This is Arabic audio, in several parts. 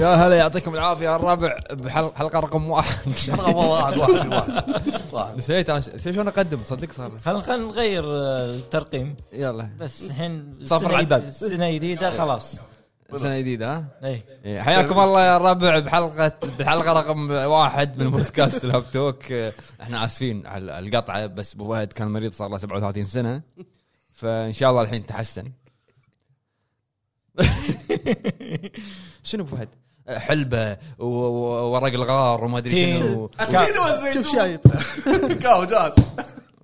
يا هلا يعطيكم العافيه الربع بحلقه رقم واحد رقم واحد واحد واحد واحد نسيت انا نسيت شلون اقدم صدق صار لي. خلينا خلينا نغير آه، الترقيم يلا بس الحين صفر سنة- على الباب. سنه جديده خلاص سنه جديده ها اي إيه، حياكم الله يا الربع بحلقه بحلقه رقم واحد من بودكاست الهاب توك إيه، احنا اسفين على القطعه بس ابو فهد كان مريض صار له 37 سنه فان شاء الله الحين تحسن شنو ابو فهد؟ حلبه و- و- وورق الغار وما ادري تين. شنو التين والزيتون شوف شايب كاو جاز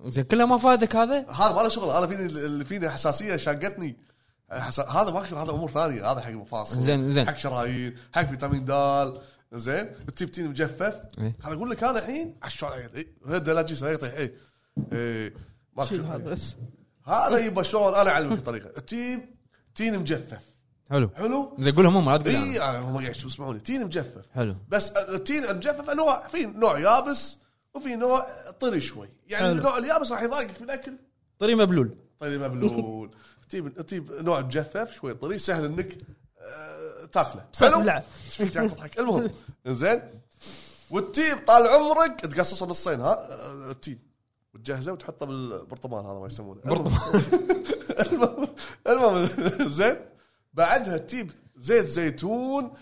زين كله ما فادك هذا؟ هذا ما له شغل انا فيني اللي فيني حساسيه شاقتني حسا- هذا ما شغل هذا امور ثانيه هذا حق مفاصل زين- زين. حق شرايين حق فيتامين دال زين التيب تين مجفف إيه. انا اقول لك انا الحين إيه. عشان هدا لا تجيس لا يطيح إيه. ايه ما شيل في- هذا بس هذا يبى شلون انا اعلمك الطريقه التيم تين مجفف حلو حلو زين قولهم هم لا تقول اي أنا. نعم. أنا آه، هم قاعد يشوفوا- يسمعوني تين مجفف حلو بس آه، التين المجفف انواع في نوع يابس وفي نوع طري شوي يعني حلو. النوع اليابس راح يضايقك بالاكل طري مبلول طري مبلول تجيب تجيب نوع مجفف شوي طري سهل انك آه، تاكله سهل حلو؟ اللعب. ايش فيك قاعد تضحك المهم زين والتيب طال عمرك تقصصه نصين ها آه، التيب وتجهزه وتحطه بالبرطمان هذا ما يسمونه برطمان المهم المهم زين بعدها تجيب زيت زيتون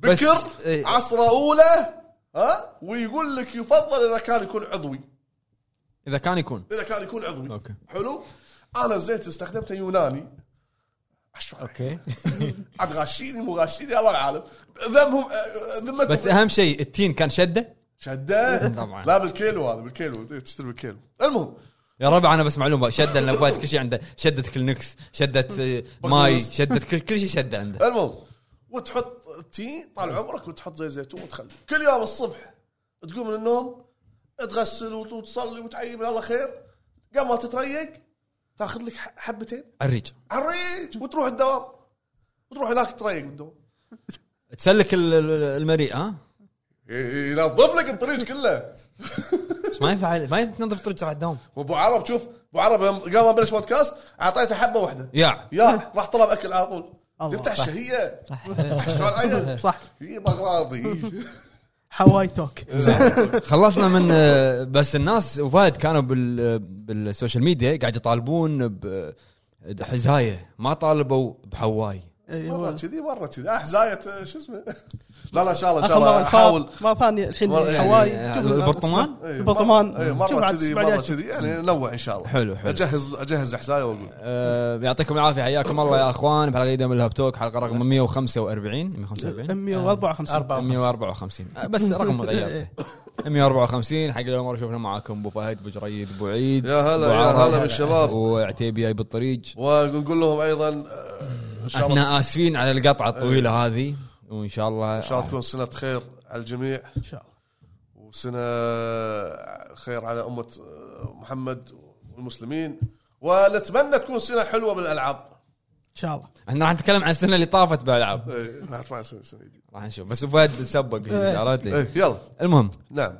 بس- بكر إيه. عصره اولى ها ويقول لك يفضل اذا كان يكون عضوي اذا كان يكون اذا كان يكون عضوي أوكي. حلو انا الزيت استخدمته يوناني أشو- اوكي عاد غاشيني مو غاشيني الله العالم ذمهم آه، ذمتهم بس اهم شيء التين كان شده شده طبعاً. لا بالكيلو هذا بالكيلو إيه، تشتري بالكيلو المهم يا ربع انا بس معلومه شده لان أبو فهد كل شيء عنده شده كلينكس شده آه، ماي شده كل كل شيء شده عنده المهم وتحط تي طال عمرك وتحط زي زيتون وتخلي كل يوم الصبح تقوم من النوم تغسل وت- وتصلي وتعيي من الله خير قبل ما تتريق تاخذ لك ح- حبتين الريج عريج وتروح الدوام وتروح هناك تريق بالدوام تسلك ال- ال- المريء ها ينظف لك الطريق كله بس ما ينفع ما تنظف طريق على الدوام وابو عرب شوف ابو عرب يوم- قبل ما بلش بودكاست اعطيته حبه واحده يا يا راح طلب اكل على طول الله، يفتح صح. الشهيه شلون عيل صح إيه، هي ما راضي هواي توك إيه. خلصنا من آه، بس الناس وفهد كانوا بال آه، بالسوشيال ميديا قاعد يطالبون بحزايه ما طالبوا بحواي إي، هو. مره كذي مره كذي احزايه آه، شو اسمه لا لا ان شاء الله ان شاء اخر الله إيه، مره احاول فاض- مره ثانيه الحين مرة- يعني- هواي شوف البرطمان؟ البرطمان. إيه، مرة- إيه، البرطمان شوف مره عاد كذي تسمع مره ليش. كذي يعني نوع ان شاء الله حلو، حلو. اجهز اجهز احزايه واقول آه، يعطيكم العافيه حياكم الله يا اخوان بحلقه جديده من الهاب توك حلقه رقم 145 145 154 54 154 آه، بس رقم غيرته 154 حق اول مره شفنا معاكم ابو فهد ابو جريد ابو عيد يا هلا، أبو يا عرب، هلا بالشباب. وعتيبي جاي بالطريق ونقول لهم ايضا آه، ان شاء الله احنا اسفين على القطعه الطويله هذه وان شاء الله ان شاء الله تكون سنه خير على الجميع ان شاء الله وسنه خير على امه محمد والمسلمين ونتمنى تكون سنه حلوه بالالعاب ان شاء الله احنا راح نتكلم عن السنه اللي طافت بالالعاب إيه، ما أتوقع سنة- سنة جديدة. راح نشوف بس أبو فهد سبق عرفت إيه، يلا المهم نعم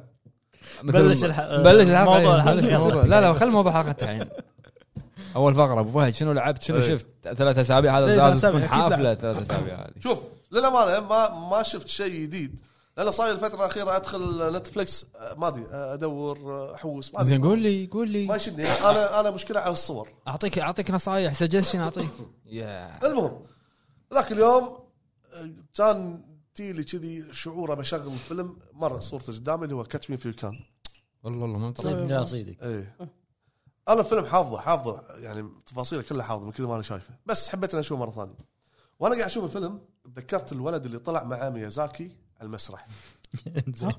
مثل- بلش الح- بلش الحلقه موضوع إيه، الحلقة. بلش الموضوع. لا لا خلي موضوع حلقتها الحين اول فقره ابو فهد شنو لعبت شنو إيه. شفت ثلاث اسابيع هذا إيه، لازم ثلاث تكون أسابيع، أكيد حافله ثلاث اسابيع هذه شوف للامانه ما ما شفت شيء جديد لان صاير الفتره الاخيره ادخل نتفلكس آه، ما ادري آه، ادور آه، احوس ما ادري زين قول لي قول ما لي يشدني انا انا مشكله على الصور اعطيك اعطيك نصايح سجشن اعطيك يا المهم ذاك اليوم آه، كان تيلي كذي شعوره بشغل فيلم مره صورته قدامي اللي هو كاتش مي في كان والله والله ما مطلع صدق لا صدق ايه انا الفيلم حافظه حافظه يعني تفاصيله كلها حافظه من كذا ما انا شايفه بس حبيت اني اشوفه مره ثانيه وانا قاعد اشوف الفيلم تذكرت الولد اللي طلع مع ميازاكي على المسرح زين.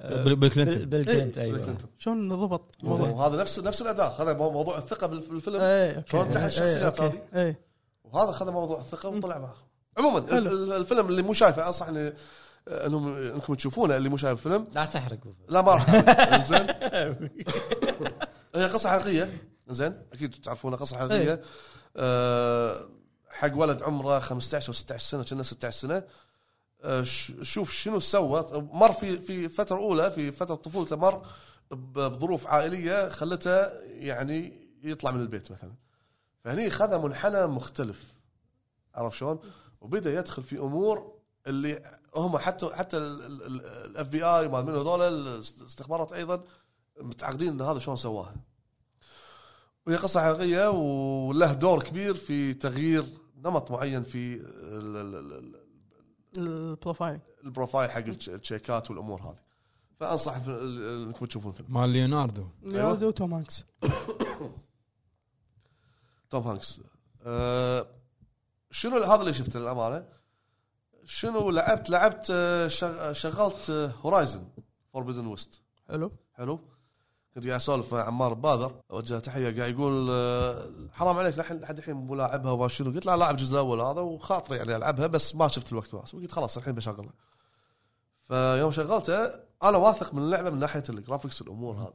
آه، بيل بال- كلينتون بال كلينتون بيل ايوه كلينتون. شلون ضبط الموضوع وهذا نفس نفس الاداء هذا مو- موضوع الثقه بال- بالفيلم إي، إيه، أوكي. شلون تحت إي، الشخصيات أوكي. إيه. هذه؟ إي. وهذا خذ موضوع الثقه وطلع معه عموما ال- حلو. ال- الفيلم اللي مو شايفه انصح إن- انهم انكم تشوفونه اللي مو شايف الفيلم لا تحرق لا ما راح أحرق. زين هي قصه حقيقيه زين اكيد تعرفونها قصه حقيقيه إيه. أه حق ولد عمره 15 او 16 سنه كنا 16 سنه أه ش- شوف شنو سوى مر في في فتره اولى في فتره طفولته مر ب- بظروف عائليه خلته يعني يطلع من البيت مثلا فهني خذ منحنى مختلف عرف شلون؟ وبدا يدخل في امور اللي هم حتى حتى الاف بي اي مال من هذول الاستخبارات ايضا متعقدين ان هذا شلون سواها وهي قصه حقيقيه وله دور كبير في تغيير نمط معين في ال- ال- ال- ال- البروفايل البروفايل حق التش- التشيكات والامور هذه فانصح في- ال- انكم تشوفون الفيلم مال ليوناردو أيوة. ليوناردو توم هانكس توم هانكس أه شنو هذا اللي شفته للامانه شنو لعبت لعبت آه، شغ- شغلت آه، هورايزن فوربدن ويست حلو حلو كنت قاعد اسولف مع عمار باذر اوجه تحيه قاعد يقول آه، حرام عليك لحن لحد الحين مو لاعبها وما شنو قلت لا لاعب الجزء الاول هذا وخاطري يعني العبها بس ما شفت الوقت مناسب قلت خلاص الحين بشغلها فيوم شغلته انا واثق من اللعبه من ناحيه الجرافكس الامور هذه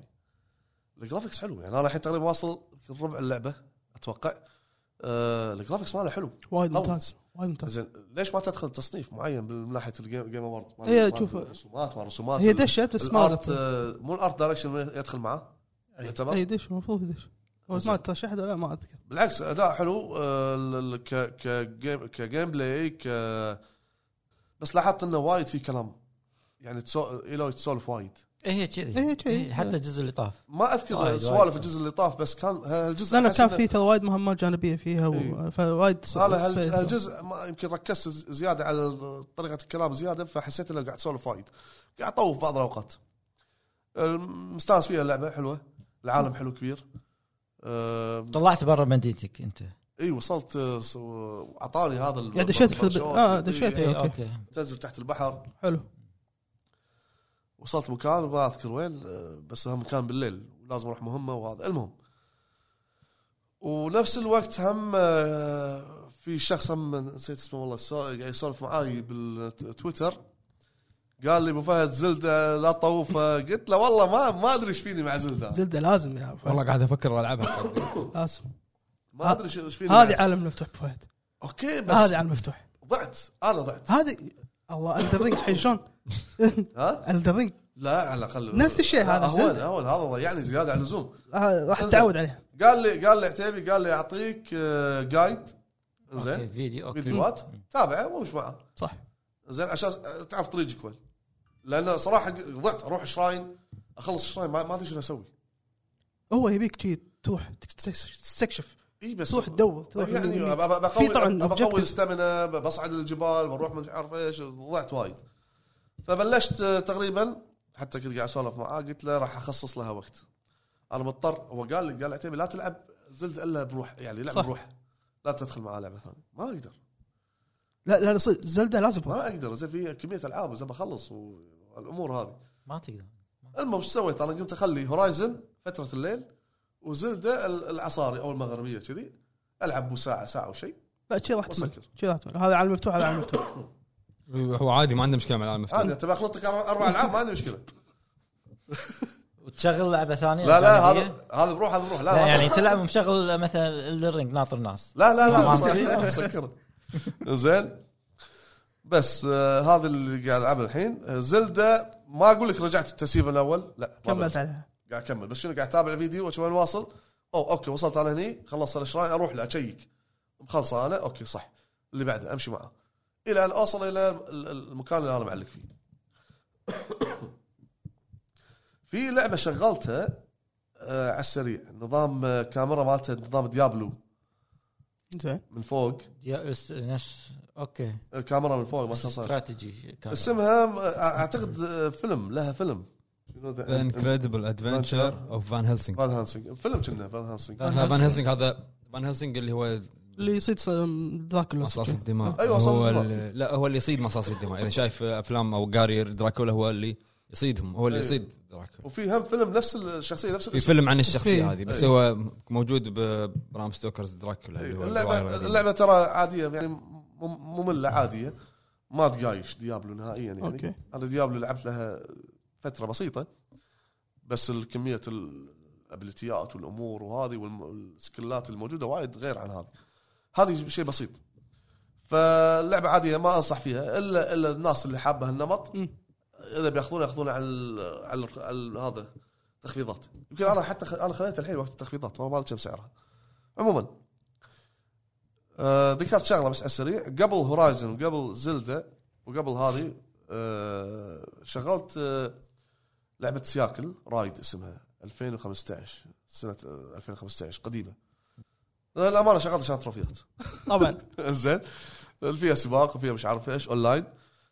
الجرافكس حلو يعني انا الحين تقريبا واصل يمكن ربع اللعبه اتوقع آه، الجرافكس ماله حلو وايد طبعاً. ممتاز وايد ممتاز زين ليش ما تدخل تصنيف معين من ناحيه الجيم جيم اوورد هي إيه، شوف- رسومات ما رسومات هي ال- دشت بس ما الارت عرفت. آه، مو الارت دايركشن يدخل معاه يعتبر هي إيه، دش المفروض يدش هو ما ترشحت ولا ما اذكر بالعكس اداء حلو آه، ال- ال- ك كجيم كجيم بلاي ك بس لاحظت انه وايد في كلام يعني تسو... ايلو تسولف وايد هي كذي إيه، كذي. إيه، حتى الجزء اللي طاف ما وايد، اذكر وايد. سوالف الجزء اللي طاف بس كان هالجزء لانه أحس كان إنه- في ترى وايد مهمات جانبيه فيها إيه. و... فوايد انا هال- هالجزء ما يمكن ركزت ز- زياده على طريقه الكلام زياده فحسيت انه قاعد اسولف وايد قاعد اطوف بعض الاوقات الم- مستانس فيها اللعبه حلوه العالم حلو كبير آه، أم، طلعت برا مدينتك انت اي وصلت أه، س- اعطاني هذا ال- يعني دشيت في الب- آه، دشيت، إي، إيه. إيه، أوكي. اوكي تنزل تحت البحر حلو وصلت مكان ما اذكر وين آه، بس هم مكان بالليل ولازم اروح مهمه وهذا المهم ونفس الوقت هم آه، في شخص هم نسيت اسمه والله سو- قاعد يسولف معاي بالتويتر قال لي ابو فهد زلده لا تطوفه قلت له والله ما ما ادري ايش فيني مع زلده زلده لازم يا فهد. والله قاعد افكر العبها لازم ما ادري ايش فيني هذه معها. عالم مفتوح أبو فهد اوكي بس هذه عالم مفتوح ضعت انا ضعت هذه الله الدرينج الحين شلون؟ ها الدرينج لا على الاقل نفس الشيء لا، هذا اهون زلدة. اهون هذا ضيعني زياده عن اللزوم راح انزين. تتعود عليها قال لي قال لي عتيبي قال لي اعطيك آه، جايد اوكي زين فيديو اوكي فيديوهات تابعه وامش معه صح زين عشان تعرف طريقك وين لان صراحه ضعت اروح شراين اخلص شراين ما ما ادري شنو اسوي هو يبيك شي تروح تكتس- تستكشف اي إيه، بس تروح تدور، تروح يعني يمين. ب- ب- بقوي في طبعاً objective. بقوي الستامنا ب- بصعد الجبال بروح من عارف ايش ضعت وايد فبلشت آه، تقريبا حتى كنت قاعد اسولف معاه قلت له راح اخصص لها وقت انا مضطر هو قال لي قال عتيبي لا تلعب زلت الا بروح يعني لعب صح. بروح لا تدخل معاه لعبه ثانيه ما اقدر لا لا صدق، زلده لازم ما اقدر زين في كميه العاب زين بخلص والامور هذه ما تقدر المهم ايش سويت انا قمت اخلي هورايزن فتره الليل وزلده ال- العصاري او المغربيه كذي العب بو ساعه ساعه وشيء لا شي راح تمل وسكر. شي راح تمل هذا عالم مفتوح هذا عالم مفتوح هو عادي ما عنده مشكله مع العالم عادي المفتوح انت بخلطك أر- اربع العاب ما عندي مشكله وتشغل لعبه ثانيه لا لا أجنبية؟ هذا هذا بروح هذا بروح لا لا ما- يعني تلعب مشغل مثلا الرينج ناطر ناس لا لا لا ما مسكر- مسكر زين بس آه هذا اللي قاعد العبه الحين زلده ما اقول لك رجعت التسييف الاول لا ما كملت عليها قاعد اكمل بس شنو قاعد اتابع فيديو واشوف وين واصل او اوكي وصلت انا هني خلصت الاشراي اروح له اشيك مخلصه انا اوكي صح اللي بعده امشي معه الى ان اوصل الى ال- ال- المكان اللي انا معلق فيه في لعبه شغلتها آه على السريع نظام آه، كاميرا مالته نظام ديابلو زين من فوق يا- اس- نفس اوكي الكاميرا من فوق ما شلون صار. استراتيجي كان. اسمها آه، اعتقد آه، فيلم لها فيلم شنو ذا- ذا انكريدبل ادفنتشر اوف فان هيلسينج فان هانسينج فيلم كنا فان هانسينج فان فان هيلسينج هذا فان هيلسينج اللي هو اللي يصيد ص- دراكولا مصاص الدماء أيوة، هو مصاص ال- لا هو اللي يصيد مصاص الدماء اذا شايف افلام او قاري دراكولا هو اللي يصيدهم هو اللي أيوة. يصيد دراكولا وفي هم فيلم نفس الشخصيه نفس في الاسم فيلم عن الشخصيه أيوة. هذه بس أيوة. هو موجود برام ستوكرز دراكولا اللي هو اللعبه الرواية اللعبه إيه، ترى عاديه يعني مم- ممله عاديه ما تقايش ديابلو نهائيا يعني أوكي. انا ديابلو لعبت لها فتره بسيطه بس الكميه الابيليتيات والامور وهذه والم- والسكلات الموجوده وايد غير عن هذه هذه شيء بسيط فاللعبه عاديه ما انصح فيها الا الا الناس اللي حابه النمط مم. اذا بياخذونه ياخذونه على ال- على, ال- على ال- هذا تخفيضات يمكن انا حتى خ... انا خذيت الحين وقت التخفيضات والله ما ادري كم سعرها عموما آه، ذكرت شغله بس على السريع قبل هورايزن وقبل زلدا وقبل هذه آه، شغلت آه، لعبه سياكل رايد اسمها 2015 سنه آه، 2015 قديمه آه، للامانه شغلت عشان تروفيات طبعا زين فيها سباق وفيها مش عارف ايش اونلاين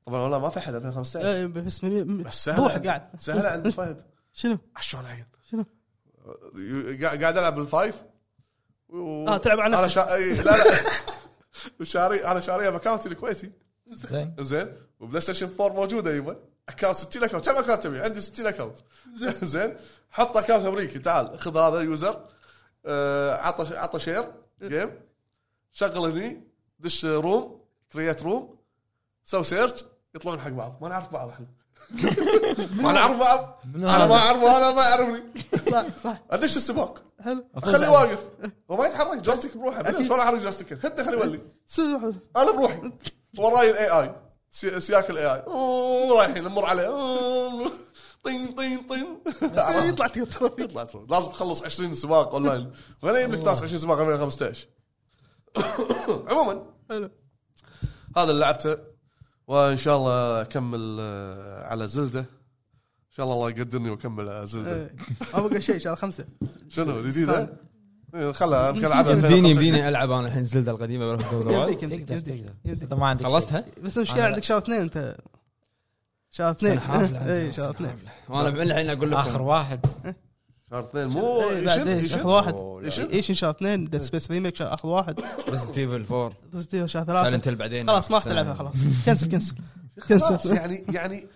طبعا والله ما في احد 2015 إيه، بس من بس سهله روح عند- قاعد سهله عند فهد شنو؟ عشان العين شنو؟ قاعد قاعد العب بالفايف و... آه، تلعب على انا نفسك. شا... إي، لا لا شاري انا شاريها باكونتي الكويتي زين زين وبلاي ستيشن 4 موجوده يبا اكونت 60 اكونت كم اكونت تبي؟ عندي 60 اكونت زين حط اكونت امريكي تعال خذ هذا يوزر آه، عطى عطى شير جيم شغل هني دش روم كرييت روم سوي سيرش يطلعون حق بعض ما نعرف بعض احنا ما نعرف بعض انا ما اعرف انا ما يعرفني صح صح ادش السباق حلو خليه واقف وما يتحرك جوستيك بروحه بلا، شلون احرك جوستيك هده خليه يولي سوي- سوي. انا بروحي وراي الاي اي سياك الاي اي رايحين نمر عليه أوه، طين طين طين آه. يطلع تقطر فيك يطلع تروح. لازم تخلص 20 سباق اونلاين وين يجيب لك ناس 20 سباق 2015 عموما حلو هذا اللي لعبته وان شاء الله اكمل آه، على زلده ان شاء الله الله يقدرني واكمل على زلده إيه. ما بقى شيء ان شاء الله خمسه شنو الجديده؟ إيه، خلها يمكن العبها يمديني 2025. يمديني العب انا الحين زلده القديمه بروح أدور وايد. يمديك يمديك تقدر يمديك تقدر يمديك. اذا ما عندك شيء. خلصتها؟ بس المشكله أنا- عندك شغله اثنين انت شغله اثنين سنة حافلة إيه، عندي. اي سنة شغله اثنين وانا من الحين اقول لكم اخر واحد شهر اثنين مو إيه، بعدين يشد يشد اخر واحد أوه، لا. يشد ايش ان شاء الله اثنين ديد سبيس ريميك اخر واحد ريزنت ايفل 4 Resident Evil شهر سايلنت ثلاثه هيل بعدين خلاص ما راح سنة. تلعبها خلاص كنسل كنسل خلاص كنسل يعني يعني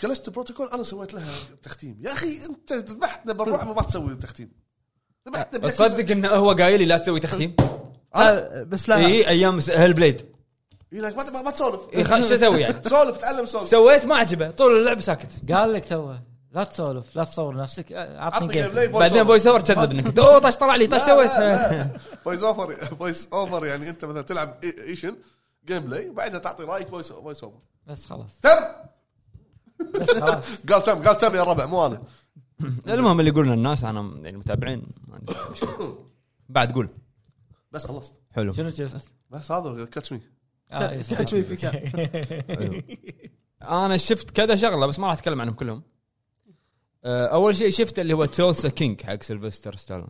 كلست بروتوكول انا سويت لها تختيم يا اخي انت ذبحتنا بالرعب ما تسوي تختيم أه، ذبحتنا بال- تصدق انه هو قايل لي لا تسوي تختيم؟ إيه، لا، آه، بس لا اي ايام هيل بليد إيه، لك ما تب- ما تسولف إي، خ- شو اسوي يعني؟ سولف تعلم سولف سويت ما عجبه طول اللعب ساكت قال لك توه لا تسولف لا تصور نفسك آه، عطني عطني جيم جيم بلاي بعدين فويس اوفر كذب انك اوه طش طلع لي طش سويت فويس اوفر فويس اوفر يعني انت مثلا تلعب إي- ايشن جيم بلاي وبعدها تعطي رايك فويس فويس اوفر بس خلاص تم بس خلاص قال تم قال تم يا ربع مو انا المهم اللي يقولنا الناس انا من المتابعين ما عندي مشكلة. بعد قول بس خلصت حلو شنو شفت؟ بس هذا كاتش مي آه، إيه، صح. كاتش مي فيك. حلو. انا شفت كذا شغله بس ما راح اتكلم عنهم كلهم آه، اول شيء شفته اللي هو تولسا كينج حق سيلفستر ستالون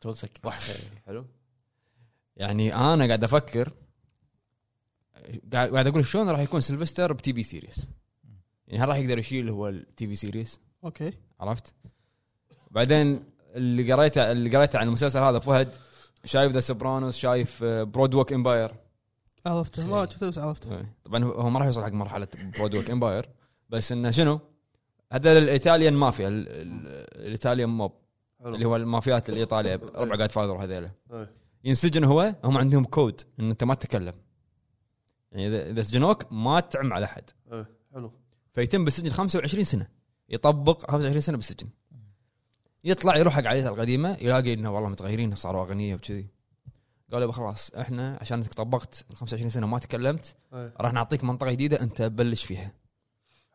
تولسك حلو يعني انا قاعد افكر قاعد قاعد اقول شلون راح يكون سيلفستر بتي في سيريس يعني هل راح يقدر يشيل هو التي في سيريس اوكي عرفت بعدين اللي قريته اللي قريته عن المسلسل هذا فهد شايف ذا سوبرانوس شايف آه، برودوك امباير عرفته ما شفته بس عرفته طبعا هو ما راح يوصل حق مرحله برودوك امباير بس انه شنو هذا الايطاليان مافيا ال- ال- الايطاليان موب اللي هو المافيات الايطاليه ربع قاعد فاضر هذيله إيه. ينسجن هو هم عندهم كود ان انت ما تتكلم يعني اذا اذا سجنوك ما تعم على احد إيه، حلو فيتم بالسجن 25 سنه يطبق 25 سنه بالسجن يطلع يروح حق عائلته القديمه يلاقي انه والله متغيرين صاروا اغنياء وكذي قالوا يبا خلاص احنا عشان انك طبقت ال 25 سنه وما تكلمت إيه، راح نعطيك منطقه جديده انت بلش فيها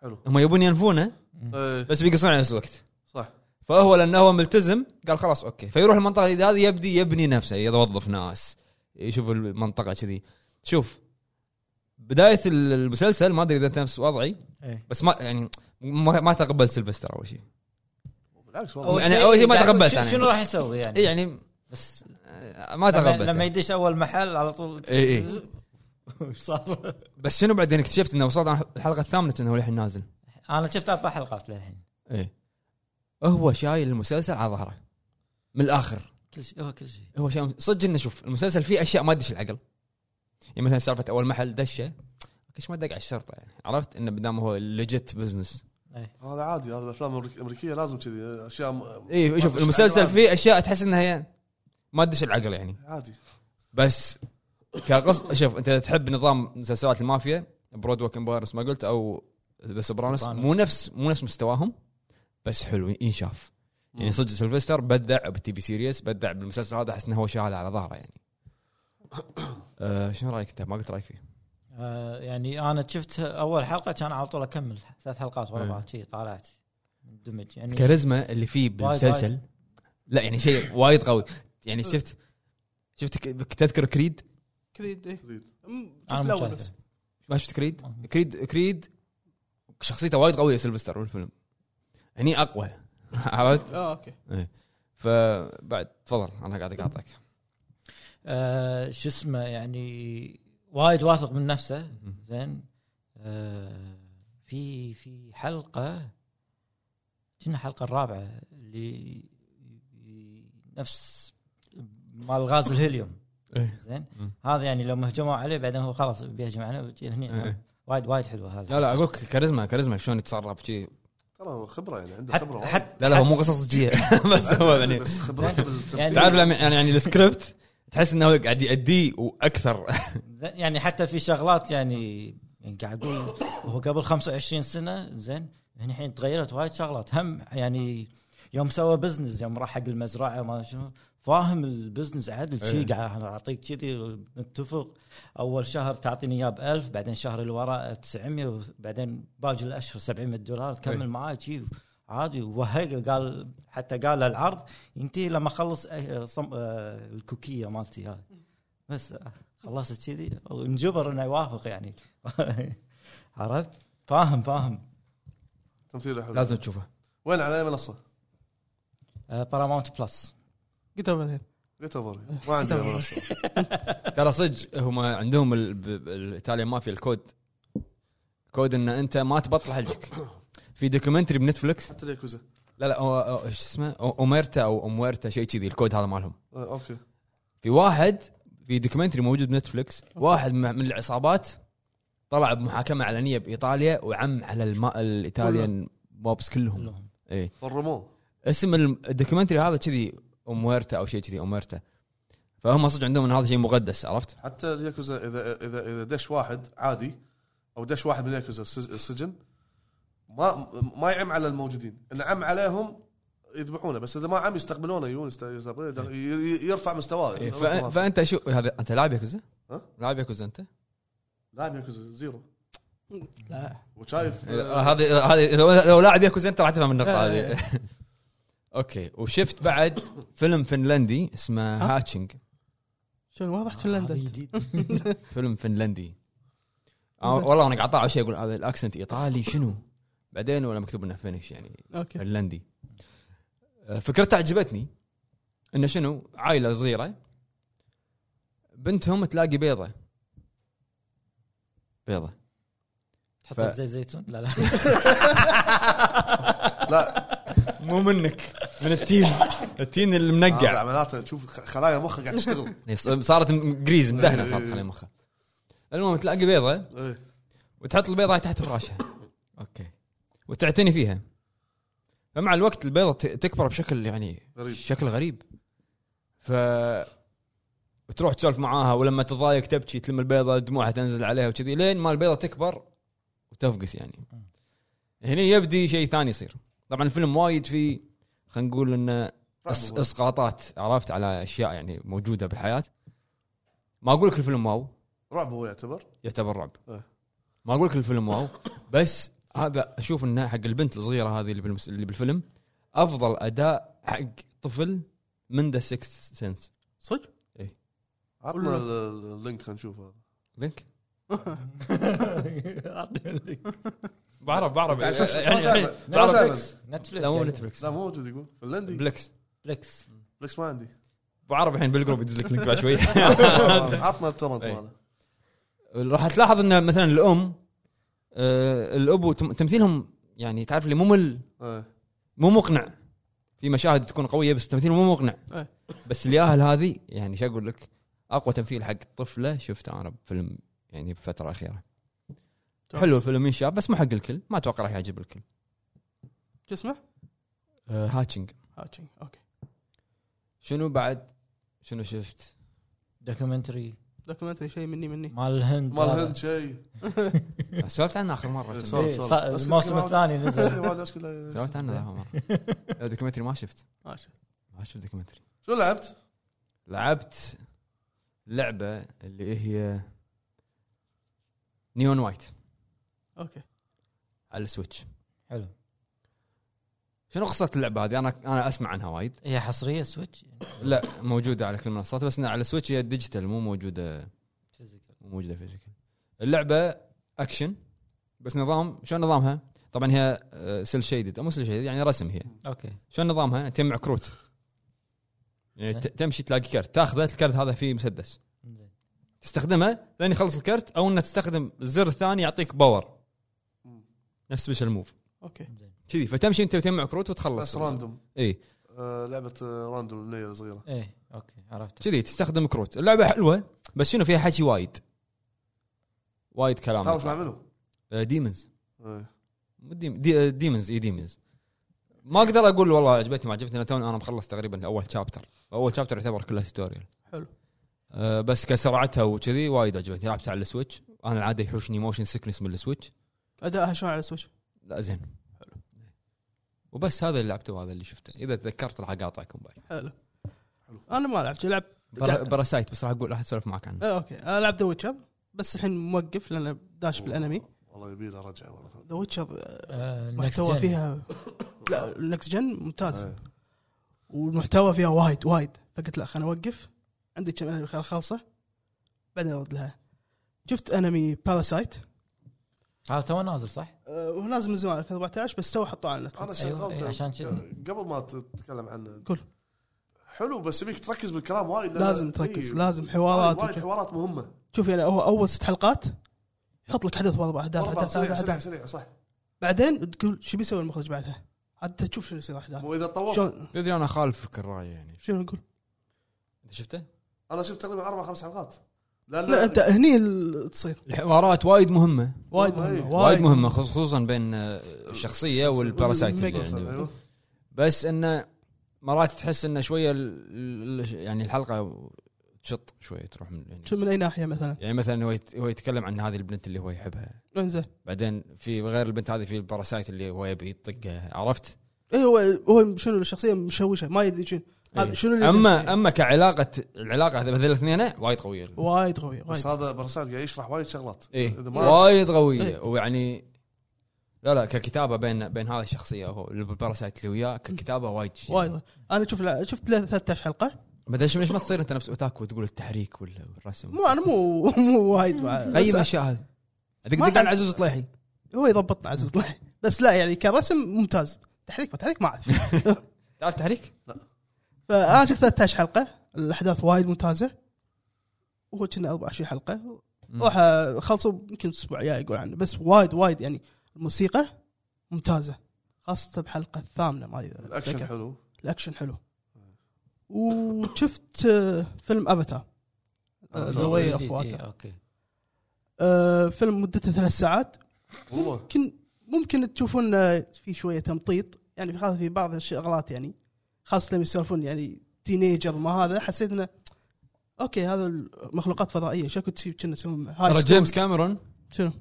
حلو هم يبون ينفونه إيه، بس بيقصون على نفس الوقت صح فهو لانه هو ملتزم قال خلاص اوكي فيروح المنطقه اللي هذه يبدي يبني نفسه يوظف ناس يشوف المنطقه كذي شوف بدايه المسلسل ما ادري اذا انت نفس وضعي إيه. بس ما يعني ما, ما تقبل سيلفستر اول شيء أمم. بالعكس والله أول يعني أنا أول شيء ما قاعد أقول تقبلت شو- أنا. شنو راح يسوي يعني؟ إيه يعني بس آه، ما لما, لما تقبل يدش اول محل على طول إيه، وش صار؟ بس شنو بعدين اكتشفت انه وصلت أنا الحلقه الثامنه انه هو الحين نازل انا شفت اربع حلقات للحين ايه هو شايل المسلسل على ظهره من الاخر كل شيء هو كل شيء هو شيء صدق انه شوف المسلسل فيه اشياء ما تدش العقل يعني مثلا سالفه اول محل دشه ليش ما دق على الشرطه يعني عرفت انه بدام هو ليجيت بزنس هذا عادي هذا الافلام الأمريك- الامريكيه لازم كذي اشياء م- اي ما إيه، شوف تدش المسلسل عقل. فيه اشياء تحس انها يعني ما تدش العقل يعني عادي بس كقص شوف انت إذا تحب نظام مسلسلات المافيا برود ووك امباير مثل ما قلت او ذا سوبرانوس سوبرانوس. مو نفس مو نفس مستواهم بس حلو ينشاف يعني مم. صدق سيلفستر بدع بالتي في سيريس بدع بالمسلسل هذا احس انه هو شاله على ظهره يعني آه شنو رايك انت ما قلت رايك فيه آه يعني انا شفت اول حلقه كان على طول اكمل ثلاث حلقات ورا إيه. بعض شي طالعت مندمج يعني الكاريزما اللي فيه بالمسلسل وايد. لا يعني شيء وايد قوي يعني شفت شفت ك- تذكر كريد كريد إيه. ريد أم، شفت انا مو الأول بس شايفه ما شفت كريد؟ مهم. كريد كريد شخصيته وايد قويه سيلفستر بالفيلم هني اقوى عرفت؟ اه اوكي فبعد تفضل انا قاعد اقاطعك آه، شو اسمه يعني وايد واثق من نفسه زين آه، في في حلقه كنا الحلقه الرابعه اللي نفس مال غاز الهيليوم إيه. زين مم. هذا يعني لو مهجموا عليه بعدين هو خلاص بيهجم عليه ويجي هني إيه. وايد وايد حلوه هذا لا لا اقول لك كاريزما كاريزما شلون يتصرف شي ترى هو خبره يعني عنده خبره حتى وايد. حتى لا لا هو مو قصص جيه بس هو يعني بس خبرته يعني- بال تعرف لما يعني يعني السكريبت تحس انه هو قاعد يأديه واكثر زين، يعني حتى في شغلات يعني يعني قاعد اقول هو قبل 25 سنه زين هنا الحين تغيرت وايد شغلات هم يعني يوم سوى بزنس يوم راح حق المزرعه ما شنو فاهم البزنس عدل شي إيه. قاعد أنا اعطيك كذي نتفق اول شهر تعطيني اياه ب 1000 بعدين شهر اللي وراه 900 بعدين باقي الاشهر 700 دولار إيه. تكمل معاي شي عادي وهق قال حتى قال العرض ينتهي لما اخلص أه، صم- أه، الكوكيه مالتي هاي بس آه. خلصت كذي انجبر انه يوافق يعني عرفت؟ فاهم فاهم تمثيله حلو لازم تشوفه وين على اي منصه؟ آه، باراماونت بلس قلتها بعدين جيت أفر. ما عندي أي منصه ترى صدق هم عندهم ال- ب- ب- الايطاليان مافيا الكود كود ان انت ما تبطل حلقك في دوكيومنتري بنتفلكس حتى الياكوزا لا لا هو هو- ايش اسمه أو- اوميرتا او امويرتا شيء كذي الكود هذا مالهم آه، اوكي في واحد في دوكيومنتري موجود بنتفلكس واحد من من العصابات طلع بمحاكمه علنيه بايطاليا وعم على الما الايطاليان موبس كلهم كلهم اي فرموه اسم الم- الدوكيومنتري هذا كذي امويرتا او شيء كذي امويرتا فهم صدق عندهم ان هذا شيء مقدس عرفت؟ حتى الياكوزا اذا اذا اذا دش واحد عادي او دش واحد من الياكوزا السج- السجن ما ما يعم على الموجودين اللي عم عليهم يذبحونه بس اذا ما عم يستقبلونه يجون يست- يستقبلونه، ي- ي- يرفع مستواه إيه، فأ- فانت شو هذا انت لاعب ياكوزا؟ ها؟ لاعب ياكوزا انت؟ لاعب ياكوزا زيرو لا وشايف إيه، آه، هذه هذه لو- لو لاعب ياكوزا انت راح تفهم النقطه إيه، هذه اوكي وشفت بعد فيلم فنلندي اسمه ها؟ هاتشنج شنو واضح آه، فنلندا هذا أنت. جديد فيلم فنلندي آه، والله انا قاعد اطالع شيء اقول هذا الاكسنت ايطالي شنو؟ بعدين ولا مكتوب انه فينش يعني اوكي فنلندي آه، فكرته عجبتني انه شنو عائله صغيره بنتهم تلاقي بيضه بيضه تحطه ف- بزيت زيتون لا لا لا آه، مو منك من التين التين المنقع هذا معناته تشوف خ- خلايا مخه قاعد تشتغل يعني ص- صارت م- جريز مدهنه صارت على مخها المهم تلاقي بيضه إيه. وتحط البيضه هاي تحت فراشها اوكي وتعتني فيها فمع الوقت البيضه ت- تكبر بشكل يعني غريب. شكل غريب ف وتروح تسولف معاها ولما تضايق تبكي تلم البيضه دموعها تنزل عليها وكذي لين ما البيضه تكبر وتفقس يعني هنا يبدي شيء ثاني يصير طبعا الفيلم وايد فيه خلينا نقول انه إس- رعب اسقاطات عرفت على اشياء يعني موجوده بالحياه ما اقول لك الفيلم واو هو- رعب هو يعتبر يعتبر رعب إيه. ما اقول لك الفيلم واو بس هذا اشوف انه حق البنت الصغيره هذه اللي, بالمس... اللي بالفيلم افضل اداء حق طفل من ذا سكس سنس صدق؟ عطنا ال- ال- اللينك خلينا نشوف هذا لينك أعطني اللينك. بعرف بعرف تعال شوف- شوف- يعني شلون يعني- شايفه؟ تعرف شلون شايفه؟ بلكس؟ نتفلكس لا مو نتفلكس يعني لا مو موجود يقول فنلندي بلكس نتفلكس بلكس ما عندي بعرف الحين بالجروب يدز لك لينك بعد شوي عطنا التورنت إيه. ماله راح تلاحظ ان مثلا الام آه، الاب وتم- تمثيلهم يعني تعرف اللي ممل إيه. مو مقنع في مشاهد تكون قويه بس تمثيل مو مقنع إيه. بس الياهل هذه يعني شو اقول لك اقوى تمثيل حق طفله شفته انا بفيلم يعني بالفتره الاخيره حلو الفيلم ينشاف بس مو حق الكل ما اتوقع راح يعجب الكل شو اسمه؟ آه، هاتشنج هاتشنج اوكي شنو بعد شنو شفت دوكيومنتري دوكيومنتري شيء مني مني مال الهند إيه. مال هند شيء سولفت عنه اخر مره إيه، كنا. سولف. إيه، ص- الموسم الثاني إيه، نزل سولفت عنه اخر مره لا، دوكيومنتري ما شفت ماشي ما شفت دوكيومنتري شو لعبت؟ لعبت لعبه اللي هي نيون وايت اوكي على السويتش حلو شنو قصه اللعبه هذه انا انا اسمع عنها وايد هي حصريه سويتش يعني. لا موجوده على كل المنصات بس إنها على سويتش هي ديجيتال مو موجوده فيزيكال موجوده فيزيكال اللعبه اكشن بس نظام شلون نظامها؟ طبعا هي آه، سيل شيدد مو سيل شيدد يعني رسم هي اوكي شلون نظامها؟ تجمع كروت يعني ت- تمشي تلاقي كرت تاخذه الكرت هذا فيه مسدس زين تستخدمه لين يخلص الكرت او انه تستخدم الزر الثاني يعطيك باور مم. نفس سبيشل موف اوكي زين كذي فتمشي انت وتجمع كروت وتخلص بس راندوم اي آه، لعبه آه، راندوم ليله صغيره ايه اوكي عرفت كذي تستخدم كروت اللعبه حلوه بس شنو فيها حكي وايد وايد كلام آه، تعرف مع منو؟ ديمونز إيه. ديمونز اي ديمونز إيه ما اقدر اقول والله عجبتني ما عجبتني انا توني انا مخلص تقريبا اول شابتر اول شابتر يعتبر كله توتوريال حلو أه، بس كسرعتها وكذي وايد عجبتني لعبتها على السويتش انا العاده يحوشني موشن سكنس من السويتش ادائها شلون على السويتش؟ لا زين وبس هذا اللي لعبته وهذا اللي شفته اذا تذكرت راح اقاطعكم بعد حلو انا ما لعبت لعبت برا- براسايت بس راح اقول راح اسولف معك عنه آه، اوكي انا لعبت ذا ويتشر بس الحين موقف لان داش بالانمي والله يبي له رجعه مره ثانيه ذا ويتشر آه، محتوى next gen. فيها لا النكست جن ممتاز إيه. والمحتوى فيها وايد وايد فقلت لا خليني اوقف عندي كم انمي خل- خالصه بعدين ارد لها شفت انمي باراسايت هذا تو نازل صح؟ وهو آه، نازل من زمان 2014 بس تو حطوه على النت انا إيه، شغلته عشان كذي قبل ما تتكلم عنه قول. حلو بس يبيك تركز بالكلام وايد لأن- لازم تركز إيه، لازم وايد حوارات وايد وكذا. حوارات مهمه شوف يعني هو اول ست حلقات يحط لك حدث واربع احداث أربعة، حدث سريع سابع سريع احداث سريع صح بعدين تقول شو بيسوي المخرج بعدها عاد تشوف شنو يصير احداث واذا طولت آه. شلون تدري انا خالفك الراي يعني شنو نقول؟ انت شفته؟ انا شفت تقريبا اربع خمس حلقات لان لا انت هني ال- تصير الحوارات وايد مهمه وايد والله مهمه إيه. وايد مهمه خص- خصوصا بين آه، الشخصيه والباراسايت اللي والميجا. يعني. عنده أيوه. بس انه مرات تحس انه شويه ال- ال- يعني الحلقه تشط شويه تروح من يعني, شو من اي ناحيه مثلا؟ يعني مثلا هو يت- هو يتكلم عن هذه البنت اللي هو يحبها انزين بعدين في غير البنت هذه في الباراسايت اللي هو يبي يطقها عرفت؟ اي إيه، هو هو شنو الشخصيه مشوشه ما يدري شنو هذا إيه. شنو اللي اما اما كعلاقه العلاقه هذ- هذول الاثنين وايد قويه وايد قوي وايد بس هذا برسات قاعد يشرح وايد شغلات إيه. ايه اذا ما وايد قويه إيه. ويعني لا لا ككتابه بين بين هذه الشخصيه هو الباراسايت اللي وياه ككتابه وايد شي. وايد وايد. انا شوف لا- شفت له 13 حلقه بعدين شو- ليش ما تصير انت نفس اوتاكو وتقول التحريك وال- والرسم مو انا مو مو وايد مع بس غير الاشياء هذه ادق ما دق تعرف- على عزوز طليحي هو يضبطنا عزيز الله بس لا يعني كرسم ممتاز تحريك ما تحريك ما اعرف تعرف تحريك؟ فانا شفت 13 حلقه الاحداث وايد ممتازه وهو كنا 24 حلقه راح خلصوا يمكن الاسبوع الجاي يقول عنه بس وايد وايد يعني الموسيقى ممتازه خاصه بحلقه الثامنه ما أدري. الاكشن حلو الاكشن حلو وشفت آه، فيلم آه، افاتار ذا واي اوف إيه، إيه، واتر اوكي آه، فيلم مدته ثلاث ساعات والله ممكن ممكن تشوفون آه، في شويه تمطيط يعني في خاصه في بعض الشغلات يعني خاصه لما يسولفون يعني تينيجر ما هذا حسيت انه اوكي هذا مخلوقات فضائيه شكو تسوي كنا تسوون هاي ترى سكول. جيمس كاميرون شنو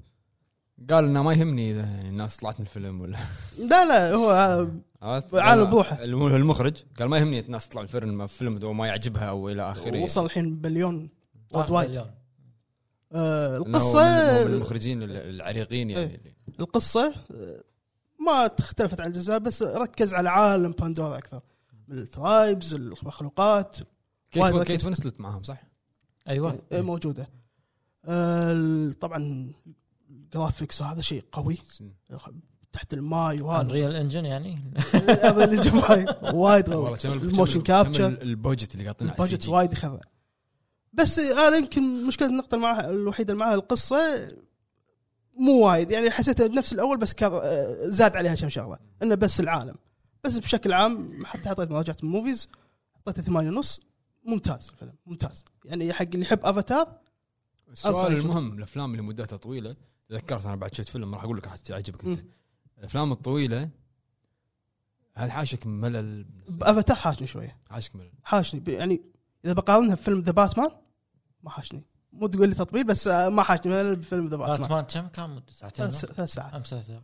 قال انه ما يهمني اذا يعني الناس طلعت من الفيلم ولا لا لا هو هذا عرفت؟ عالم قال- بروحه. الم- المخرج قال ما يهمني الناس تطلع من الفيلم الفيلم وما يعجبها او الى اخره وصل الحين بليون واحد وايد وايد مليون. آه، إنه هو القصه من من المخرجين ال- العريقين يعني إيه. اللي- القصه آه، ما تختلفت عن الجزء بس ركز على عالم باندورا اكثر من الترايبز المخلوقات وايد كيت ركز. كيت وينسلت معاهم صح؟ ايوه آه، موجوده آه، ال- طبعا الجرافيكس هذا شيء قوي تحت الماي وهذا ريال انجن يعني هذا اللي جواي وايد قوي والله كم ال- كم طيب، الموشن ال- كابتشر. كم ال- البوجت اللي قاطين على البادجت البوجت وايد وايد يخرع بس آه، انا يمكن مشكله النقطه اللي معها الوحيده اللي معها القصه مو وايد يعني حسيتها بنفس الاول بس كر... آه، زاد عليها كم شغله انه بس العالم بس بشكل عام حتى حطيت مراجعه الموفيز حطيته ثمانية ونص ممتاز الفيلم ممتاز يعني حق اللي يحب افاتار السؤال أصلاً. المهم الافلام اللي مدتها طويله تذكرت انا بعد شفت فيلم راح اقول لك راح تعجبك انت الافلام الطويله هل حاشك ملل؟ بافاتار حاشني شويه حاشك ملل حاشني ب- يعني اذا بقارنها بفيلم ذا باتمان ما حاشني مو تقول لي تطبيل بس آه، ما حاشني مثلاً بفيلم ذا باتمان باتمان كم كان مدة ساعتين ثلاث ثلاث ساعات خمس ساعات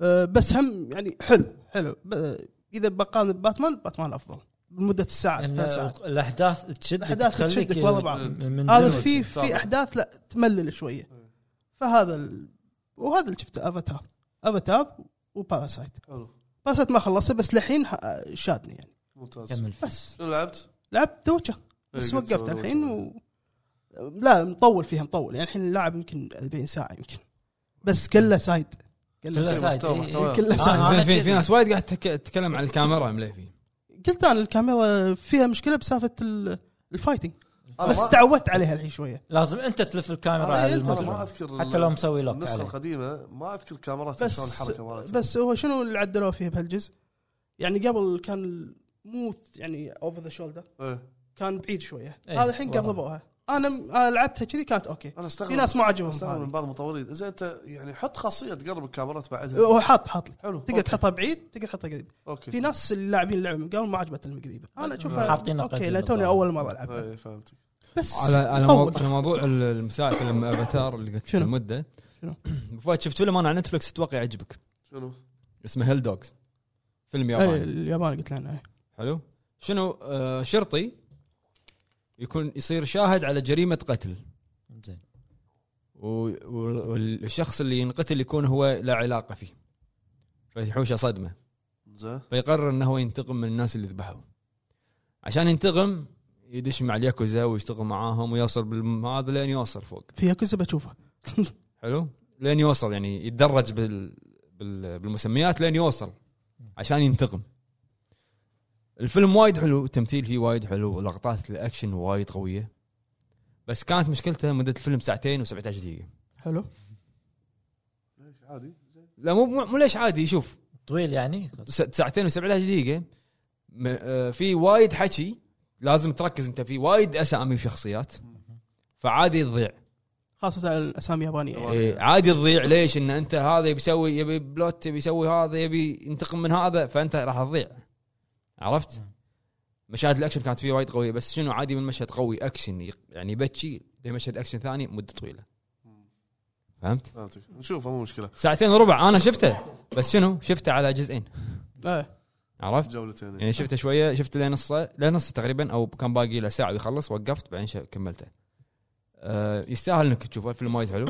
أه، بس هم يعني حلو حلو ب- اذا بقارن بباتمان باتمان افضل لمده الساعه إن ثلاث ساعات الاحداث تشدك الأحداث تخليك تشدك والله بعض. من هذا دلوقتي. في تابع. في احداث لا تملل شويه فهذا ال... وهذا اللي شفته افاتار افاتار وباراسايت حلو باراسايت ما خلصته بس للحين ه- شادني يعني ممتاز كمل فيه. بس شنو لعبت؟ لعبت ذا ويتشر إيه، بس قلت وقفت سوى الحين ويتشر. و لا مطول فيها مطول يعني الحين اللاعب يمكن 40 ساعه يمكن بس كله سايد كله كله سايد سايد. محتوى- إي، إي. محتوى. كله سايد آه. زين أنا في كذي. في ناس وايد قاعد تك- تتكلم عن الكاميرا مليفي قلت انا الكاميرا فيها مشكله بسالفه ال- الفايتنج أنا بس ما- تعودت عليها الحين شويه لازم انت تلف الكاميرا آه، على أنت- انا ما المجرم اذكر حتى لو مسوي لوك النسخه عليه. القديمه ما اذكر كاميرات بس- شلون الحركه مالتها بس هو شنو اللي عدلوه فيه بهالجزء؟ يعني قبل كان ال- مو يعني اوفر ذا شولدر إيه. كان بعيد شويه إيه، هذا الحين والله. قربوها انا م- أنا لعبتها كذي كانت اوكي انا استغرب في ناس ما عجبهم استغرب من هذه. بعض المطورين زين انت يعني حط خاصيه تقرب الكاميرات بعدها هو حاط حاط لك حلو تقدر تحطها بعيد تقدر تحطها قريب اوكي في ناس اللاعبين اللعبه من قبل ما عجبتهم القريبه انا آه. اشوفها حاطينها اوكي قريب لا توني بالضبط. اول مره العبها اي فهمت بس على على طول. موضوع, على موضوع ال- المساعد فيلم افاتار اللي قلت شنو؟ المده شنو؟ فؤاد شفت فيلم انا على نتفلكس اتوقع يعجبك شنو؟ اسمه هيل دوجز فيلم اي ياباني اليابان إيه، قلت لنا حلو شنو آه، شرطي يكون يصير شاهد على جريمه قتل زين و- و- والشخص اللي ينقتل يكون هو لا علاقه فيه فيحوشه صدمه زين فيقرر انه هو ينتقم من الناس اللي ذبحوه عشان ينتقم يدش مع الياكوزا ويشتغل معاهم ويوصل بالهذا لين يوصل فوق فيها كذا بشوفها حلو لين يوصل يعني يتدرج بال... بال... بالمسميات لين يوصل عشان ينتقم الفيلم وايد حلو التمثيل فيه وايد حلو لقطات الاكشن وايد قويه بس كانت مشكلته مده الفيلم ساعتين و17 دقيقه حلو ليش عادي زين لا مو مو مو ليش عادي شوف طويل يعني س- ساعتين و17 دقيقه م- آه، في وايد حكي لازم تركز انت فيه وايد اسامي وشخصيات فعادي تضيع خاصه على الاسامي اليابانيه إيه، عادي تضيع ليش ان انت هذا يبي يسوي يبي بلوت يبي يسوي هذا يبي ينتقم من هذا فانت راح تضيع عرفت؟ مشاهد الاكشن كانت فيه وايد قويه بس شنو عادي من مشهد قوي اكشن يق- يعني بتشي لمشهد اكشن ثاني مده طويله فهمت؟ فهمتك نشوفه مو مشكله ساعتين وربع انا شفته بس شنو؟ شفته على جزئين إيه. عرفت؟ جولتين يعني شفته شويه شفت له نصه له نص تقريبا او كان باقي له ساعه ويخلص وقفت بعدين ش- كملته. أه يستاهل انك تشوفه الفيلم وايد حلو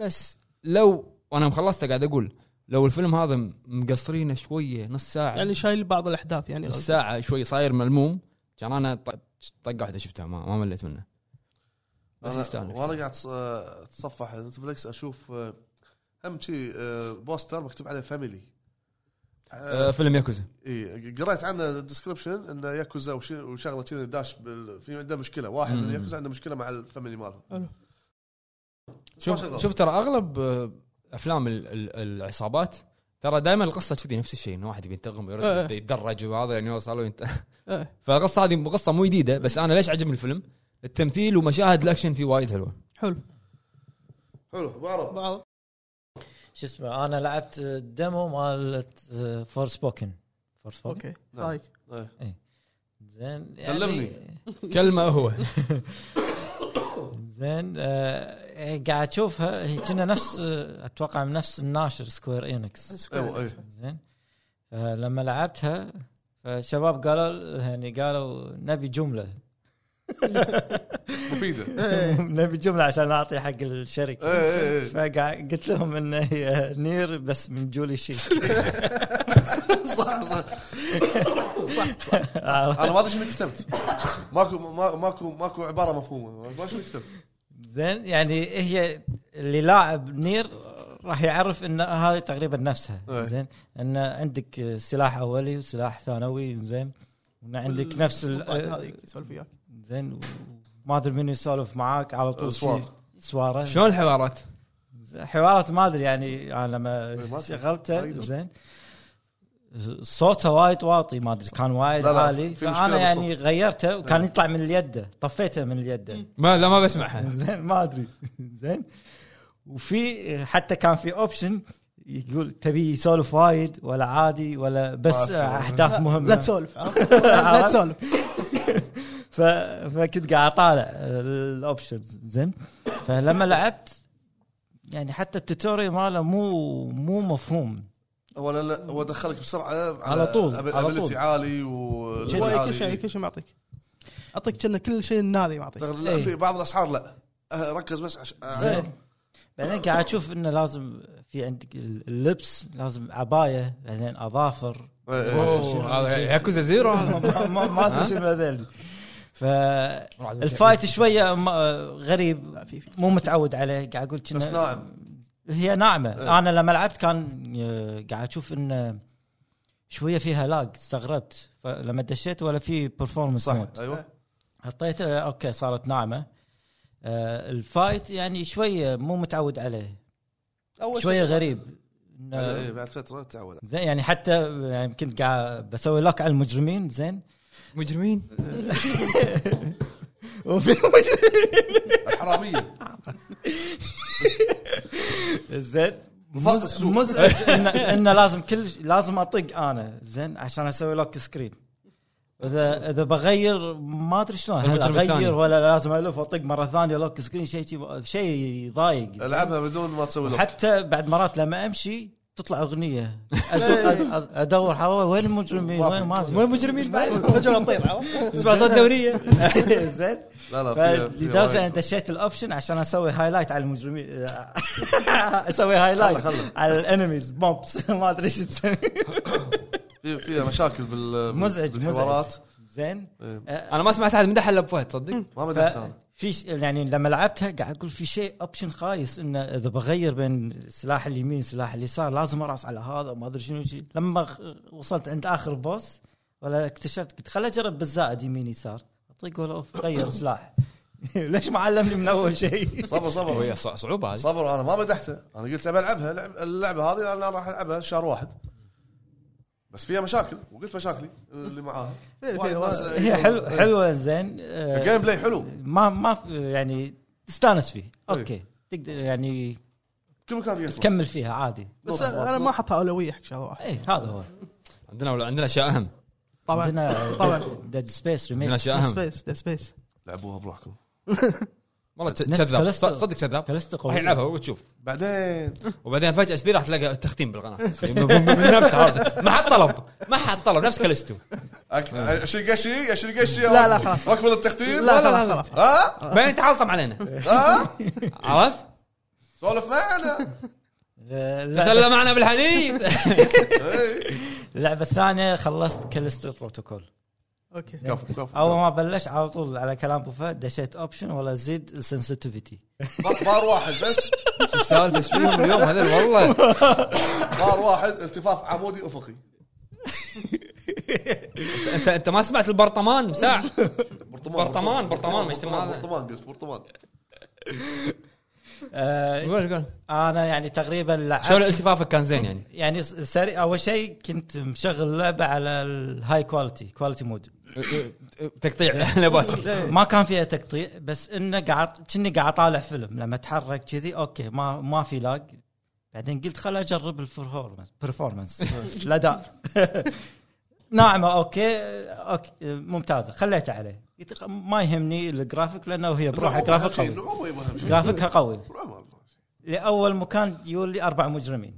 بس لو وانا مخلصته قاعد اقول لو الفيلم هذا م- مقصرينه شويه نص ساعه يعني يعني شايل بعض الاحداث يعني الساعه شوي صاير ملموم كان انا ط- طقه واحده شفتها ما, ما مليت منه. بس يستاهل أنا- إنك وانا قاعد أتص- اتصفح نتفلكس اشوف آه، هم شي آه، بوستر مكتوب عليه فاميلي آه، آه، أه فيلم ياكوزا اي إيه، قريت عنه ديسكربشن انه ياكوزا وش- وشغله كذا داش بال- في عنده مشكله واحد مم. من ياكوزا عنده مشكله مع الفاميلي مالهم حلو. شوف شوف ترى اغلب آه، افلام ال- ال- العصابات ترى دائما القصه كذي نفس الشيء انه واحد يبي ينتقم ويرد إيه. يتدرج وهذا يعني يوصل وينت... إيه. فالقصه هذه قصه مو جديده بس انا ليش عجبني الفيلم؟ التمثيل ومشاهد الاكشن فيه وايد حلوه حلو حلو أبو عرب بعض شو اسمه انا لعبت آه، ديمو مال فور سبوكن فور سبوكن اوكي نعم. رايك إيه. زين يعني كلمني. كلمه هو زين آه، إيه، قاعد اشوفها هي كنا نفس آه، اتوقع من نفس الناشر سكوير انكس ايوه اي زين فلما لعبتها فالشباب قالوا يعني قالوا نبي جمله مفيده نبي جمله عشان نعطي حق الشركه إيه، إيه، إيه. فقاعد قلت لهم ان هي نير بس من جولي شي صح صح انا ما ادري شنو كتبت ماكو ما- ماكو ماكو عباره مفهومه ما ادري شنو كتبت زين يعني هي اللي لاعب نير راح يعرف ان هذه تقريبا نفسها إيه. زين ان عندك سلاح اولي وسلاح ثانوي زين وان عندك نفس ال نعم. هذيك يسولف وياك زين ما ادري منو يسولف معاك على طول سوار. شي- سواره شلون الحوارات؟ حوارات ما ادري يعني انا لما إيه، ما أدري. ما شغلته أقدر. زين صوته وايد واطي ما ادري كان وايد لا لا، عالي في مشكلة فانا يعني بالصوت. إيه. غيرته وكان يطلع من اليد طفيته من اليد ما لا ما بسمعها زين ما ادري زين وفي حتى كان في اوبشن يقول تبي يسولف وايد ولا عادي ولا بس ما أعرف. احداث مهمه لا تسولف عرفت؟ لا تسولف ف... فكنت قاعد اطالع الاوبشنز زين فلما لعبت يعني حتى التوتوريال ماله مو مو مفهوم اولا لا هو دخلك بسرعه على طول، على ابيلتي طول. عالي و هو كل شيء كل شيء معطيك اعطيك كنا كل شيء ناذي معطيك لا إيه. في بعض الاسعار لا أه، ركز بس عش... أه، زين بعدين قاعد اشوف انه لازم في عندك اللبس لازم عبايه بعدين اظافر إيه، إيه. أوه، هذا ياكوزا زيرو هذا. ما ما- ما ادري شنو هذول فالفايت راح- شويه ما- غريب في في مو متعود عليه قاعد اقول بس ناعم. هي ناعمه إيه. انا لما لعبت كان آه، قاعد اشوف ان شويه فيها لاج استغربت فلما دشيت ولا في برفورمنس صح مود ايوه حطيته اوكي صارت ناعمه آه، الفايت يعني شويه مو متعود عليه اول شويه شيء- غريب إن- بعد- إيه، بعد فتره تعود زين يعني حتى يعني كنت قاعد بسوي لوك على المجرمين زين مجرمين وفي مجرمين حراميه زين ضغط مز- السوق. مزعج انه إن لازم كل ش- لازم اطق انا زين عشان اسوي لوك سكرين اذا اذا بغير ما ادري شلون هل المجرم الثاني. اغير ولا لازم الف واطق مره ثانيه لوك سكرين شيء شيء- شيء يضايق العبها بدون ما تسوي لوك حتى بعد مرات لما امشي تطلع اغنيه أدور- ادور حوالي وين المجرمين وين ما مو في مجرمين بعد فجاه نطير عرفت؟ تسمع صوت دوريه زين لا لا فيها- فيها فلدرجه انا وايد. دشيت الاوبشن عشان اسوي هايلايت على المجرمين اسوي خله- هايلايت خله. على الانميز موبس ما ادري شو تسوي في- فيها مشاكل بال مزعج مزعج بالحوارات زين إيه. انا ما سمعت احد مدح الا بفهد تصدق ما ف- مدحت انا في ش- يعني لما لعبتها قاعد اقول في شيء اوبشن خايس انه اذا بغير بين سلاح اليمين وسلاح اليسار لازم اراس على هذا وما ادري شنو شي. لما خ- وصلت عند اخر بوس ولا اكتشفت قلت خل اجرب بالزائد يمين يسار اطيق ولا أوف، غير سلاح ليش ما علمني من اول شيء صبر صبر وهي صع- صعوبه هذه صبر انا ما مدحته انا قلت ابى العبها لعب- اللعبه هذه انا راح العبها شهر واحد بس فيها مشاكل وقلت مشاكلي اللي معاها في- وايد ناس- هي حلو حلوه زين آه، الجيم بلاي حلو ما ما يعني تستانس إيه. فيه اوكي تقدر يعني كل مكان تقدر تروح. تكمل فيها عادي بس انا ما احطها اولويه حق شغله واحده اي هذا هو عندنا ولا عندنا اشياء اهم طبعا عندنا طبعاً. ديد سبيس عندنا ريميك اشياء اهم سبيس سبيس لعبوها بروحكم والله ك- نفس كذاب كالستو. صدق كذاب كالستو راح قوي يلعبها وتشوف بعدين وبعدين فجاه كذي راح تلقى التختيم بالقناه من نفسه عرفت؟ ما حد طلب ما حد طلب نفس كالستو أك- اشيل قشي اشيل قشي لا، لا، خلاص. واكمل التختيم لا خلاص خلاص ها بعدين تعلطم علينا ها عرفت؟ سولف معنا آه، اللعبة- تسلم معنا بالحديث إي. اللعبه الثانيه خلصت كالستو بروتوكول اوكي كفو كفو اول ما بلش على طول على كلام ابو فهد دشيت اوبشن ولا زيد سنسيتيفيتي بار- بار واحد بس شو السالفه ايش فيهم اليوم هذول والله بار واحد التفاف عمودي افقي انت انت ما سمعت البرطمان ساعه برطمان برطمان، برطمان، ما يسمى هذا. برطمان قلت برطمان آه، قول قول انا يعني تقريبا شلون لعبت التفافك كان زين يعني يعني س- سريع اول شيء كنت مشغل اللعبه على الهاي كواليتي كواليتي مود تقطيع نباتي ما كان فيها تقطيع بس انه قاعد كني قاعد اطالع فيلم لما اتحرك كذي اوكي ما ما في لاج بعدين قلت خل اجرب البرفورمانس برفورمانس الاداء ناعمه اوكي اوكي ممتازه خليته عليه قلت خ- ما يهمني الجرافيك لانه هي بروحها العمر أهم جرافيك شيء، قوي العمر يبغى أهم شيء. جرافيكها قوي العمر أهم شيء. لاول مكان يولي اربع مجرمين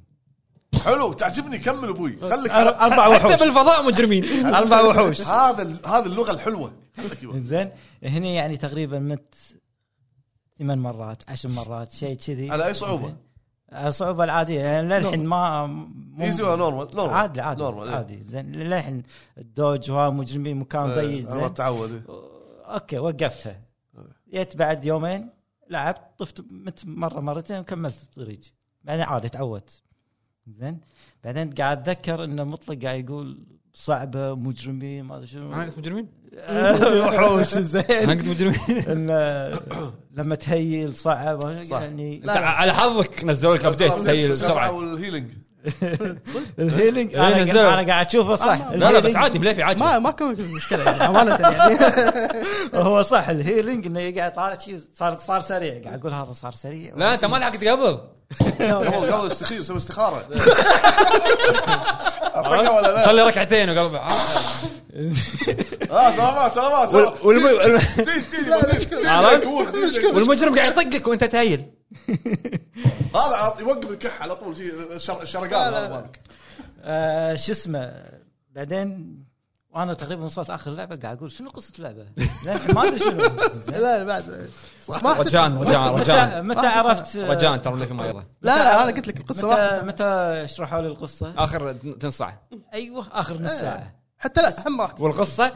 حلو تعجبني كمل ابوي خليك أر- اربع وحوش حتى بالفضاء مجرمين اربع وحوش هذا ال- هذا اللغه الحلوه خليك يبا. زين هني يعني تقريبا مت ثمان مرات عشر مرات شيء كذي على أي صعوبة؟ زين. على الصعوبه العاديه يعني للحين ما مو- ايزي ولا نورمال نورمال عادي عادي نورمال إيه. عادي زين للحين الدوج وها مجرمين مكان ضيق آه، الله إيه. زين تعود إيه. اوكي وقفتها جيت بعد يومين لعبت طفت مت مره مرتين وكملت الطريق بعدين عادي تعودت زين بعدين قاعد اتذكر انه مطلق قاعد يقول صعبه مجرمين ما ادري انا شنو قلت مجرمين وحوش زين انا قلت مجرمين انه لما تهيل صعب صح. يعني انت على حظك نزلوا لك ابديت تسيل السرعه بسرعه والهيلينج الهيلينج إيه، انا نزلوا. انا قاعد اشوفه صح لا لا بس الهيلينج عادي مليفي عادي ما ما كان في مشكله يعني امانه يعني هو صح الهيلينج انه قاعد طالع شيء صار صار سريع قاعد اقول هذا صار سريع لا انت ما لحقت قبل قبل قبل استخير سوي استخاره أعطيك ولا لا صلي ركعتين وقبل اه سلامات سلامات سلامات. والم- تيجي تيجي تيجي، تيجي عرفت؟ قول، تيجي. والمجرم قاعد يطقك وانت تهيل هذا عط- يوقف الكح على طول شي- الشر- الشرقان هذا مالك آه، شو اسمه بعدين وانا تقريبا وصلت اخر لعبه قاعد اقول شنو قصه اللعبه؟ للحين ما ادري شنو زين. لا بعد ما أحتسب. رجاء رجاء متى رجاء متى عرفت آه، رجاء ترى مليفي ما يرضى لا لا انا قلت لك القصه واحده متى متى شرحوا لي القصه؟ اخر تنصع أيوه، ايوه اخر نص ساعه حتى لا هم راحت والقصه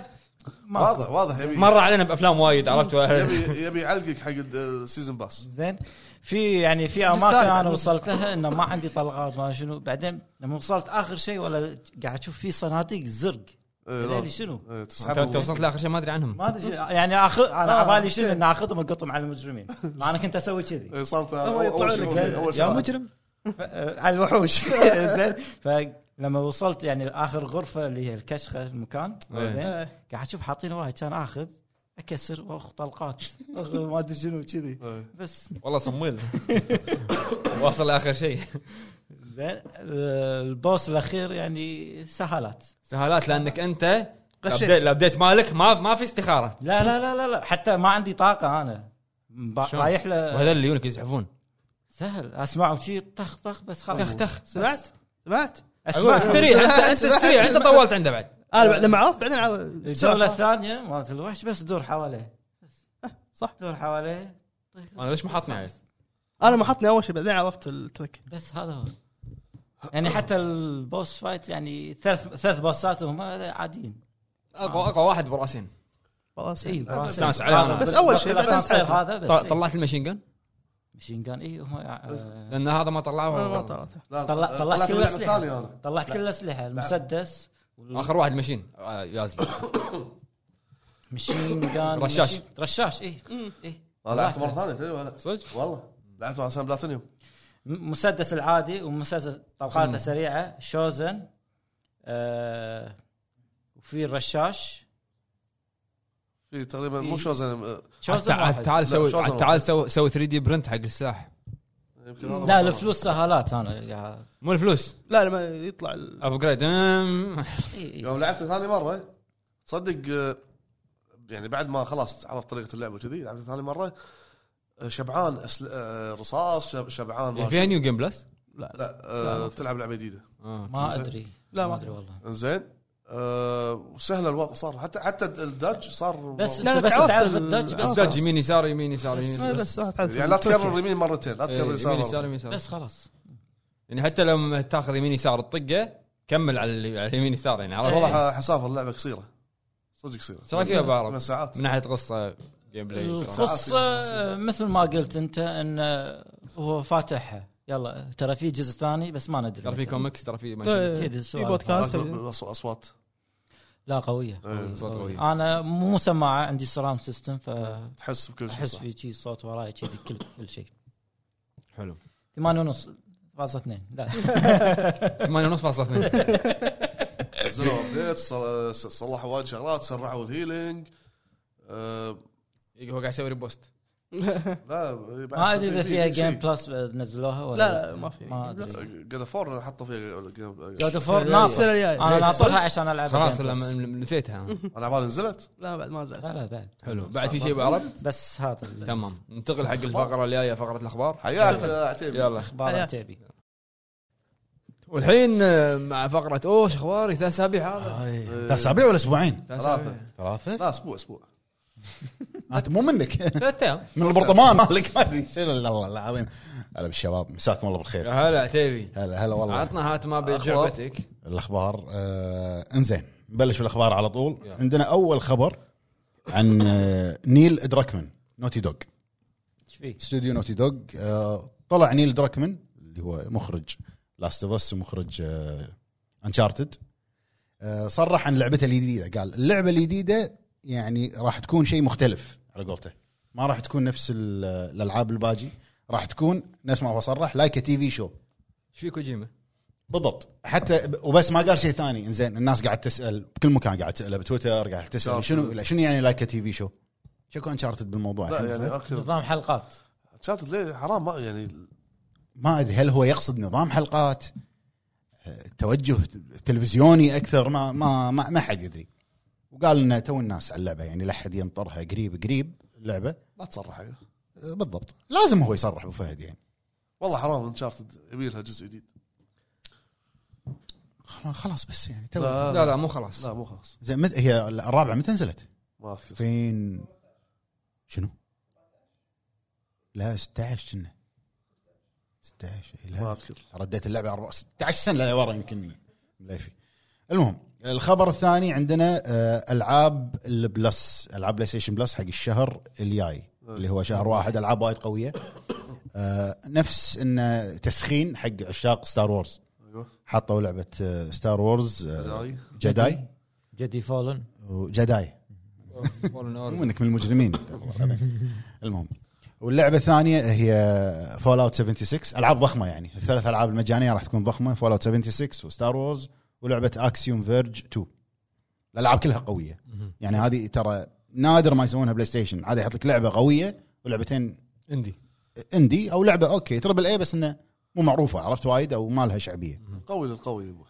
واضح واضح يبي مر علينا بافلام وايد عرفت يبي يبي يعلقك حق السيزون باس زين في يعني في اماكن انا وصلت لها انه ما عندي طلقات ما شنو بعدين لما وصلت اخر شيء ولا قاعد اشوف في صناديق زرق إيه، هذي لا. شنو؟ إيه، انت أنت تسحبهم وصلت لاخر شيء ما ادري عنهم ما ادري شو- يعني اخذ انا آه، على بالي شنو أوكي. ان اخذهم اقطهم على المجرمين ما انا كنت اسوي كذي إيه، صارت هو يطلعون اول شيء لك أول يا شيء. مجرم. ف- آه، على الوحوش زين فلما وصلت يعني اخر غرفه اللي هي الكشخه المكان إيه. زين قاعد اشوف حاطين وايد كان اخذ اكسر واخ طلقات أخ ما ادري شنو كذي إيه. بس والله صميل واصل لاخر شيء زين آه، البوس الاخير يعني سهالات سهالات لانك انت غشيت. الابديت الأبديت مالك ما ما في استخاره لا لا لا لا, لا. حتى ما عندي طاقه انا ب- شلون؟ رايح له وهذول اللي يونك يزحفون سهل اسمعه شي طخ طخ بس تخ خلاص تخ سمعت؟ سمعت؟ أقول اسمع استريح انت انت استريح انت طولت عنده بعد انا آه، بعد لما عرضت بعدين عرضت الجوله بسرعه الثانيه مالت الوحش بس دور حواليه صح دور حواليه انا ليش ما حاطني عليه؟ انا ما حطني اول شيء بعدين عرفت الترك بس هذا هو يعني حتى البوس فايت يعني ثلاث ثلاث بوسات هم عاديين إيه، اقوى اقوى واحد براسين خلاص اي استانس آه، عليهم. بس أول شيء، بس الاسانسير استانس. هذا بس طلع- طلعت المشين جن مشين جان اي هم آه، لان هذا ما أنا ما طلعه طلعت. لا، طلع- آه، طلعت في كل اللعبه الأسلحة. الثانيه انا طلعت كل الاسلحه المسدس اخر واحد مشين آه، يازل مشين جان رشاش. مشين- رشاش إيه، اي اي انا آه، لعبت مره ثانيه تدري ولا صدق؟ والله لعبت مع سام بلاتينيوم مسدس العادي ومسدس طلقاته سريعه شوزن آه وفي الرشاش في تقريبا مو شوزن آه، شوزن تعال واحد تعال لا، سوي شوزن واحد. تعال سوي سوي 3 دي برنت حق السلاح يمكن هذا لا ما صار. الفلوس سهالات انا يا- مو الفلوس لا لما يطلع ال- ابجريد أم. إي، إي. يوم لعبت ثاني مره تصدق آه، يعني بعد ما خلاص عرفت طريقه اللعبه وكذي لعبت ثاني مره آه، شبعان أسل... آه، رصاص شب... شبعان ما فيها نيو جيم بلس لا آه، تلعب لعبه جديده آه. ما ادري لا، ما ما ادري والله زين آه، وسهل الوضع صار حتى حتى الدج صار بس لا، انت لا، بس تعرف تعرف ال- الدج بس بس دج يمين يسار يمين يسار يمين إيه، لا، يسار إيه، بس تعرف يعني لا تكرر التركي. يمين مرتين لا إيه، تكرر يمين يسار يسار مرتين. يمين يسار بس خلاص يعني حتى لما تاخذ يمين يسار الطقه كمل على ال- على اليمين يسار يعني عرفت؟ والله حسافر اللعبه قصيره صدق قصيره ايش رايك فيها أبو ثمان عرب؟ ساعات من ناحيه قصه جيم بلاي القصه مثل ما قلت انت ان هو فاتحها يلا ترى في جزء ثاني بس ما ندري ترى في كوميكس ترى في ما إيه. شنو. أكيد في السؤال بودكاست أصوات- اصوات لا قويه إيه، صوت قوي. انا مو سماعه عندي سرام سيستم فاحس تحس بكل شيء صح. في شيء صوت وراي كذي كل كل شيء حلو 8 ونص فاصلة 2 لا 8 ونص فاصلة 2 نزلوا ابديت صل- صلحوا وايد شغلات سرعوا الهيلينج آه، إيه، هو قاعد يسوي ريبوست لا ما ادري اذا فيها جيم بلس نزلوها ولا لا، لا، ما في. ما ادري جاد فور حطوا فيها جيم جود فور السنه ناطر الجايه انا ناطرها عشان العب خلاص لا، م- م- نسيتها انا عبالي نزلت لا بعد ما زال لا لا بعد حلو بعد في شيء أبو عرب بس هذا اللي- تمام ننتقل حق الفقره اللي جايه فقره الاخبار حياك يا عتيبي يلا اخبار حياك. عتيبي والحين آه، مع فقره اوش اخباري ثلاث اسابيع هذا آه. ثلاث اسابيع طيب. ولا اسبوعين؟ ثلاث أسابيع. ثلاثة ثلاثه؟ لا اسبوع اسبوع انت مو منك ثلاث ايام من البرطمان مالك ما ادري شنو لا والله العظيم هلا بالشباب مساكم الله يا بالخير هلا عتيبي هلا هلا والله عطنا هات ما أخبار. بجعبتك الاخبار آه انزين نبلش بالاخبار على طول يلا. عندنا اول خبر عن آه نيل دراكمن نوتي دوغ ايش فيه؟ استوديو نوتي دوغ آه طلع نيل دراكمن اللي هو مخرج لاست اوف اس ومخرج انشارتد آه صرح عن لعبته الجديده قال اللعبه الجديده يعني راح تكون شيء مختلف على قولته ما راح تكون نفس ال- الالعاب الباجي راح تكون نفس ما هو صرح لايك تي في شو ايش في كوجيما؟ بالضبط حتى ب- وبس ما قال شيء ثاني انزين الناس قاعد تسال بكل مكان قاعد تساله بتويتر قاعد تسال شارتد. شنو لا، شنو يعني لايك تي في شو؟ شكو انشارتد بالموضوع لا الحين يعني فهمت؟ اوكي نظام حلقات شاتت ليه حرام ما يعني ما ادري هل هو يقصد نظام حلقات آه، توجه تلفزيوني اكثر ما ما ما, ما حد يدري وقال انه تو الناس على اللعبه يعني لا حد ينطرها قريب قريب اللعبه لا تصرح يعني. آه، بالضبط لازم هو يصرح ابو فهد يعني والله حرام انشارتد يبي لها جزء جديد خلاص- خلاص بس يعني تو لا لا لا مو خلاص لا مو خلاص زين مت- هي الرابعه متى نزلت؟ ما اذكر 2000 شنو؟ لا 16 كنا 16 إي، ما لا اذكر رديت اللعبه 4 16 سنه ورا يمكن مليفي المهم الخبر الثاني عندنا آه، العاب البلس العاب بلاي ستيشن بلس حق الشهر الجاي اللي هو شهر واحد العاب وايد قويه آه، نفس انه تسخين حق عشاق ستار وورز أيوه. حطوا لعبه آه، ستار وورز آه، جداي. جداي جدي فولن وجداي Fallen مو Order. انك من المجرمين المهم واللعبه الثانيه هي فول اوت 76 العاب ضخمه يعني الثلاث العاب المجانيه راح تكون ضخمه فول اوت 76 وستار وورز ولعبه اكسيوم فيرج 2 الالعاب كلها قويه يعني هذه ترى نادر ما يسوونها بلاي ستيشن عادي يحط لك لعبه قويه ولعبتين عندي اندي او لعبه اوكي تربل اي بس انه مو معروفه عرفت وايد او ما لها شعبيه قوي للقوي يبا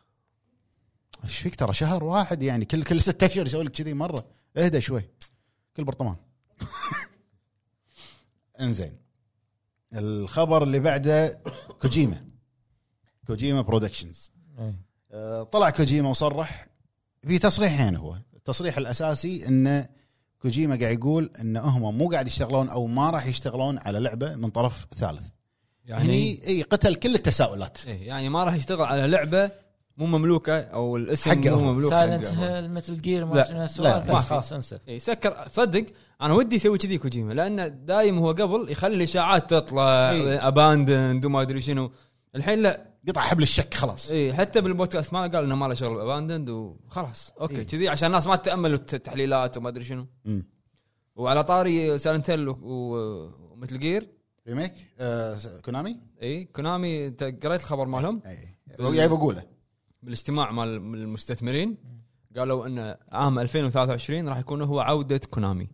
ايش فيك ترى شهر واحد يعني كل كل ستة اشهر يسوي لك كذي مره اهدى شوي كل برطمان انزين الخبر اللي بعده كوجيما كوجيما برودكشنز إيه. آه، طلع كوجيما وصرح في تصريحين هو التصريح الاساسي انه كوجيما قاعد يقول ان هم مو قاعد يشتغلون او ما راح يشتغلون على لعبه من طرف ثالث يعني هني اي قتل كل التساؤلات إيه، يعني ما راح يشتغل على لعبه مو مملوكه او الاسم حقه مو هو. مملوك سايلنت حقه. هيل مثل جير لا، ما شنو لا، سؤال ما بس خلاص انسى إيه، سكر صدق انا ودي يسوي كذي كوجيما لانه دايم هو قبل يخلي الاشاعات تطلع إيه. اباندند وما ادري شنو الحين لا قطع حبل الشك خلاص اي حتى بالبودكاست ما قال انه ما له شغل اباندند وخلاص إيه. اوكي كذي عشان الناس ما تتامل التحليلات وما ادري شنو مم. وعلى طاري سالنتل ومثل جير ريميك آه كونامي اي كونامي انت قريت الخبر مالهم اي طيب. جاي يعني بقوله بالاجتماع مال مال المستثمرين قالوا ان عام 2023 راح يكون هو عوده كونامي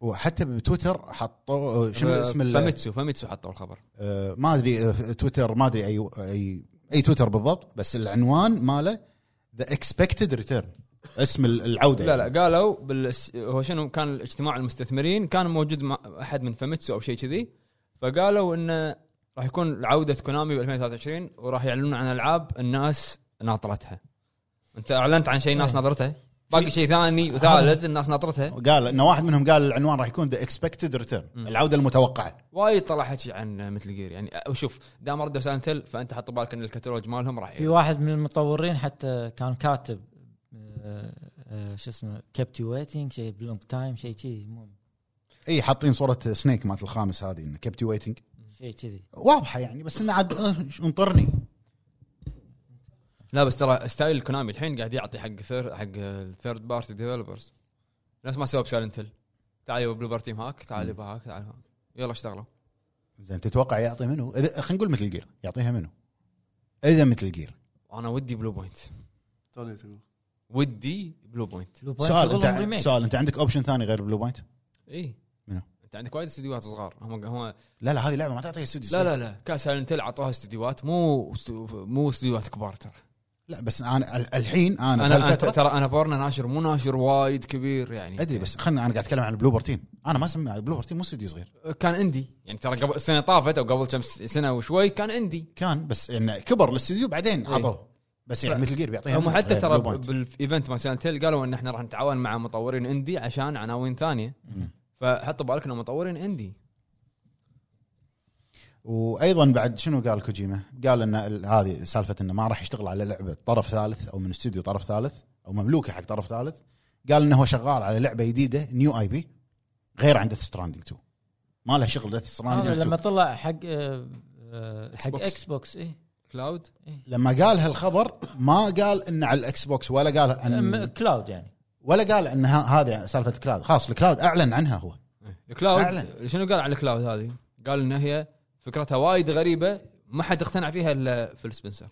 وحتى بتويتر حطوا آه، شنو ف- اسم ال- فاميتسو فاميتسو حطوا الخبر آه، ما ادري آه، تويتر ما ادري اي اي اي تويتر بالضبط بس العنوان ماله ذا اكسبكتد ريتيرن اسم ال- العوده لا يعني. لا قالوا بالس... هو شنو كان الاجتماع المستثمرين كان موجود مع احد من فاميتسو او شيء كذي فقالوا انه راح يكون عوده كونامي ب 2023 وراح يعلنون عن العاب الناس ناطرتها انت اعلنت عن شيء الناس طيب. ناطرته باقي شيء ثاني وثالث الناس ناطرته قال ان واحد منهم قال العنوان راح يكون ذا اكسبكتد ريتيرن مم. العوده المتوقعه وايد طلع حكي عن مثل جير يعني أه، وشوف دام ردوا سانتل فانت حط بالك ان الكتالوج مالهم راح في واحد من المطورين حتى كان كاتب آه، آه، شو اسمه كابتي ويتنج شيء بلونج تايم شيء كذي المهم اي حاطين صوره سنيك مالت الخامس هذه انه كبتي ويتنج شيء كذي واضحه يعني بس انه عاد آه، انطرني لا بس ترى ستايل كونامي الحين قاعد يعطي حق ثير حق الثيرد بارتي ديفلوبرز نفس ما سووا بسايلنت هيل تعالوا بلوبر تيم هاك تعالوا بهاك تعالوا هاك يلا اشتغلوا زين تتوقع يعطي منو؟ إذا- خلينا نقول مثل جير يعطيها منو؟ اذا مثل جير انا ودي بلو بوينت توني تقول ودي بلو بوينت بلو بوينت سؤال يقولون انت ريميك. سؤال انت عندك اوبشن ثاني غير بلو بوينت؟ اي منو؟ انت عندك وايد استديوهات صغار هم هم لا لا هذه لعبه ما تعطيها استوديو لا صغير. لا لا كاس سايلنت هيل عطوها استديوهات مو استو- مو استديوهات كبار ترى لا بس انا ال- الحين انا, انا أنا أنا- الفترة ترى انا بورنا ناشر مو ناشر وايد كبير يعني ادري بس خلنا انا قاعد اتكلم عن البلوبر تيم انا ما اسمي بلوبر تيم مو استوديو صغير كان عندي يعني ترى قبل السنه طافت او قبل كم سنه وشوي كان عندي كان بس انه كبر الاستوديو بعدين إيه. عطوه بس ف- يعني مثل جير بيعطيها هم منه حتى على ترى Blue Point. بالايفنت مال سنه تيل قالوا ان احنا راح نتعاون مع مطورين اندي عشان عناوين ثانيه مم. فحطوا بالك انه مطورين اندي وايضا بعد شنو قال كوجيما؟ قال ان ال- هذه سالفه انه ما راح يشتغل على لعبه طرف ثالث او من استوديو طرف ثالث او مملوكه حق طرف ثالث قال انه هو شغال على لعبه جديده نيو اي بي غير عن ديث ستراندنج 2 ما له شغل ديث هذا ستراندنج 2 آه، لما طلع حق آه، آه، حق إيه. Xbox. اكس بوكس اي كلاود لما قال هالخبر ما قال انه على الاكس بوكس ولا قال عن كلاود يعني ولا قال ان ه- هذه سالفه الكلاود خلاص الكلاود اعلن عنها هو الكلاود أعلن. إيه. شنو قال على الكلاود هذه؟ قال ان هي فكرتها وايد غريبه ما حد اقتنع فيها الا فيل سبنسر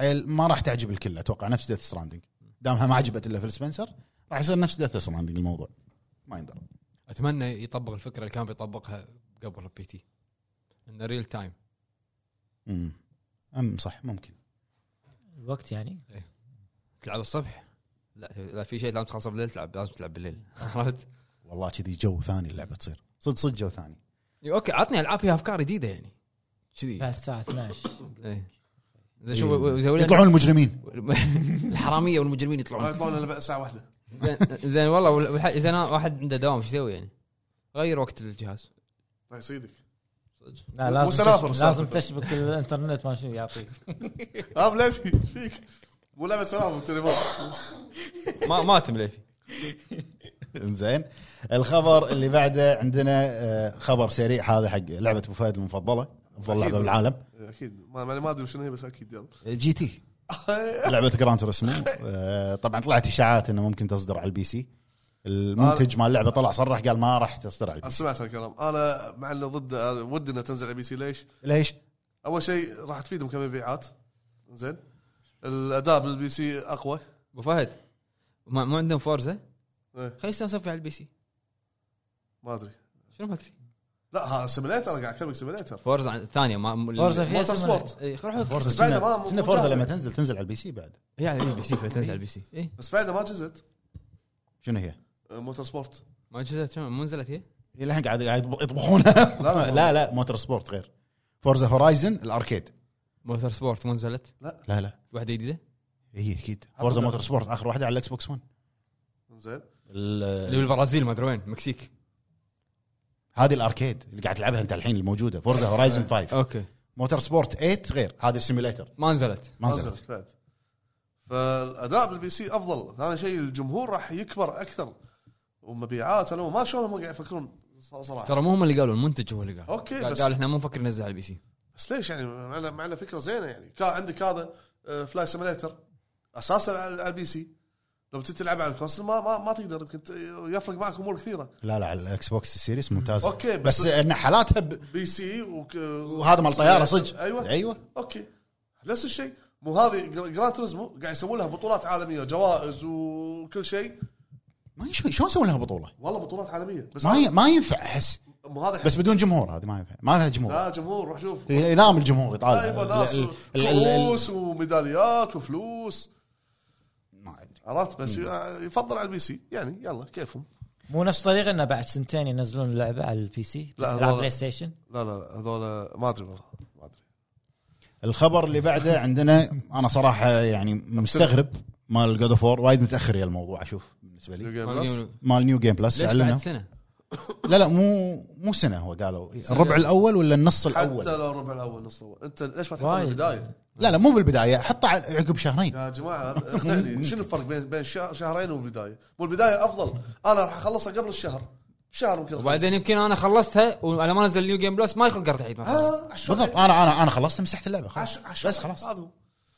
عيل ما راح تعجب الكل اتوقع نفس ديث ستراندنج دامها ما عجبت الا فيل سبنسر راح يصير نفس ديث ستراندنج الموضوع ما يندرى اتمنى يطبق الفكره اللي كان بيطبقها قبل البي تي انه ريل تايم امم ام صح ممكن الوقت يعني تلعب الصبح لا لا في شيء لازم تخلصه بالليل تلعب لازم تلعب بالليل عرفت؟ والله كذي جو ثاني اللعبه تصير صدق صدق جو ثاني إي، اوكي عطني العاب فيها افكار جديده يعني كذي بعد الساعه 12 إيه. زين إيه. شو زين- يطلعون المجرمين الحراميه والمجرمين ما يطلعون يطلعون الا بعد ساعه واحده زين- زين والله والح- اذا أنا واحد عنده دوام ايش يسوي يعني؟ غير وقت الجهاز راح يصيدك لا مو لازم سنافر تشبك السالفة. آه، لازم تشبك الانترنت ما شنو يعطيك ها بلبي ايش فيك؟ مو إيه، لعبه سلام بالتليفون ما ما تمليفي زين الخبر اللي بعده عندنا آه، خبر سريع هذا حق لعبه ابو فهد المفضله افضل لعبه بالعالم اكيد ما ما ما ادري شنو هي بس اكيد يلا جي تي لعبه جراند توريسمو آه، طبعا طلعت اشاعات انه ممكن تصدر على البي سي المنتج مال اللعبه طلع صرح قال ما راح تصدر على البي سي سمعت هالكلام انا مع انه ضد أنا ودي انها تنزل على بي سي ليش؟ ليش؟ اول شيء راح تفيدهم كمبيعات زين الاداء بالبي سي اقوى ابو فهد ما, ما عندهم فورزه إيه، خلي يستانسون على البي سي ما ادري شنو ما ادري لا ها سيميليتر انا قاعد اكلمك سيميليتر فورزا عن- الثانيه ما فورزا فيها موتور سمنة. سبورت. اي خل روحك فورزا بعد كنا- ما- كنا مو فورزا جاهزة. لما تنزل تنزل على البي سي بعد يعني البي سي تنزل على البي سي اي بس بعد ما جزت شنو هي؟ آه، موتور سبورت ما نزلت شنو مو نزلت هي؟ هي الحين قاعد قاعد يطب- يطبخونها لا. لا لا لا موتور سبورت غير فورزا هورايزن الاركيد موتور سبورت مو نزلت لا لا واحده جديده هي اكيد فورزا موتور سبورت اخر واحده على الاكس بوكس 1 زين ال- اللي بالبرازيل ما ادري وين مكسيك هذه الاركيد اللي قاعد تلعبها انت الحين الموجوده فورزا هورايزن 5 اوكي موتور سبورت 8 غير هذه السيميليتر ما نزلت ما نزلت بعد فالاداء بالبي سي افضل ثاني شيء الجمهور راح يكبر اكثر ومبيعات انا ما شلون هم قاعد يفكرون ص- صراحه ترى مو هم اللي قالوا المنتج هو اللي قال أوكي، قال, بس- قال احنا مو مفكر ننزل على البي سي بس ليش يعني معنا معنا فكره زينه يعني كا عندك هذا آه، فلاي سيميليتر اساسا على على البي سي لو بتلعب على الكونسل ما ما, ما تقدر يمكن ت- يفرق معك امور كثيره لا لا على الاكس بوكس السيريس ممتازه أوكي، بس- بس, بس ان حالاتها ب... بي سي وك- وهذا مال طياره صدق ايوه ايوه اوكي نفس الشيء مو هذه جراند توريزمو قاعد يسوون لها بطولات عالميه وجوائز وكل شيء ما يشوي شلون يسوون لها بطوله؟ والله بطولات عالميه بس ما ي... ما ينفع احس مو هذا بس بدون جمهور هذه ما ينفع ما لها جمهور لا جمهور روح شوف ينام الجمهور يطالع ايوه ال- ناس ال- ال- ال- ال- كؤوس وميداليات وفلوس ما ادري عرفت بس يفضل على البي سي يعني يلا كيفهم مو نفس طريقه انه بعد سنتين ينزلون اللعبه على البي سي لا، لا هذول- بلاي ستيشن لا لا هذول ما ادري والله ما ادري الخبر اللي بعده عندنا انا صراحه يعني مستغرب مال جود اوف وور وايد متاخر يا الموضوع اشوف بالنسبه New لي Game ما Plus. نقول- مال نيو جيم بلس ليش بعد اعلنوا سنه؟ لا لا مو مو سنه هو قالوا الربع الاول ولا النص حتى الاول لو الربع الاول نص الاول انت ليش ما تحطها وايد. بالبدايه؟ لا لا مو بالبدايه حطه على- عقب شهرين يا جماعه اقنعني شنو الفرق بين بين شهر- شهرين والبدايه؟ والبدايه افضل انا راح اخلصها قبل الشهر شهر يمكن أخلص. وبعدين يمكن انا خلصتها وعلى ما نزل نيو جيم بلس ما يخلق قرد عيد مثلاً. آه، عشان- بالضبط انا انا انا خلصت مسحت اللعبه خلاص عشان- عشان- بس خلاص هذا هو.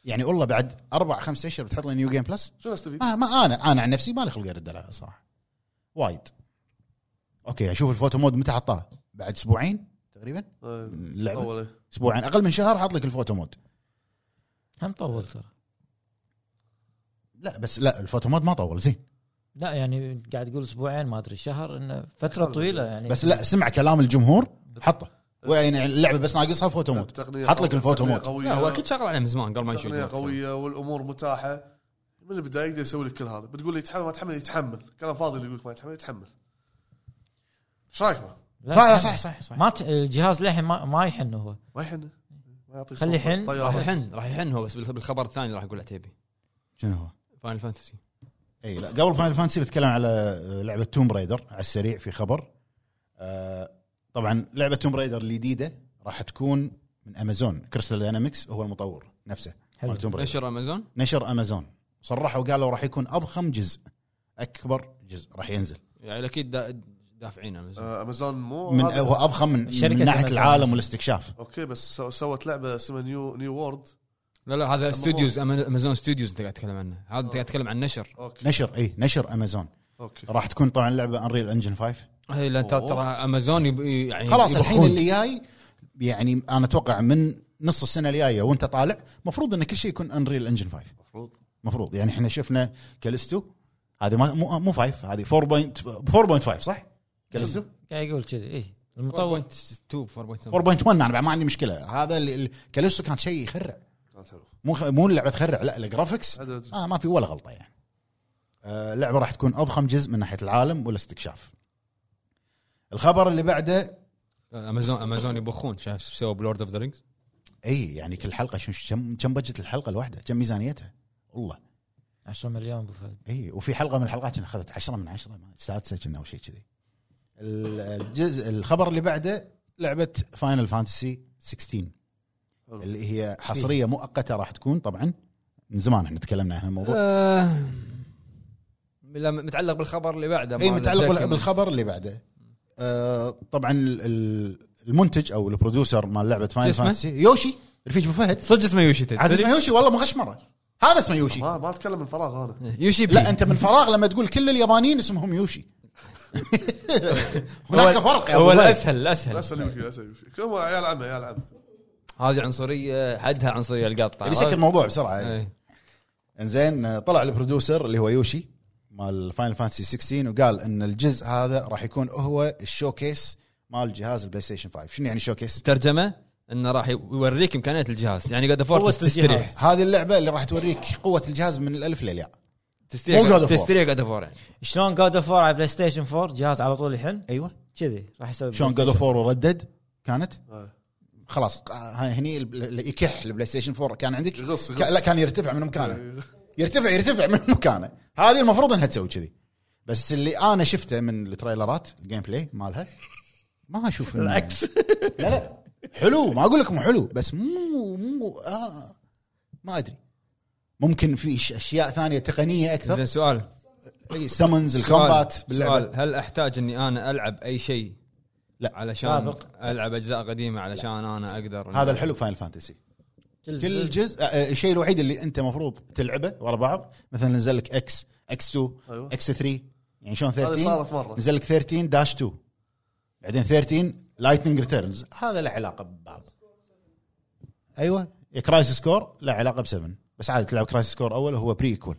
يعني والله بعد اربع خمس اشهر بتحط لي نيو جيم بلس شنو آه. استفيد؟ آه، ما, ما انا انا عن نفسي ما لي خلق ارد العبها صراحه وايد اوكي اشوف الفوتو مود متى حطاه بعد اسبوعين تقريبا آه، من اللعبه اول اسبوعين اقل من شهر حاط لك الفوتو مود هم طول ترى لا بس لا الفوتو مود ما طول زين لا يعني قاعد تقول اسبوعين ما ادري شهر انه فتره طويله يعني بس لا سمع كلام الجمهور حطه ويعني اللعبه بس ناقصها فوتو مود التقنيه حط لك طيب، قوية، الفوتو التقنية مود. قوية. لا هو اكيد شغل عليه من زمان قبل ما يشوف تقنيه قويه والامور متاحه من البدايه يقدر يسوي لك كل هذا بتقول لي يتحمل ما يتحمل يتحمل كلام فاضي اللي يقول لك ما يتحمل يتحمل ايش رايك ما؟ لا، صح صح صح, صح. ما ت- الجهاز للحين ما, ما يحن هو ما يحن ما يعطيك خلي صوت يحن. طيارة. راح يحن راح يحن هو بس بال- بالخبر الثاني راح اقول عتيبي شنو هو؟ فاينل فانتسي اي إيه، لا قبل فاينل فانتسي بتكلم على آه، لعبه توم رايدر على السريع في خبر آه طبعا لعبه توم رايدر الجديده راح تكون من امازون كريستال داينامكس هو المطور نفسه حلو. مال Tomb Raider. نشر امازون نشر امازون صرحوا قالوا راح يكون اضخم جزء اكبر جزء راح ينزل يعني اكيد دا- دافعين امازون آه، امازون مو من هذا. هو اضخم من, شركة من ناحيه أمازون. العالم والاستكشاف اوكي بس سو- سوت لعبه اسمها نيو نيو وورد لا لا هذا استوديوز أما- امازون استوديوز انت قاعد تتكلم عنه هذا انت قاعد تتكلم عن نشر اوكي نشر اي نشر امازون اوكي راح تكون طبعا لعبه انريل انجن 5 هي لان ترى ترى امازون يب- إيه، يعني خلاص يبخون. الحين اللي جاي يعني انا اتوقع من نص السنه الجايه وانت طالع مفروض ان كل شيء يكون انريل انجن 5 المفروض مفروض يعني احنا شفنا كاليستو هذه ما مو مو 5 هذه 4.5 4.5 صح؟ كاليستو قاعد يقول كذي إيه. اي المطور 4.2 4.2 4.1 انا بعد ما عندي مشكله هذا اللي- اللي- كاليستو كانت شيء يخرع كانت حلوه مو خ... مو اللعبه تخرع لا الجرافكس أدري- أدري. آه ما في ولا غلطه يعني آه، اللعبه راح تكون اضخم جزء من ناحيه العالم والاستكشاف الخبر اللي بعده امازون امازون يبخون شايف شو سووا بلورد اوف ذا رينجز اي يعني كل حلقه شو كم كم بجت الحلقه الواحده كم ميزانيتها والله 10 مليون ابو فهد اي وفي حلقه من الحلقات كنا اخذت 10 من 10 ما- سادسه كنا او شيء كذي ال- الجزء الخبر اللي بعده لعبه فاينل فانتسي 16 حلو. اللي هي حصريه مؤقته راح تكون طبعا من زمان احنا تكلمنا عن الموضوع آه، لما- متعلق بالخبر اللي بعده اي مال إيه، متعلق بال- الدوكيومنت. بالخبر اللي بعده آه، طبعا ال- ال- المنتج او البروديوسر مال لعبه فاينل اسمه؟ فانتسي يوشي رفيج ابو فهد صدق اسمه يوشي عاد اسمه إيه، تدري؟ يوشي والله مو غشمره هذا اسمه يوشي ما ما اتكلم من فراغ انا يوشي بي. لا انت من فراغ لما تقول كل اليابانيين اسمهم يوشي هناك هو- فرق يا هو أبو فهد. الاسهل الاسهل اسال يوشي اسال يوشي كم عيال عمه عيال عمه هذه عنصريه حدها عنصريه القطه اللي يسكر الموضوع بسرعه يعني. إيه. انزين آه، طلع البروديوسر اللي هو يوشي مال فاينل فانتسي 16 وقال ان الجزء هذا راح يكون هو الشوكيس مال جهاز البلاي ستيشن 5 شنو يعني شوكيس ترجمه انه راح يوريك امكانيات الجهاز يعني قد قوة فورتس تستريح الجهاز. هذه اللعبه اللي راح توريك قوه الجهاز من الالف للياء مو God of تستريح War. تستريح قد فور يعني شلون جود اوف على بلاي ستيشن 4 جهاز على طول يحن ايوه كذي راح يسوي شلون بلاي جود اوف وردد كانت آه. خلاص آه، هاي هني البل- اللي يكح البلاي ستيشن 4 كان عندك يغص- يغص. كا- لا كان يرتفع من مكانه يرتفع يرتفع من مكانه هذه المفروض انها تسوي كذي بس اللي انا شفته من التريلرات الجيم بلاي مالها ما اشوف إنه- العكس. لا لا حلو ما اقول لك مو حلو بس مو مو آه ما ادري ممكن في ش- اشياء ثانيه تقنيه اكثر زين سؤال السمنز الكومبات سؤال- باللعبه سؤال هل احتاج اني انا العب اي شيء لا. علشان سابق. العب اجزاء قديمه علشان انا اقدر هذا الحلو فاينل فانتسي كل جزء آه، آه، الشيء الوحيد اللي انت مفروض تلعبه ورا بعض مثلا نزل لك اكس اكس 2 أيوة. اكس 3 يعني شلون هذه 13 صارت مره نزل لك 13 داش 2 بعدين 13 لايتنج ريتيرنز هذا له علاقه ببعض ايوه كرايسس كور له علاقه ب 7 بس عادي تلعب كرايسس كور اول وهو بري ايكول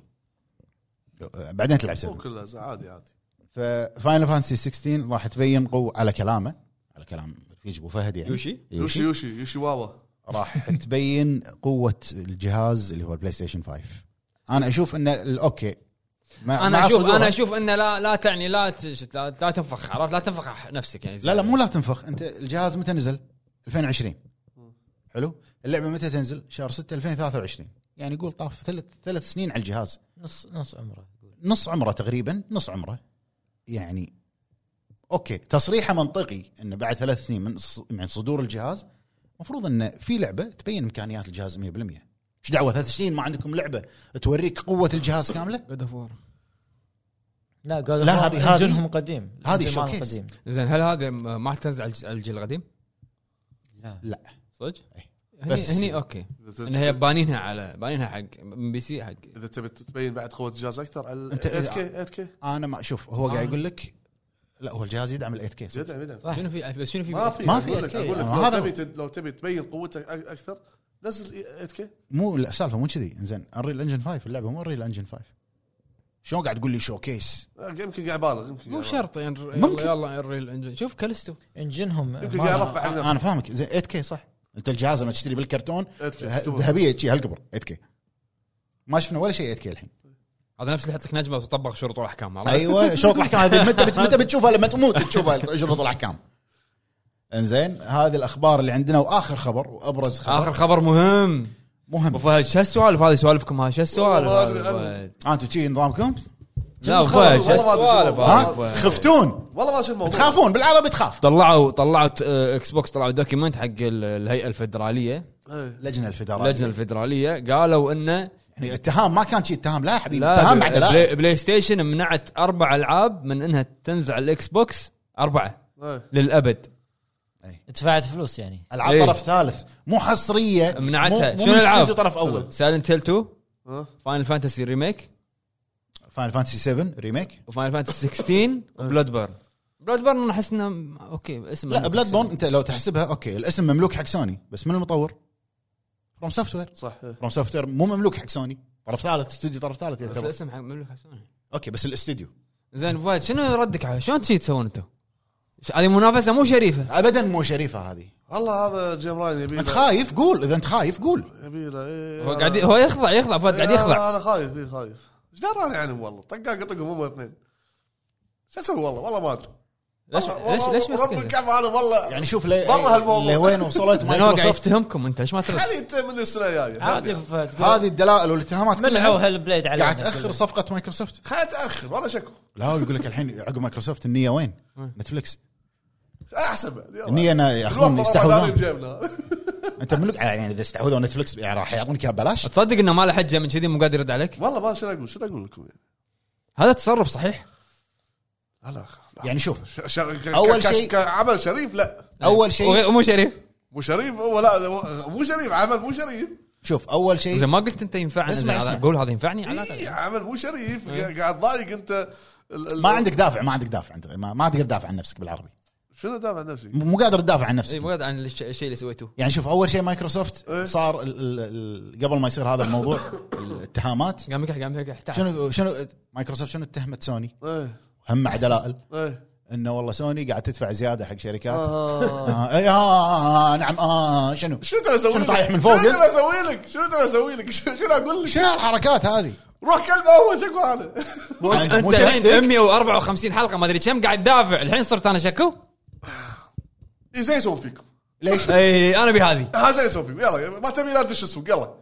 بعدين تلعب 7 مو كلها ز- عادي عادي ففاينل فانتسي 16 راح تبين قوه على كلامه على كلام رفيج ابو فهد يعني يوشي يوشي يوشي يوشي واوا راح تبين قوه الجهاز اللي هو البلاي ستيشن 5 انا اشوف انه ال- اوكي مع انا مع اشوف صدورها- انا اشوف انه لا لا تعني لا تش- لا لا تنفخ عرفت لا تنفخ نفسك يعني لا لا مو لا تنفخ انت الجهاز متى نزل 2020 حلو اللعبه متى تنزل شهر 6 2023 يعني يقول طاف ثلاث ثلاث سنين على الجهاز نص نص عمره نص عمره تقريبا نص عمره يعني اوكي تصريحه منطقي انه بعد ثلاث سنين من ص- من صدور الجهاز المفروض انه في لعبه تبين امكانيات الجهاز 100% ايش دعوه ثلاث سنين ما عندكم لعبه توريك قوه الجهاز كامله قدفور لا جود لا، اوف هذه- هذه- انجنهم قديم هذه الإنجن مالهم شوكيس. قديم. زين هل هذا م- ما تنزل على الج- على الجيل القديم؟ لا لا صدق؟ إيه. هني بس- هني اوكي إذا ت- انها هي بانينها على بانينها حق ام بي سي حق اذا تبي تبين بعد قوه الجهاز إيه، اكثر على أنت- 8 كي 8 كي انا ما شوف هو قاعد يقول لك لا هو الجهاز يدعم ال 8 كي يدعم يدعم صح. شنو في بس شنو في ما في ما في أقول لك- 8K. اقول لك ما هذا لو هو. تبي تد- لو تبي تبين قوتك أك- اكثر نزل آه، 8 كي مو لا، السالفه مو كذي انزين انريل انجن 5 اللعبه مو انريل انجن 5 شلون قاعد تقول لي شو كيس يمكن قاعد بالغ يمكن مو قاعد شرط يعني ممكن. يلا الريل انجن شوف كالستو انجنهم يمكن ما- قاعد ارفع عن نفسي انا فاهمك زين 8 كي صح انت الجهاز لما تشتري بالكرتون 8K ه- تشوف. ذهبيه شي هالكبر 8 كي ما شفنا ولا شيء 8 كي الحين هذا نفس اللي يحط لك نجمه وتطبق شروط والاحكام عرفت؟ ايوه شروط الاحكام هذه متى بت- متى بتشوفها لما تموت تشوفها شروط الاحكام انزين هذه الاخبار اللي عندنا واخر خبر وابرز اخر خبر خبر مهم ابو مهم فهد شو السوالف هذه سوالفكم ها شو السوالف والله هذه ما أدري أبو أنا. فهد؟ انتم شي نظامكم لا ابو فهد شو والله ما أدري شو السوالف الموضوع. هذه أبو ها فهد؟ خفتون والله ما شو الموضوع تخافون بالعربي تخاف طلعوا طلعت آه، اكس بوكس طلعوا دوكيمنت حق ال- الهيئه الفدراليه إيه. اللجنه الفدراليه اللجنه الفدراليه قالوا انه يعني اتهام ما كان شيء اتهام لا يا حبيبي اتهام بل- بعد لا بلاي, بلاي ستيشن منعت اربع العاب من انها تنزع الاكس بوكس اربعه إيه. للابد دفعت فلوس يعني العاب إيه. طرف ثالث مو حصريه منعتها. مو- مو شنو من الألعاب؟ استوديو طرف اول سايلنت هيل 2 ها؟ فاينل فانتسي ريميك فاينل فانتسي 7 ريميك وفاينل فانتسي 16 وبلاد بيرن بلاد بيرن انا احس انه م- اوكي اسم لا بلاد بون انت لو تحسبها اوكي الاسم مملوك حق سوني بس من المطور؟ فروم سوفت وير صح إيه. فروم سوفت وير مو مملوك حق سوني طرف ثالث استوديو طرف ثالث بس يعتبر الاسم حق مملكه سوني اوكي بس الاستوديو زين أبو فهد شنو ردك على شلون تشي تسوون انتم؟ ش- هذه منافسه مو شريفه ابدا مو شريفه هذه والله هذا جيم راين يبي له- انت خايف قول اذا انت خايف قول يبي له إيه، هو أنا- قاعد ي- هو يخضع يخضع فهد قاعد إيه، أنا- يخضع انا خايف اي خايف ايش دراني عنهم يعني والله طقاق يطقهم هم اثنين شو اسوي والله والله ما ادري ليش آه، والله- ليش ليش والله رب مسكين؟ الكعبه انا والله يعني شوف لي- والله هالموضوع. لوين وصلت زين هو قاعد مايكروسوفت يتهمكم انت ليش ما ترد؟ هذه انت من السنه الجايه عادي هذه. فهد هذه الدلائل والاتهامات منعوا كلها هالبليد علينا قاعد تاخر صفقه مايكروسوفت خليها تاخر ولا شكو لا هو يقول لك الحين عقب مايكروسوفت النيه وين؟ نتفلكس احسن بعد يلا. النيه انا ياخذون الوفر ربع داري يستحوذون بجيبنا انت ملك يعني اذا استحوذوا نتفلكس يعني راح يعطونك اياها ببلاش تصدق انه ما له حجه من كذي مو قادر يرد عليك والله ما شنو اقول شنو اقول لكم يعني هذا تصرف صحيح لا لا يعني شوف ش- ش- ك- أول ك- ك- شيء- كعمل شريف لا اول شيء ومو شريف مو شريف ولا مو شريف عمل مو شريف شوف اول شيء زين ما قلت انت ينفعني اسمع، زين هذا- اسمع. إيه. قول هذا ينفعني اي على إيه، عمل مو شريف قا- قاعد ضايق انت ال- ال- ما عندك دافع ما عندك دافع انت ما, ما تقدر تدافع عن نفسك بالعربي شنو دافع عن نفسك؟ م- مو قادر تدافع عن اي نفسك مو قادر عن الش- الشيء اللي سويتوه يعني شوف اول شيء مايكروسوفت إيه. صار ال ال ال قبل ما يصير هذا الموضوع الاتهامات قام يكح قام يكح تعال شنو شنو مايكروسوفت شنو اتهمت سوني ايه هم مع دلائل ايه انه والله سوني قاعد تدفع زياده حق شركات آه. آه اي آه آه نعم اه شنو شنو تبي اسوي شنو لك؟ طايح من فوق؟ شنو تبي اسوي لك؟ شنو تبي اسوي لك؟ شنو شنو اقول لك؟ شنو هالحركات هذه؟ روح كلب اول شو اقول انا؟ يعني انت مو شايف الحين ذيك؟ 154 حلقه ما ادري كم قاعد دافع الحين صرت انا شكو إيه، زي يسوون فيكم ليش؟ اي انا بهذه ها زي يسوون فيكم يلا ما تبي لا تدش السوق يلا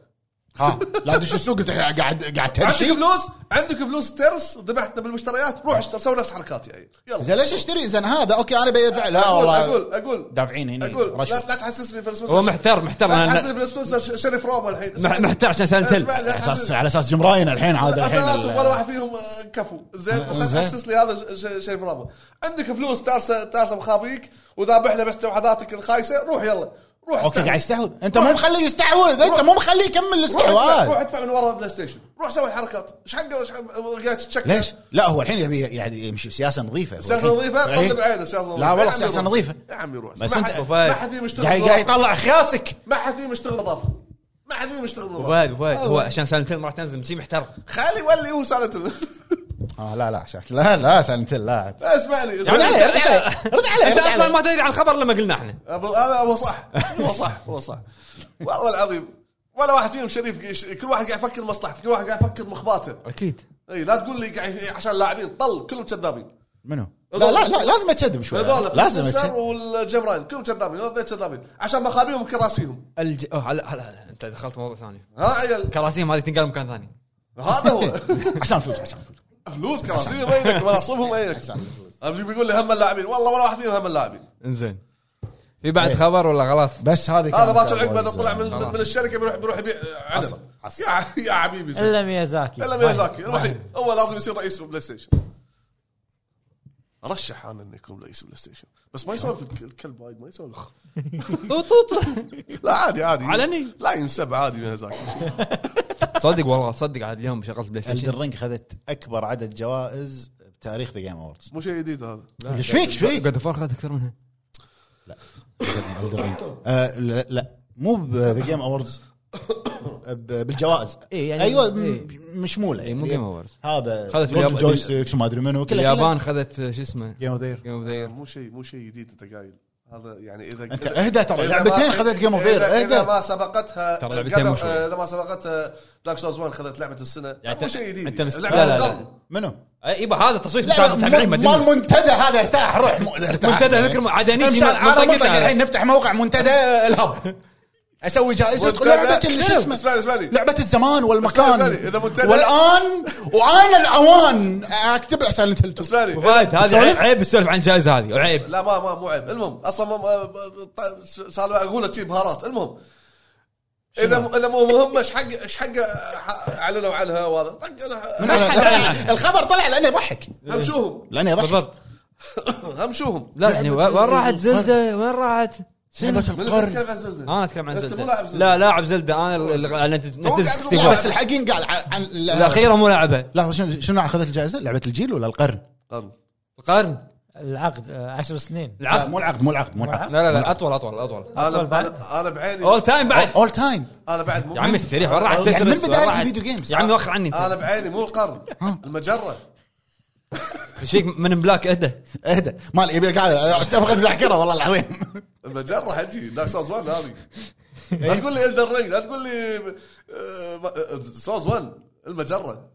ها لا دش السوق انت قاعد قاعد عندك تمشي فلوس عندك فلوس ترس ذبحتنا بالمشتريات روح اشتر سوي نفس حركاتي يعني يلا آه. زين ليش اشتري زين هذا اوكي انا بدفع لا اقول والله اقول اقول دافعين هنا اقول لا, رشوه لا تحسسني في السبونسر هو محتار محتار لا أنا- تحسسني في السبونسر شريف روما الحين مح- محتار عشان سالم تل اسمع لا على اساس تحسسني على اساس جيم راين الحين عاد الحين ثلاثة ولا ال- واحد فيهم آه، كفو زين بس لا زين. تحسس لي هذا ش- ش- شريف روما عندك فلوس تارسه تارسه مخابيك وذابحنا بس توحداتك الخايسه روح يلا روح اوكي استعمل. قاعد يستحوذ انت مو مخليه يستحوذ انت مو مخليه يكمل روح ادفع- روح الاستحواذ ادفع من ورا البلاي ستيشن روح سوي حركات ايش حقه ايش حقه قاعد تتشكى ليش؟ لا هو الحين يبي يعني يمشي سياسه نظيفه سياسه نظيفه إيه. طلب عينه سياسه نظيفه لا والله يا عمي سياسه روح. نظيفه يا عمي روح بس ما انت- حد- وفهد. ما حد فيهم يشتغل قاعد قاعد نظافة. يطلع خياسك ما حد فيهم يشتغل نظافه ما حد فيهم يشتغل نظافه وفهد وفهد هو أوه. عشان سالم تل ما راح تنزل شي محتار خالي ولي هو سالت آه، اه لا لا شفت لا لا سالنت لا اسمعني رد اسمعني عليه رد عليه رد عليه انت رد اصلا عليه ما تدري عن الخبر لما قلنا احنا أبو- هذا هو صح هو صح هو صح والله العظيم ولا واحد فيهم شريف قيش- كل واحد قاعد يفكر مصلحته كل واحد قاعد يفكر مخباته اكيد اي لا تقول لي قاعد عشان لاعبين طل كلهم كذابين منو؟ لا لا لا لازم اكذب شوي هذول لازم السر أتشذب. والجبران كلهم كذابين هذول كذابين عشان مخابيهم كراسيهم الج... أوه، هلا هلا انت دخلت موضوع ثاني ها عيل كراسيهم هذه تنقال مكان ثاني هذا هو عشان فلوس عشان فلوس فلوس كراسيهم اينك مناصبهم اينك أبي بيقول لي هم اللاعبين والله ولا واحد فيهم هم اللاعبين انزين في إيه. بعد خبر ولا خلاص بس هذه هذا كانت باكر عقبه إذا طلع من خلاص. من الشركه بيروح بيروح يبيع عسل، عنب عسل. يا ع- يا حبيبي الا ميازاكي الا ميازاكي الوحيد هو لازم يصير رئيس بلاي ستيشن ارشح انا انه يكون رئيس بلاي ستيشن بس ما يسولف الك- الكلب وايد ما يسولف طوط طوط لا عادي عادي علني. لا ينسب عادي ميازاكي تصدق والله صدق عاد اليوم شغلت بلاي ستيشن الدرينج خذت اكبر عدد جوائز بتاريخ ذا جيم اووردز مو شيء جديد هذا ايش فيك ايش فيك؟ قاعد افرخ اكثر منها آه، لا لا مو بذا جيم اووردز بالجوائز إيه، يعني- ايوه م- إيه. مشموله اي مو يعني جيم اوفرز هذا خذت جولد باليابان- جويستيكس وما ادري منو كلها اليابان خذت شو اسمه جيم اوف ذير جيم اوف ذا مو شيء مو شيء جديد انت قايل هذا يعني اذا انت إذا- اهدى ترى يعني إذا لعبتين ما- خذت جيم اوف إذا- ذير اذا اهدى ما سبقتها ترى لعبتين قدر- مشهورة. اذا ما سبقتها دارك سولز 1 خذت لعبه السنه يعني مو أنت- شيء جديد أنت مست- لعبة لا، لا، لا. القرن. منو؟ اي إيه، هذا التصويت بتاع لا المتابعين مال مدري. منتدى هذا ارتاح روح م- ارتاح طيب، منتدى فكر م- عاد أنا نجي امشي من- على منطقتي منطقة أنا. الحين نفتح موقع منتدى الهب اسوي جائزه منتدى- لعبه اللي شو شنو؟ اسمه اسمعني- اسمعني. لعبه الزمان والمكان اسمعني- اسمعني. إذا منتدى- والان وانا الاوان اكتب سايلنت هيل 2 اسمعني وفهد هذه تسولف؟ عيب- عيب السولف عن الجائزه هذه عيب لا ما ما مو عيب المهم اصلا ما- ما طيب، صار اقول لك شي بهارات المهم اذا اذا مو مهمه ايش حق ايش حق اعلنوا عنها وهذا طق أنا- الخبر طلع لانه يضحك همشوهم لانه يضحك بالضبط همشوهم لا يعني وين وين راحت زلده وين راحت لعبة من القرن تتكلم عن زلدة؟ انا اتكلم عن أنت مو زلده لاعب زلدة. لا لاعب زلده انا ال- ال- أنا نت- قاعد نتف تقول لا 64 بس الحقين قال عن- عن الاخيره مو لعبه لحظه شنو شنو اخذت الجائزه؟ لعبه الجيل ولا القرن؟ قرن. القرن العقد آه، عشر سنين لا العقد مو العقد مو العقد مو العقد لا لا لا اطول اطول اطول انا أطول بعد. أنا- انا بعيني اول تايم بعد اول تايم انا بعد مو يا عمي استريح وين راحت يعني من تترس؟ وين بداية راحت- الفيديو جيمز. يا عمي وخر عني انا انت بعيني مو القرن آه. ها. المجره ايش فيك من بلاك اهدى اهدى مال يبي قاعد اتفق الذاكره والله العظيم المجره حجي دارك سولز 1 هذه إيه. لا تقول لي الدر رينج لا تقول لي آه، آه، سولز 1 المجره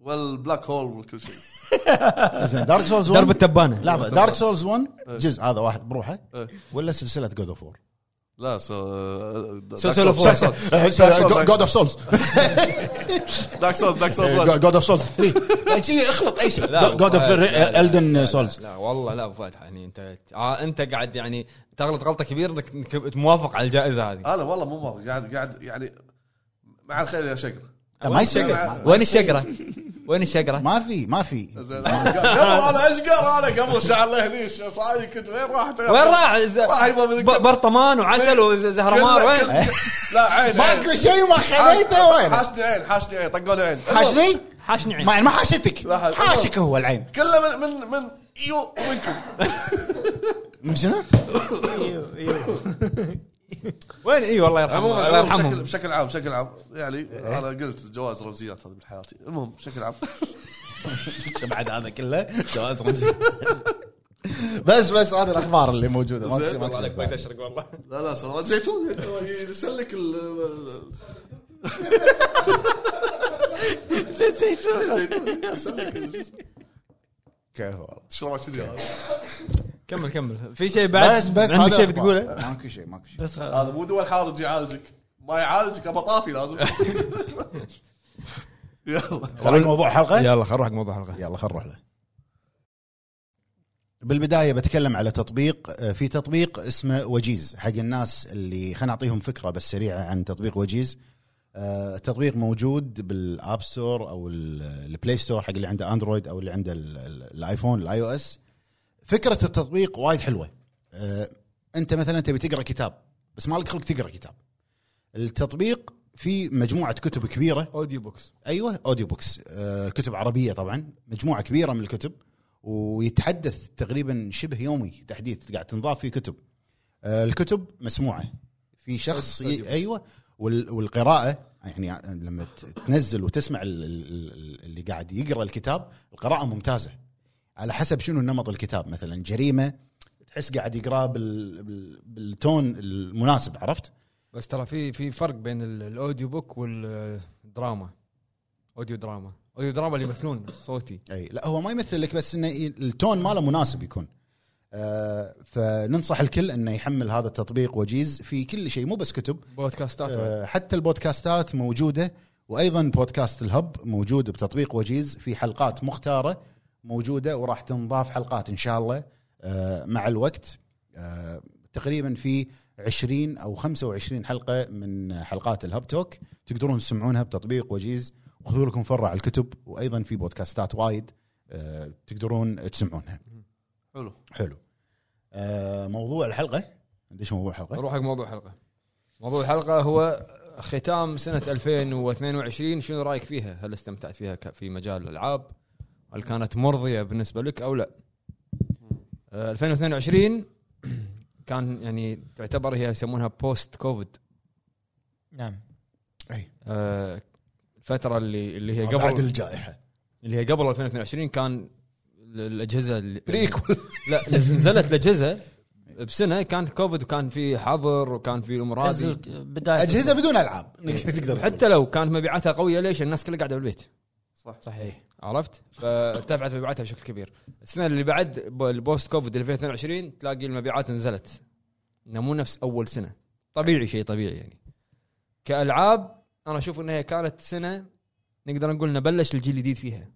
والبلاك هول وكل شيء زين دارك سولز 1 درب التبانه لحظه دارك سولز 1 جزء هذا واحد بروحه إيه. ولا سلسله جود اوف وور لا سو سلسلة فور. جود اوف سولز داك سولز داك سولز جود اوف سولز 3 شي اخلط اي شيء لا، جود اوف الدن سولز لا والله لا ابو فهد يعني انت آه انت قاعد يعني تغلط غلطه كبيره انك إنك موافق على الجائزه هذه انا والله مو مرة. قاعد قاعد يعني مع الخير يا شقر ما يصير مع- وين الشقره؟ وين الشقره؟ ما في ما في زين، قبل انا اشقر انا قبل شعر الله هني صاير كنت وين راحت وين راح؟ ز- راح يبغى من ب- برطمان وعسل وزهرمار كل- وين؟ كل- لا عين عين. ماكو شيء ما خليته وين حاشني عين حاشني عين طقوا لي عين حاشني؟ حاشني عين ما ما حاشتك لا حاش- حاشك هو العين كله من من من يو ومنكم من شنو؟ ايوه ايوه وين اي والله يرحمهم عموما الله عموماً بشكل يرحمهم بشكل عام بشكل عام يعني انا قلت جواز رمزيات هذه من حياتي المهم بشكل عام بعد هذا كله جواز رمزي بس بس هذه الاخبار اللي موجوده ما في- ما في- اشرق والله لا لا سلام زيتون يسلك ال- زيتون يسلك ال- شو اسمه. كيف والله. شلون كذي هذا؟ كمل كمل في شيء بعد بس بس عندك هذا شيء أخبار. بتقوله؟ ماكو شيء ماكو شيء بس خلاص. هذا مو دول حارج يعالجك ما يعالجك ابى طافي لازم يلا خلونا الموضوع حلقه يلا خل نروح حق موضوع الحلقه يلا خلينا نروح له بالبدايه بتكلم على تطبيق آه، في تطبيق اسمه وجيز حق الناس اللي خلينا نعطيهم فكره بس سريعه عن تطبيق وجيز آه، التطبيق موجود بالاب ستور او ال- البلاي ستور حق اللي عنده اندرويد او اللي عنده ال- ال- الايفون الاي او اس فكره التطبيق وايد حلوه آه، انت مثلا تبي تقرا كتاب بس ما لك خلق تقرا كتاب التطبيق فيه مجموعه كتب كبيره اوديو بوكس ايوه اوديو بوكس آه، كتب عربيه طبعا مجموعه كبيره من الكتب ويتحدث تقريبا شبه يومي تحديث قاعد تنضاف فيه كتب آه، الكتب مسموعه في شخص ي... ايوه وال... والقراءه يعني لما ت- تنزل وتسمع ال- ال- ال- اللي قاعد يقرا الكتاب القراءه ممتازه على حسب شنو نمط الكتاب مثلا جريمه تحس قاعد يقراه بال... بال... بالتون المناسب عرفت بس ترى في في فرق بين ال- الاوديو بوك آه، والدراما اوديو دراما اوديو دراما اللي يمثلون صوتي اي لا هو ما يمثل لك بس انه ي- التون ماله مناسب يكون آه فننصح الكل انه يحمل هذا التطبيق وجيز في كل شيء مو بس كتب بودكاستات بعد. آه حتى البودكاستات موجوده وايضا بودكاست الهب موجود بتطبيق وجيز في حلقات مختاره موجوده وراح تنضاف حلقات ان شاء الله آه مع الوقت آه تقريبا في 20 او 25 حلقه من حلقات الهب توك تقدرون تسمعونها بتطبيق وجيز وخذوا لكم فرع الكتب وايضا في بودكاستات وايد آه تقدرون تسمعونها حلو حلو آه موضوع الحلقه عنديش موضوع الحلقه نروح حق موضوع الحلقه موضوع الحلقه هو ختام سنه 2022 شنو رايك فيها هل استمتعت فيها ك- في مجال الالعاب هل كانت مرضيه بالنسبه لك او لا آه، 2022 كان يعني تعتبر هي يسمونها بوست كوفيد نعم اي الفتره آه، اللي اللي هي آه، بعد قبل الجائحه اللي هي قبل 2022 كان ال- الاجهزه اللي- بريكول لا نزلت الاجهزه بسنه كان كوفيد وكان في حظر وكان في امور هذه نزل بدايه اجهزه بدون العاب تقدر حتى لو كانت مبيعاتها قويه ليش الناس كلها قاعده بالبيت إيه، صحيح عرفت فارتفعت مبيعاتها بشكل كبير السنه اللي بعد ب- البوست كوفيد 2022 تلاقي المبيعات نزلت إنه مو نفس اول سنه طبيعي شيء طبيعي يعني كالعاب انا اشوف انها كانت سنه نقدر نقول انه بلش الجيل الجديد فيها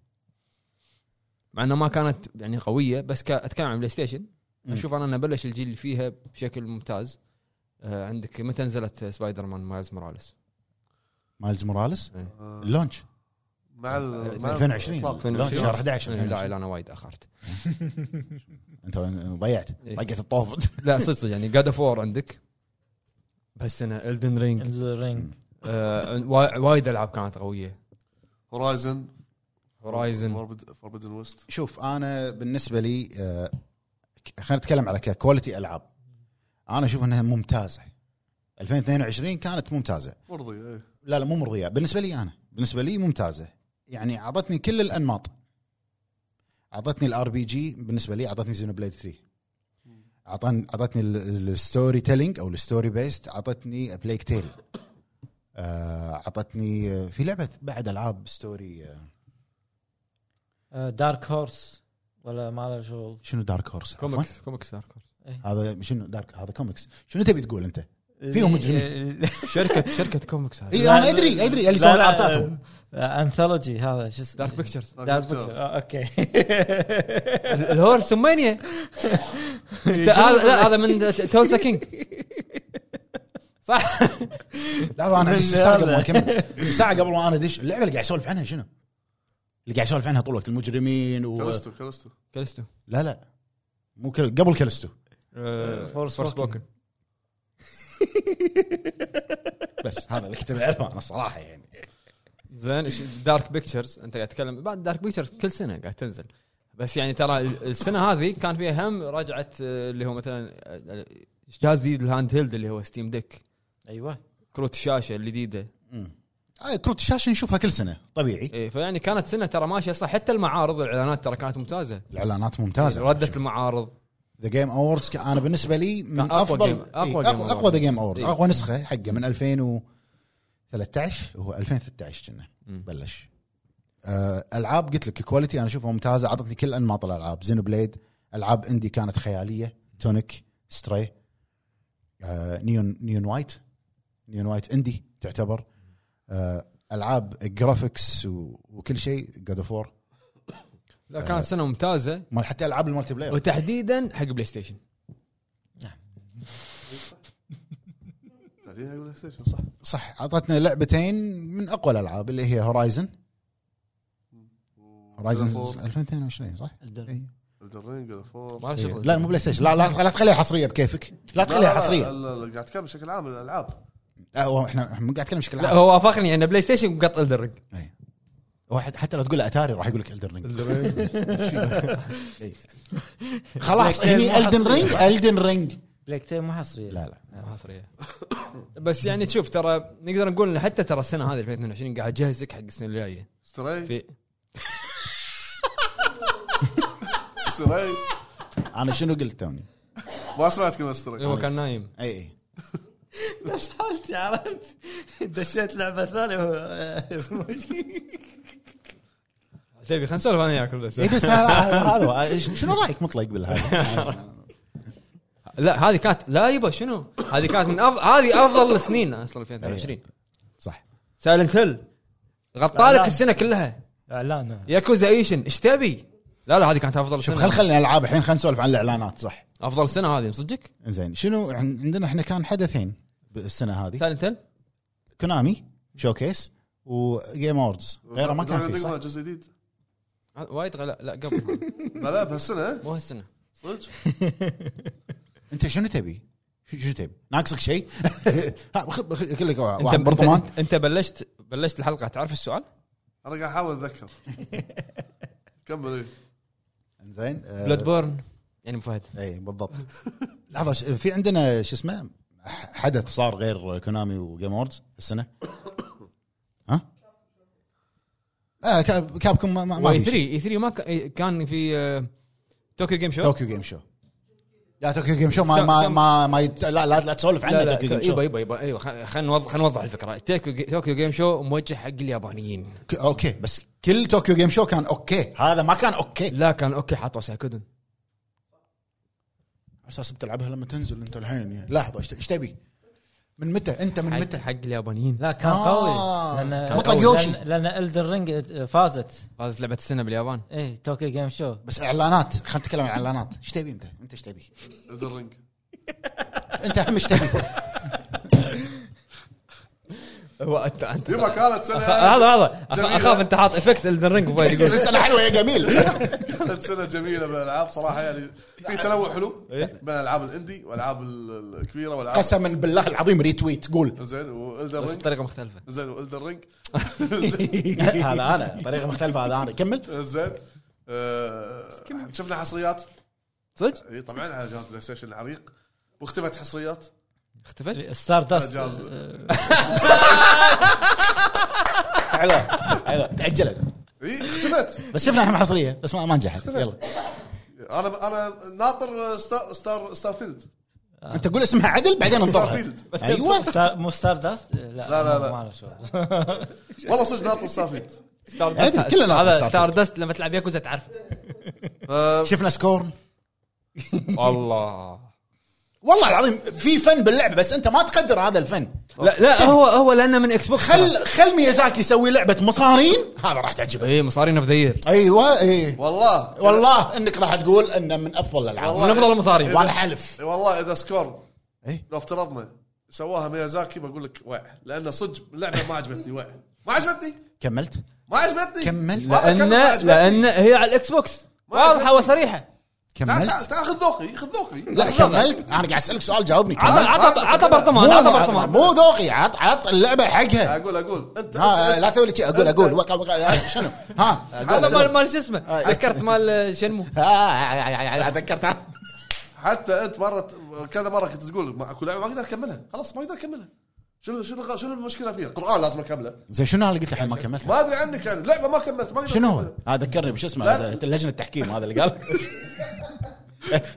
مع انها ما كانت يعني قويه بس ك- اتكلم عن بلاي ستيشن مم. اشوف انا انه بلش الجيل اللي فيها بشكل ممتاز آه، عندك متى نزلت سبايدر مان مايلز موراليس مايلز موراليس آه، اللونش مع ال مع 2020. الإطلاق. 2020. شهر 11. إيه، لا لا، انا وايد اخرت انت ضيعت إيه. طقت الطوف لا صدق صدق يعني جاد اوف وور عندك بهالسنه الدن رينج الرينج آه، وايد العاب كانت قويه هورايزن هورايزن فوربدن ويست شوف انا بالنسبه لي آه، ك- خلينا نتكلم على ككواليتي العاب انا اشوف انها ممتازه 2022 كانت ممتازه مرضي ايه لا لا مو مرضيه بالنسبه لي انا بالنسبه لي ممتازه يعني اعطتني كل الانماط اعطتني الار بي جي بالنسبه لي اعطتني زينو بليد 3 اعطان اعطتني الستوري تيلينج او الستوري بيست اعطتني بليك تيل آه، اعطتني آه، في لعبه بعد العاب ستوري آه، دارك هورس آه، ولا ما له شغل شنو دارك هورس كوميكس كوميكس دارك هذا شنو دارك هذا كوميكس شنو تبي تقول انت إيه، فيهم مجرمين. شركه شركه كوميكس هذه اي انا ادري ادري اللي يسوون ارتاتهم انثولوجي هذا شو اسمه دارك بيكتشرز دارك بيكتشر. آه، اوكي الهورس مانيا إيه، هذا لا هذا من تولسا كينج صح لحظه انا من بس ساعه قبل ما هذا. اكمل ساعه قبل ما انا ادش اللعبه اللي قاعد اسولف عنها شنو؟ اللي قاعد اسولف عنها طول الوقت المجرمين و... كلستو كلستو كلستو لا لا مو كل... قبل كلستو آه، Forspoken. فورسبوكن بس هذا اللي كنت بعرفه انا الصراحه يعني زين إيش- دارك بيكتشرز انت قاعد تتكلم بعد دارك بيكتشرز كل سنه قاعد تنزل بس يعني ترى ال- السنه هذه كان فيها هم رجعه آه، اللي هو مثلا آه، جهاز جديد الهاند هيلد اللي هو ستيم ديك ايوه كروت الشاشه الجديده مم. آه كروت الشاشه نشوفها كل سنه طبيعي إيه فيعني كانت سنه ترى ماشيه صح حتى المعارض الاعلانات ترى كانت ممتازه الاعلانات ممتازه ردت المعارض ذا جيم اووردز انا بالنسبه لي من كان أقوى افضل جيم- إيه، أقوى جيم اقوى اقوى ذا جيم اووردز إيه. اقوى نسخه حقه من 2013 هو 2013 كنا مم. بلش آه، العاب قلت لك كواليتي انا اشوفها ممتازه عطتني كل انماط الالعاب زينو بليد العاب اندي كانت خياليه تونيك ستري آه، نيون نيون وايت نيون وايت اندي تعتبر آه، العاب جرافيكس و- وكل شيء جاد اوف وور لا كانت سنه ممتازه مال حتى العاب المالتي بلاير وتحديدا حق بلاي ستيشن قاعدين على البلاي ستيشن صح صح عطتنا لعبتين من اقوى الالعاب اللي هي هورايزن هورايزن 2022 صح؟ إيه. إي. الدرينج فور ما له شغل إيه. لا مو بلاي ستيشن لا لا لا تخليها حصريه بكيفك لا تخليها حصريه قاعد اتكلم بشكل عام الالعاب لا هو احنا إحنا مو قاعد نتكلم بشكل لا عام هو وافقني ان بلاي ستيشن مقط الدرج إي. واحد حتى لو تقول له اتاري راح يقول لك الدن رينج خلاص لكن هني مو الدن رينج الدن رينج بلاك تيل مو حصريه لا لا بس يعني تشوف ترى نقدر نقول ان حتى ترى السنه هذه 2022 قاعد اجهزك حق السنه الجايه ستري في ستري انا شنو قلت توني إيه، ما سمعت كلمه هو ستري كان نايم اي اي نفس حالتي عرفت دشيت لعبه ثانيه تبي خلينا نسولف انا وياك بس اي إيه، بس هذا هذا- شنو رايك مطلق بالهذا لا هذه كانت لا يبا شنو هذه كانت من افضل هذه افضل السنين اصلا 2022 صح سايلنت هيل لا، غطالك لا. السنه كلها اعلان ياكوزا ايشن ايش تبي؟ لا لا هذه كانت افضل شوف سنه خل خلينا العاب الحين خلينا نسولف عن الاعلانات صح افضل سنه هذه صدقك زين شنو عن- عندنا احنا كان حدثين بالسنه هذه سايلنت هيل كونامي شوكيس وجيم اوردز غيره ما كان في صح؟ جزء جديد وايد غلا لا قبل بلا بهالسنه مو هالسنه صدق انت شنو تبي؟ شو- شنو تبي؟ ناقصك شيء؟ ها، بخ- بخ- كلك أنت- واحد أنت- برطمان أنت- انت بلشت بلشت الحلقه تعرف السؤال؟ انا قاعد احاول اتذكر كمل إيه. زين آه، بلاد بورن يعني أبو فهد اي Eh, بالضبط لحظه ش- في عندنا شو اسمه ح- حدث صار غير كونامي وجيم اوردز السنه ها؟ آه كاب كابكم ما, ما- ما واي في 3 شيء. اي 3 ما ك- إي- كان في آه، طوكيو جيم شو طوكيو جيم شو لا طوكيو جيم شو ما سم- ما سم- ما, ما يت... لا لا لا تسولف عنه لا لا طوكيو جيم يبا شو يبا يبا ايوه خلينا نوضح خلينا نوضح الفكره طوكيو- طوكيو جيم شو موجه حق اليابانيين ك- اوكي بس كل طوكيو جيم شو كان اوكي هذا ما كان اوكي لا كان اوكي حطوا سايكودن اساس بتلعبها لما تنزل انت الحين يعني. لحظه إيش- ايش تبي؟ من متى انت من حق متى؟ حق اليابانيين لا كان آه. قوي لان مطلق يوشي. لان, لأن الدر رينج فازت فاز لعبه السنه باليابان ايه توكيو جيم شو بس اعلانات خلينا نتكلم عن اعلانات ايش تبي انت؟ انت ايش تبي؟ الدرينج انت اهم ايش تبي؟ يبا كانت سنه هذا هذا أخ- جميلة. اخاف انت حاط افكت الدرينج يقول بس انا حلوه يا جميل كانت سنه جميله بالالعاب صراحه يعني في تنوع حلو إيه. بين العاب الاندي والالعاب ال- الكبيره والالعاب قسما بالله العظيم ريتويت قول زين بس طيب. والدرينج بطريقه مختلفه زين والدرينج هذا انا طريقه مختلفه هذا انا كمل زين آه، شفنا حصريات صدق اي طبعا على جهاز بلاي ستيشن العريق واختفت حصريات اختفت ستار داست جاز. آه، حلو حلو تاجلت اي اختفت بس شفنا احنا حصريه بس ما ما نجحت يلا انا انا ناطر ستار ستار ستار فيلد انت قول اسمها عدل بعدين انطرها ستارفيلد. ايوه ستار مو ستار داست لا لا، لا، لا. ما له شغل والله صدق ناطر ستار فيلد ستار أدري، كلنا نعرف هذا ستار ستار دست لما تلعب ياكوزا تعرف شفنا سكورن الله والله العظيم في فن باللعبه بس انت ما تقدر هذا الفن لا لا هو هو لانه من اكس بوكس خل خل ميازاكي يسوي لعبه مصارين هذا راح تعجبك اي مصارين اوف ذا يير ايوه اي والله والله انك راح تقول انه من افضل الالعاب من افضل المصارين وانا حلف والله اذا سكور إيه. لو افترضنا سواها ميازاكي بقول لك وع لان صدق اللعبه ما عجبتني وع ما عجبتني كملت ما عجبتني كمل. والله كمل، لان ما عجبتني. لان هي على الاكس بوكس واضحه وصريحه تعال تعال كملت تعال خذ ذوقي خذ ذوقي لا كملت انا قاعد اسالك سؤال جاوبني عطى كملت عطى عطى مو برطمان عطى برطمان مو ذوقي عط عط اللعبه حقها اقول اقول انت ها أنت- لا تسوي لي شي، اقول أنت- اقول وقع وقع شنو ها هذا اقول مال أقول. مال شو اسمه ذكرت مال شنمو آه، آه، آه، آه، تذكرتها حتى انت مره كذا مره كنت تقول ما اكو لعبه ما اقدر اكملها خلاص ما اقدر اكملها شنو شنو شنو المشكله فيها؟ قران لازم اكمله زين شنو اللي قلت الحين ما كملت ما ادري عنك انا لعبه ما كملت ما اقدر شنو هو؟ أكملها. ها ذكرني بشو اسمه لا. هذا لجنه التحكيم هذا اللي قال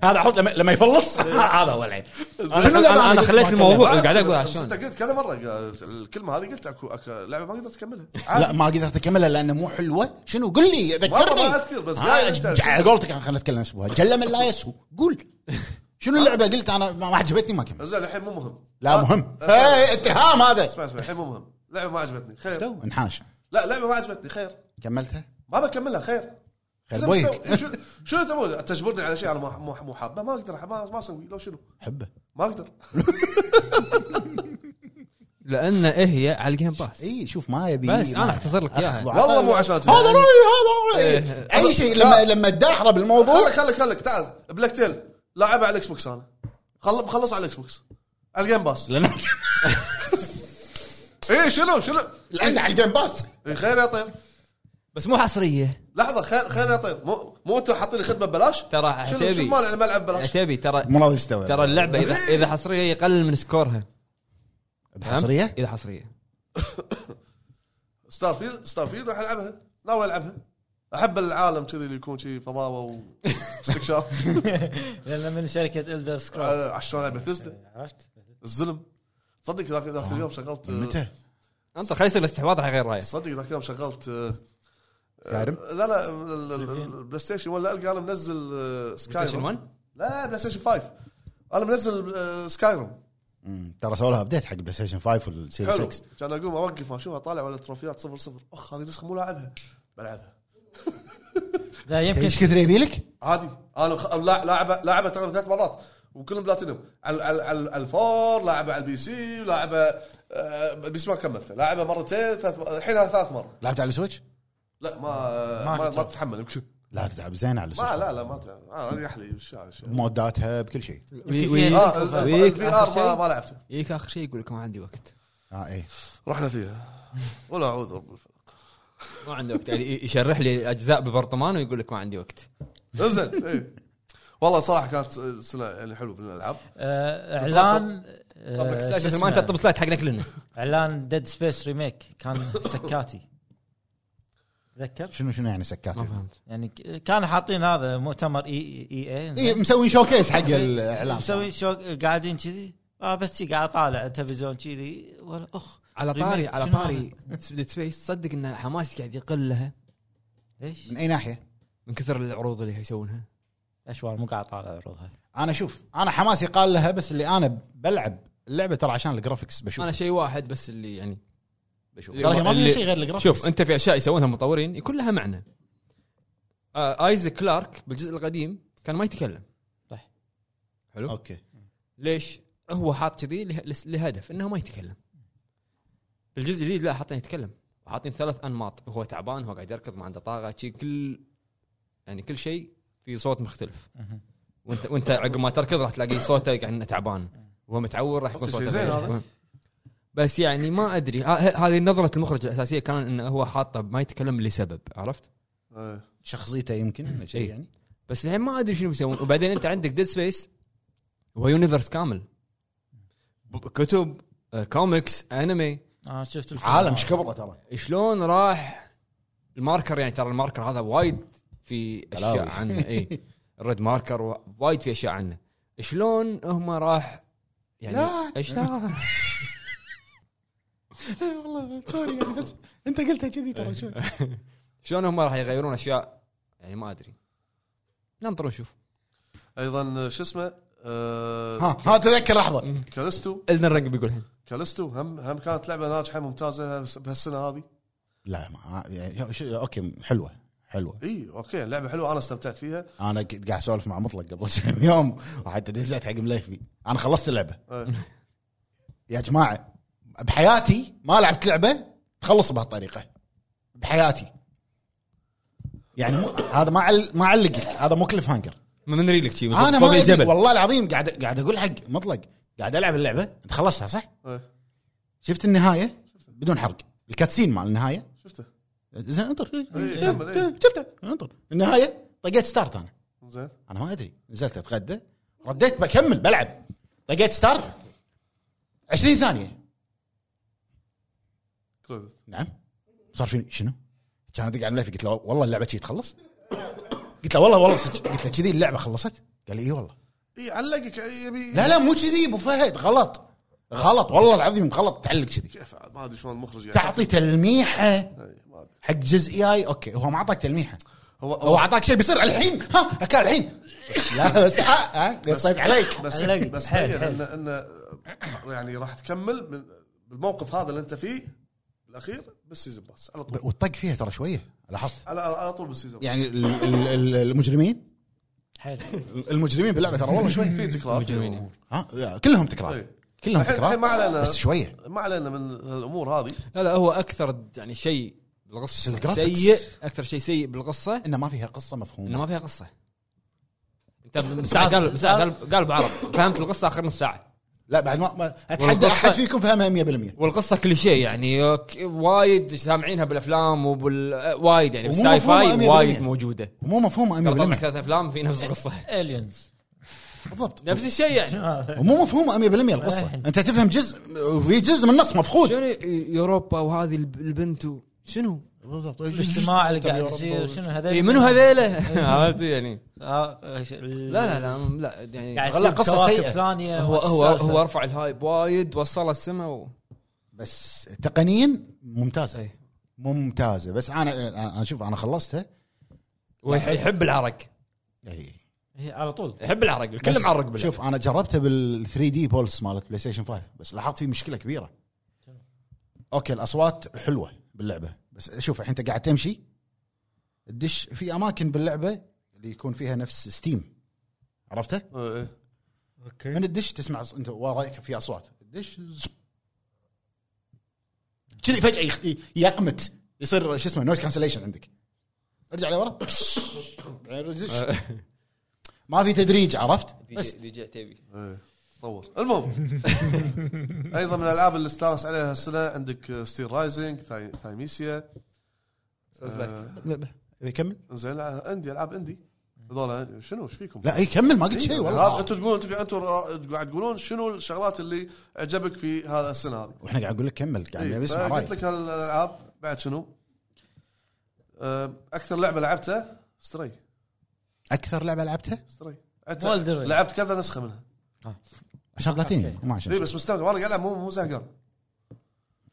هذا عرفت لما, لما يفلص هذا هو الحين شنو اللي أنا- أنا خليت ما الموضوع. كملت؟ ما قاعد أدري، أقول بس- بس عشان. انت قلت كذا مره قا- الكلمه هذه قلت اكو أكو لعبه ما قدرت اكملها لا ما قدرت اكملها لانه مو حلوه شنو قل لي والله ذكرني ما أذكر، بس ها، قاعد أنت- ج- على قولتك آه، خلينا نتكلم اسبوع جل من لا يسهو قول شنو اللعبه قلت انا ما ما عجبتني ما كملت زين الحين مو مهم أه، لا مهم أسمع. إيه، اتهام هذا اسمع اسمع الحين مو مهم لعبه ما عجبتني خير انحاش لا لعبه ما عجبتني خير كملتها ما بكملها خير خير إذا بويك بسوي- شو- شنو تبون تجبرني على شيء انا ما- مو مو حابه ما اقدر ما ما اسوي لو شنو حبه ما اقدر لان إيه هي على الجيم باس اي إيه، شوف ما يبي بس أنا ما- أختصر لك إياها. أخ، والله مو عشان كذا. هذا رايي هذا إيه، رايي اي شيء لما لما تداحره بالموضوع خلك خلك خلك تعال بلاك تيل لاعبها على الاكس بوكس انا خل مخلص على الاكس بوكس على الجيم باس لأن- اي إيه، شنو شنو لان على الجيم باس إيه، خير يا طير بس مو حصريه لحظه خير خير يا طير مو مو انتم حاطين لي خدمه ببلاش ترى شنو عتيبي. شنو مال الملعب ببلاش تبي ترى مو راضي يستوعب ترى اللعبه اذا اذا حصريه يقلل من سكورها فهمت؟ حصريه اذا حصريه ستار فيلد ستار فيلد راح العبها ناوي العبها احب العالم كذي اللي يكون شي فضاوه واستكشاف لان من شركه الدر سكرول آه، عشان العب بثيستا عرفت الزلم تصدق ذاك ذاك اليوم شغلت آه، متى؟ أه. انت خلي يصير الاستحواذ على غير رايه تصدق ذاك اليوم شغلت آه، كارم؟ آه، لا لا ال- ال- ال- البلاي ستيشن ولا القى انا منزل آه، سكاي ستيشن روم. 1 لا بلاي ستيشن 5 انا منزل آه، سكاي روم مم، ترى سووا لها ابديت حق بلاي ستيشن 5 والسيريس حلو 6 كان اقوم اوقف ما اشوفها طالع ولا تروفيات صفر صفر اخ هذه نسخه مو لاعبها بلعبها لا يمكن ايش كثر يبي لك؟ عادي انا مخ- لا- لاعبه لاعبه ترى ثلاث مرات وكلهم بلاتينيوم على على على على الفور لاعبه على البي سي ولاعبه آه، بس ما كملته لاعبه مرتين ثلاث م- الحين هذا ثالث مره لعبت على السويتش؟ لا ما ما, ما تتحمل يمكن لا تلعب زين على ما السويتش لا لا ما تتحمل. آه، انا يحلي وش- وش- موداتها بكل شيء وي- فيها وي- اه ويك الفي ار آخر ما شيء. ما لعبته يجيك اخر شيء يقول لك ما عندي وقت اه اي رحنا فيها ولا اعوذ رب الفلق ما عندي وقت يعني يشرح لي اجزاء ببرطمان ويقول لك ما عندي وقت انزين إيه. والله صراحه كانت سنه يعني حلوه بالالعاب آه، اعلان طب آه، شو ما انت اسمه؟ تطب سلايد حقنا كلنا اعلان ديد سبيس ريميك كان سكاتي تذكر شنو شنو يعني سكات؟ ما فهمت يعني ك- كانوا حاطين هذا مؤتمر E- اي اي اي اي مسوين شوكيس إيه، حق الاعلام مسوي شو قاعدين كذي اه بس شي قاعد طالع التلفزيون كذي ولا اخ على ريميك. طاري على شنو طاري ديد سبيس تصدق ان حماسي قاعد يقل لها هذا؟ ليش؟ من اي ناحيه؟ من كثر العروض اللي يسوونها اشوار مو قاعد طالع عروضها انا شوف انا حماسي قال لها بس اللي انا بلعب اللعبه ترى عشان الجرافكس بشوف انا شيء واحد بس اللي يعني بشوف ترى هي ما في شيء غير الجرافكس شوف انت في اشياء يسوونها المطورين يكون لها معنى آه ايزك كلارك بالجزء القديم كان ما يتكلم صح. حلو اوكي ليش؟ هو حاط كذي له- لس- لهدف انه ما يتكلم. الجزء الجديد لا حاطين يتكلم، حاطين ثلاث انماط، هو تعبان هو قاعد يركض ما عنده طاقه، شي كل يعني كل شيء في صوت مختلف. مهم. وانت وانت عقب ما تركض راح تلاقي صوته قاعد انه تعبان، وهو متعور راح يكون أوكي، صوته شيء زين غير. هذا. بس يعني ما ادري ه- ه- هذه نظره المخرج الاساسيه كان انه هو حاطه ما يتكلم لسبب عرفت؟ إيه. شخصيته يمكن ولا شيء إيه. يعني بس الحين ما ادري شنو بيسوون وبعدين انت عندك ديد سبيس وهو يونيفرس كامل ب- كتب آه، كوميكس انمي اه شفت الفيلم عالم ايش كبره ترى شلون راح الماركر يعني ترى الماركر هذا وايد في اشياء بلاوي. عنه اي الريد ماركر و- وايد في اشياء عنه شلون هم راح يعني لا. ايش لا والله سوري يعني بس انت قلتها كذي ترى شو شلون هم راح يغيرون اشياء يعني ما ادري ننطر ونشوف ايضا شو اسمه آه ها ها تذكر لحظه كالستو الدن رينج بيقول الحين كالستو هم هم كانت لعبه ناجحه ممتازه بهالسنه هذه لا ما يعني شو- اوكي حلوه حلوه اي اوكي لعبه حلوه انا استمتعت فيها انا ك- قاعد اسولف مع مطلق قبل كم يوم وحتى دزيت حق مليفي انا خلصت اللعبه آه. يا جماعه بحياتي ما لعبت لعبه تخلص بهالطريقه بحياتي يعني مو هذا ما عل... ما علقك هذا مو كليف هانجر من ريلك شي انا فوق ما أدري، الجبل والله العظيم قاعد قاعد اقول حق مطلق قاعد العب اللعبه انت خلصتها صح؟ إيه، شفت النهايه بدون حرق الكاتسين مال النهايه شفته زين انطر إيه، كمل، إيه. شفته انطر النهايه طقيت ستارت انا زين انا ما ادري نزلت اتغدى رديت بكمل بلعب طقيت ستارت 20 ثانيه كريدت نعم صار فيني شنو؟ كان ادق على ملفي قلت له والله اللعبه شي تخلص؟ قلت له والله والله صدق قلت له كذي اللعبه خلصت؟ قال لي اي والله اي علقك إي، يبي لا لا مو كذي ابو فهد غلط غلط والله العظيم غلط تعلق كذي كيف ما ادري شلون المخرج قاعد- تعطي تلميحه إي، ما ادري حق جزئياي اوكي هو ما اعطاك تلميحه هو هو هو اعطاك شيء بيصير الحين ها اكل الحين لا بس ها ها قصيت عليك بس علقت. بس حيل، بين حيل. ان ان يعني راح تكمل من- بالموقف هذا اللي انت فيه بالاخير بالسيزون باس على طول والطق فيها ترى شويه لاحظت على على طول بالسيزون يعني ال- ال- ال- المجرمين حلو المجرمين باللعبه ترى والله شويه في تكرار في مجرمين. أمور. ها كلهم تكرار إيه. كلهم الحين- الحين ما تكرار علينا بس شويه ما علينا من الامور هذه لا لا هو اكثر يعني شيء بالقصه الجرافيكس. سيء اكثر شيء سيء بالقصه انه ما فيها قصه انه مفهومه ما فيها قصه انت من ساعه قال من ساعه قال قال بعرب فهمت القصه اخر نص ساعه لا بعد ما, ما اتحدى والقصة- احد فيكم فهمها 100% والقصه كل شيء يعني ك- وايد سامعينها بالافلام وبال آه، وايد يعني ومو بالساي مفهومة فاي 100%. وايد موجوده مو قبل طلع مفهومه 100% ثلاث افلام في نفس القصه الينز بالضبط نفس الشيء يعني ومو مفهومه 100% القصه انت تفهم جزء وفي جزء من النص مفقود شنو يوروبا وهذه الب- البنت و- شنو؟ بالضبط الاجتماع اللي قاعد يصير شنو هذول اي إيه، منو هذيله؟ عرفت يعني لا لا لا لا لا يعني قاعد والله يصير قصة قصه سيئة. سيئه ثانيه هو هو هو رفع الهايب وايد وصل السما و... بس تقنيا ممتازه إيه. ممتازه بس انا أنا- انا شوف انا خلصتها ويحب العرق إيه. هي على طول يحب العرق الكل بس معرق بالله شوف انا جربتها بال 3 دي بولس مالت بلاي ستيشن 5 بس لاحظت في مشكله كبيره اوكي الاصوات حلوه باللعبه بس شوف الحين انت قاعد تمشي تدش في اماكن باللعبه اللي يكون فيها نفس ستيم عرفته؟ إيه، إيه. من الدش تسمع ص- انت وراك في اصوات الدش زب. كذي فجاه يخ- ي- يقمت يصير شو اسمه نويز كانسليشن عندك ارجع لورا بس. بعدين رجع. ما في تدريج عرفت بس دي جي تيبي إيه. تطور المهم ايضا من الالعاب اللي استانس عليها السنه عندك ستيل رايزنج ثايميسيا آه، يكمل زين آه، عندي العاب عندي هذول شنو ايش فيكم؟ لا يكمل ما قلت إيه، شيء هذا والله انتم تقولون انتم أنتم قاعد تقولون شنو الشغلات اللي عجبك في هذا السنه هذه؟ واحنا قاعد نقول لك كمل قاعد إيه، نبي نسمع فقلت رايك لك هالالعاب بعد شنو؟ أم، اكثر لعبه لعبتها ستري اكثر لعبه لعبتها ستري Elden Ring. لعبت كذا نسخه منها عشان بلاتينيوم أوكي. ما عشان اي شيء. بس مستمتع وانا قاعد العب مو مو زهقان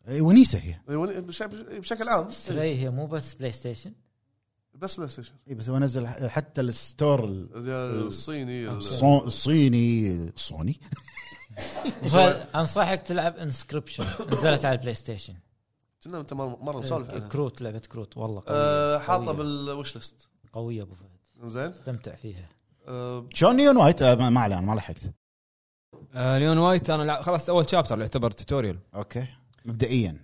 إيه، ونيسه هي إي، ون- بش- بشكل عام تري هي مو بس بلاي ستيشن بس بلاي ستيشن اي بس هو نزل ح- حتى الستور ال- إيه. الصيني ال- الصو- الصيني سوني انصحك تلعب انسكربشن نزلت على البلاي ستيشن كنا انت مره إيه. مرة مسولف عنها كروت لعبه كروت والله أه، قويه حاطه قوية. بالوش ليست قويه ابو فهد زين استمتع فيها أه، شلون نيون وايت آه، ما ما عليه انا ما لحقت آه، ليون وايت انا لع- خلاص اول شابتر اللي يعتبر توتوريال اوكي مبدئيا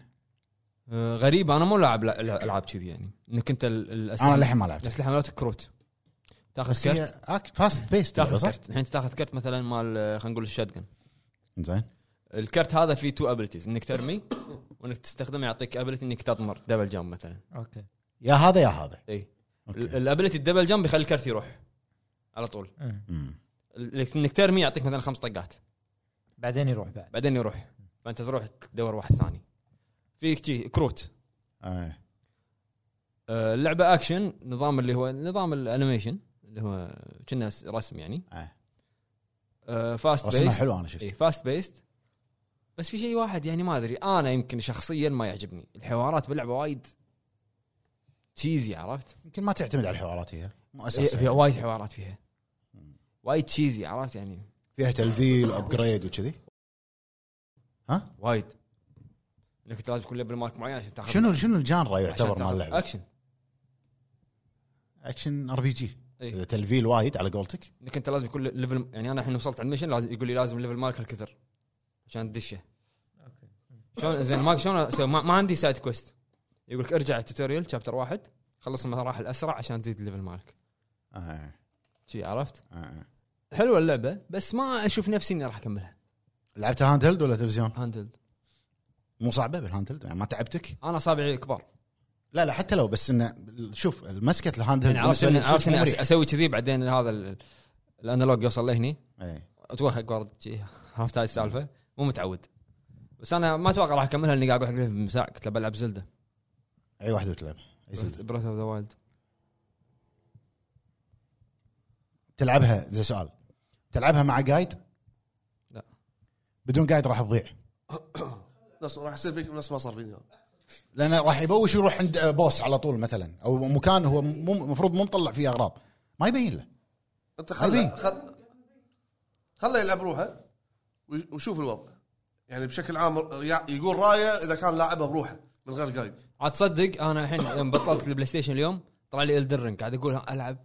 آه، غريب انا مو لاعب لا- لا- العاب كذي يعني انك انت ال- الاسلحه انا للحين ما لعبت الاسلحه مالت كروت تاخذ يعني بس كرت هي فاست بيست تاخذ كرت الحين تاخذ كرت مثلا مال آه، خلينا نقول الشاتجن زين الكرت هذا فيه تو ابيلتيز انك ترمي وانك تستخدمه يعطيك ابيلتي انك تطمر دبل جامب مثلا اوكي يا هذا يا هذا اي أوكي. الابيلتي الدبل جامب يخلي الكرت يروح على طول أمم. مم. ال- انك ترمي يعطيك مثلا خمس طقات بعدين يروح بعد بعدين يروح فانت تروح تدور واحد ثاني في كذي كروت آه. آه، اللعبه اكشن نظام اللي هو نظام الانيميشن اللي هو كنا س- رسم يعني آه. آه، فاست رسمها بيست حلو انا شفت اي فاست بيست بس في شيء واحد يعني ما ادري انا يمكن شخصيا ما يعجبني الحوارات باللعبه وايد تشيزي عرفت؟ يمكن ما تعتمد على الحوارات هي مو إيه، فيها اساسا وايد حوارات فيها وايد تشيزي عرفت يعني فيها تلفيل ابجريد وكذي ها وايد انك أنت لازم يكون ليفل مارك معين عشان تاخذ شنو شنو الجانرا عشان يعتبر مال تاخذ اللعبه؟ اكشن اكشن ار بي جي إي. إذا تلفيل وايد على قولتك انك انت لازم يكون ليفل يعني انا الحين وصلت على المشن لازم يقول لي لازم ليفل مالك الكثر عشان تدشه شلون زين ما شلون اسوي ما, ما عندي سايد كويست يقول لك ارجع التوتوريال شابتر واحد خلص المراحل اسرع عشان تزيد الليفل مالك آه، شي عرفت آه. حلوه اللعبه بس ما اشوف نفسي اني راح اكملها لعبتها هاند هيلد ولا تلفزيون؟ هاندلد مو صعبه بالهاند هيلد يعني ما تعبتك؟ انا اصابعي كبار لا لا حتى لو بس انه شوف مسكه الهاند هيلد يعني عرفت بالنسبه إني- لي عرفت صدق اني مو أس- مريح. اسوي كذي بعدين هذا ال- الانالوج يوصل لهني إي. اتوهق ورد شي. عرفت هاي السالفه مو متعود بس انا ما اتوقع راح اكملها لاني قاعد اقول حق من ساعه قلت له بلعب زلده اي واحده بتلعب أي سلسلة. بريث اوف ذا وايلد تلعبها زي سؤال تلعبها مع جايد؟ لا. بدون جايد راح تضيع نفس راح يصير فيك نفس ما صار فيني لانه راح يبوش يروح عند بوس على طول مثلا او مكان هو مو المفروض مو مطلع فيه اغراض ما يبين له انت أبي. خله خل... خله يلعب روحه وي- وشوف الوضع يعني بشكل عام يع- يقول رايه اذا كان لاعبها بروحه من غير جايد عاد تصدق انا الحين يوم بطلت البلاي ستيشن اليوم طلع لي الدرن قاعد اقول ها، العب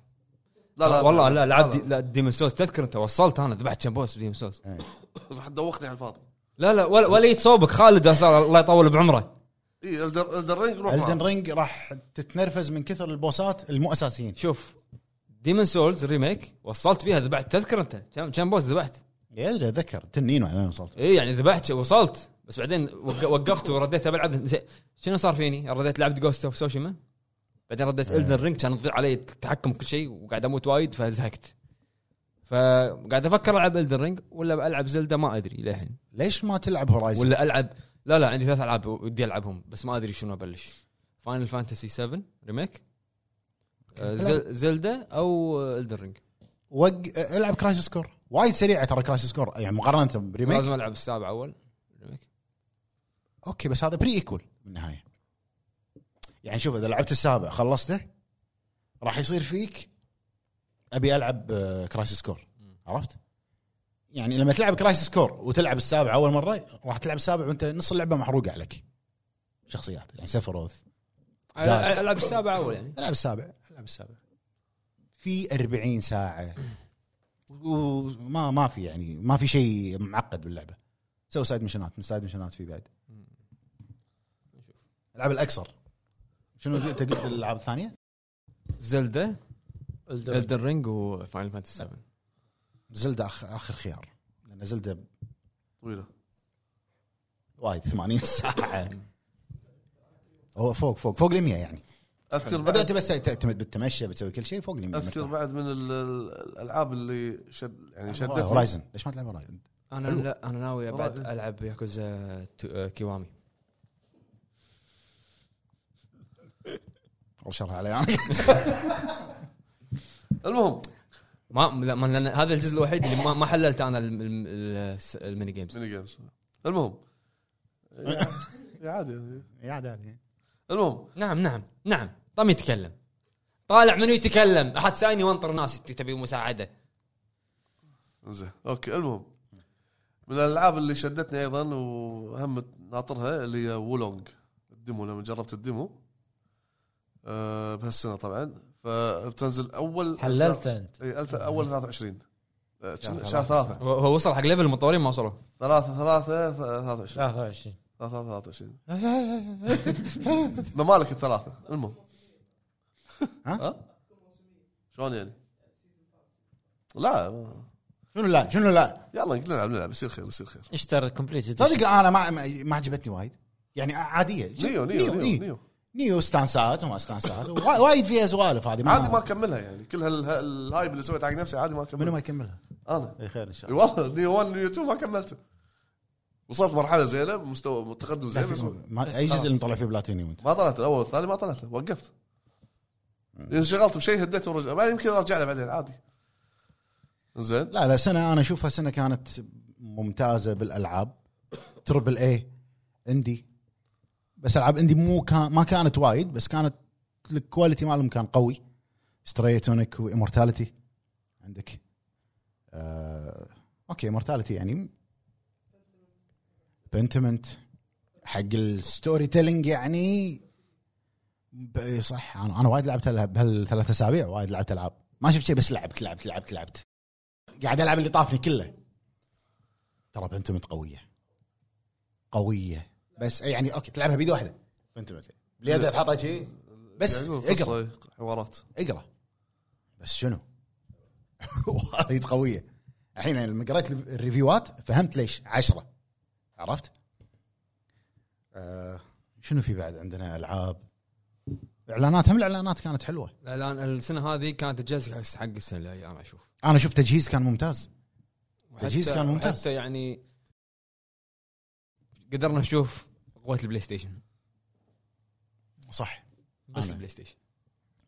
لا لا والله لا لعبت دي- لا ديمون سوز تذكر انت وصلت انا ذبحت كم بوس بديمون سوز راح تدوخني على الفاضي لا لا ولا, ولا يجي صوبك خالد أصلاً الله يطول بعمره اي الدر الدر رينج روح الدن معه. رينج راح تتنرفز من كثر البوسات المو اساسيين شوف ديمون سولز ريميك وصلت فيها ذبحت تذكر انت كم كم بوس ذبحت ادري اتذكر تنين ولا وصلت اي يعني ذبحت وصلت بس بعدين وق- وقفت ورديت بلعب زين شنو صار فيني؟ رديت لعبت جوست اوف سوشيما بعدين رديت الدن رينج كان تضيع علي التحكم كل شيء وقاعد اموت وايد فزهقت فقاعد افكر العب الدن رينج ولا العب زلدا ما ادري للحين ليش ما تلعب هورايزن ولا العب لا لا عندي ثلاث العاب ودي العبهم بس ما ادري شنو ابلش فاينل فانتسي 7 ريميك آه، زل- زلدا او الدن رينج وق... العب كراش سكور وايد سريعه ترى كراش سكور يعني مقارنه بريميك لازم العب السابع اول ريميك اوكي بس هذا بري ايكول بالنهايه يعني شوف اذا لعبت السابع خلصته راح يصير فيك ابي العب كراش سكور عرفت؟ يعني لما تلعب كراش سكور وتلعب السابع اول مره راح تلعب السابع وانت نص اللعبه محروقه عليك شخصيات يعني سفروث زاد. العب السابع اول يعني العب السابع العب السابع في 40 ساعه وما ما في يعني ما في شيء معقد باللعبه سوي سايد مشنات من سايد مشنات في بعد العاب الاقصر شنو انت قلت الالعاب الثانيه؟ زلدا الدن رينج وفاينل فانتسي 7 زلدة أخ... اخر خيار لان زلدة طويله وايد 80 ساعه هو فوق فوق فوق ال 100 يعني اذكر اذا انت بعد بس تعتمد بالتمشى بتسوي كل شيء فوق ال 100 اذكر بعد من ال- ال- الالعاب اللي شد يعني شدتني هورايزن ليش ما تلعب هورايزن؟ انا حلو. لا انا ناوي بعد والله. العب ياكوزا تو- آه، كيوامي اول شرح علي انا المهم ما لا، ما- لان هذا الجزء الوحيد اللي ما ما حللت انا الم- الم- الس- الميني جيمز ميني جيمز المهم يا- يا عادي يعني. يا عاد المهم نعم نعم نعم طم يتكلم طالع منو يتكلم احد سايني وانطر ناس ت- تبي مساعده زين اوكي المهم من الالعاب اللي شدتني ايضا وهم ناطرها اللي هي وولونج الديمو لما جربت الديمو أه بهالسنه طبعا فبتنزل اول حللت انت اي الف اول 23 آه، شهر ثلاثة. ثلاثة هو هو وصل حق ليفل المطورين ما وصلوا ثلاثة ثلاثة ثلاثة 23 23 ثلاثة 23 ممالك الثلاثة المهم ها؟ شلون يعني؟ لا ما- شنو لا شنو لا يلا نلعب نلعب يصير خير يصير خير اشترى كومبليت صدق انا ما ما- ما عجبتني وايد يعني عاديه نيو نيو نيو, نيو, إي. نيو. نيو استانسات وما استانسات وا- وايد فيها سوالف هذه عادي ما اكملها يعني كل هال- الهايب اللي سويته حق نفسي عادي ما منو اكملها ما يكملها انا اي خير ان شاء إي والله نيو 1 نيو 2 ما كملته وصلت مرحله زينه مستوى متقدم زين بس الله ما اي جزء اللي مطلع فيه بلاتينيوم انت ما طلعت الاول والثاني ما طلعت وقفت انشغلت بشيء هديته ورجع بعدين يمكن ارجع له بعدين عادي زين لا لا سنه انا اشوفها سنه كانت ممتازه بالالعاب تربل اي اندي بس العاب اندي مو كان ما كانت وايد بس كانت الكواليتي مالهم كان قوي ستريتونيك وامورتاليتي عندك آه اوكي مورتاليتي يعني بنتمنت حق الستوري تيلينج يعني ب- إيه، صح انا انا وايد لعبت هال- بهالثلاث اسابيع وايد لعبت العاب ما شفت شيء بس لعبت لعبت لعبت لعبت قاعد العب اللي طافني كله ترى بنتمنت قويه قويه بس يعني اوكي تلعبها بيد واحده بنتمنت اليد تحطها شيء بس إيه، يعني اقرا القصة حوارات اقرا بس شنو؟ وايد قويه الحين أنا لما قريت الريفيوات فهمت ليش عشرة عرفت؟ آه شنو في بعد عندنا العاب اعلانات هم الاعلانات كانت حلوه الاعلان السنه هذه كانت تجهز حق السنه الجايه انا اشوف انا اشوف تجهيز كان ممتاز وحتى- تجهيز كان ممتاز. حتى يعني قدرنا نشوف قوه البلاي ستيشن صح بس أنا. البلاي ستيشن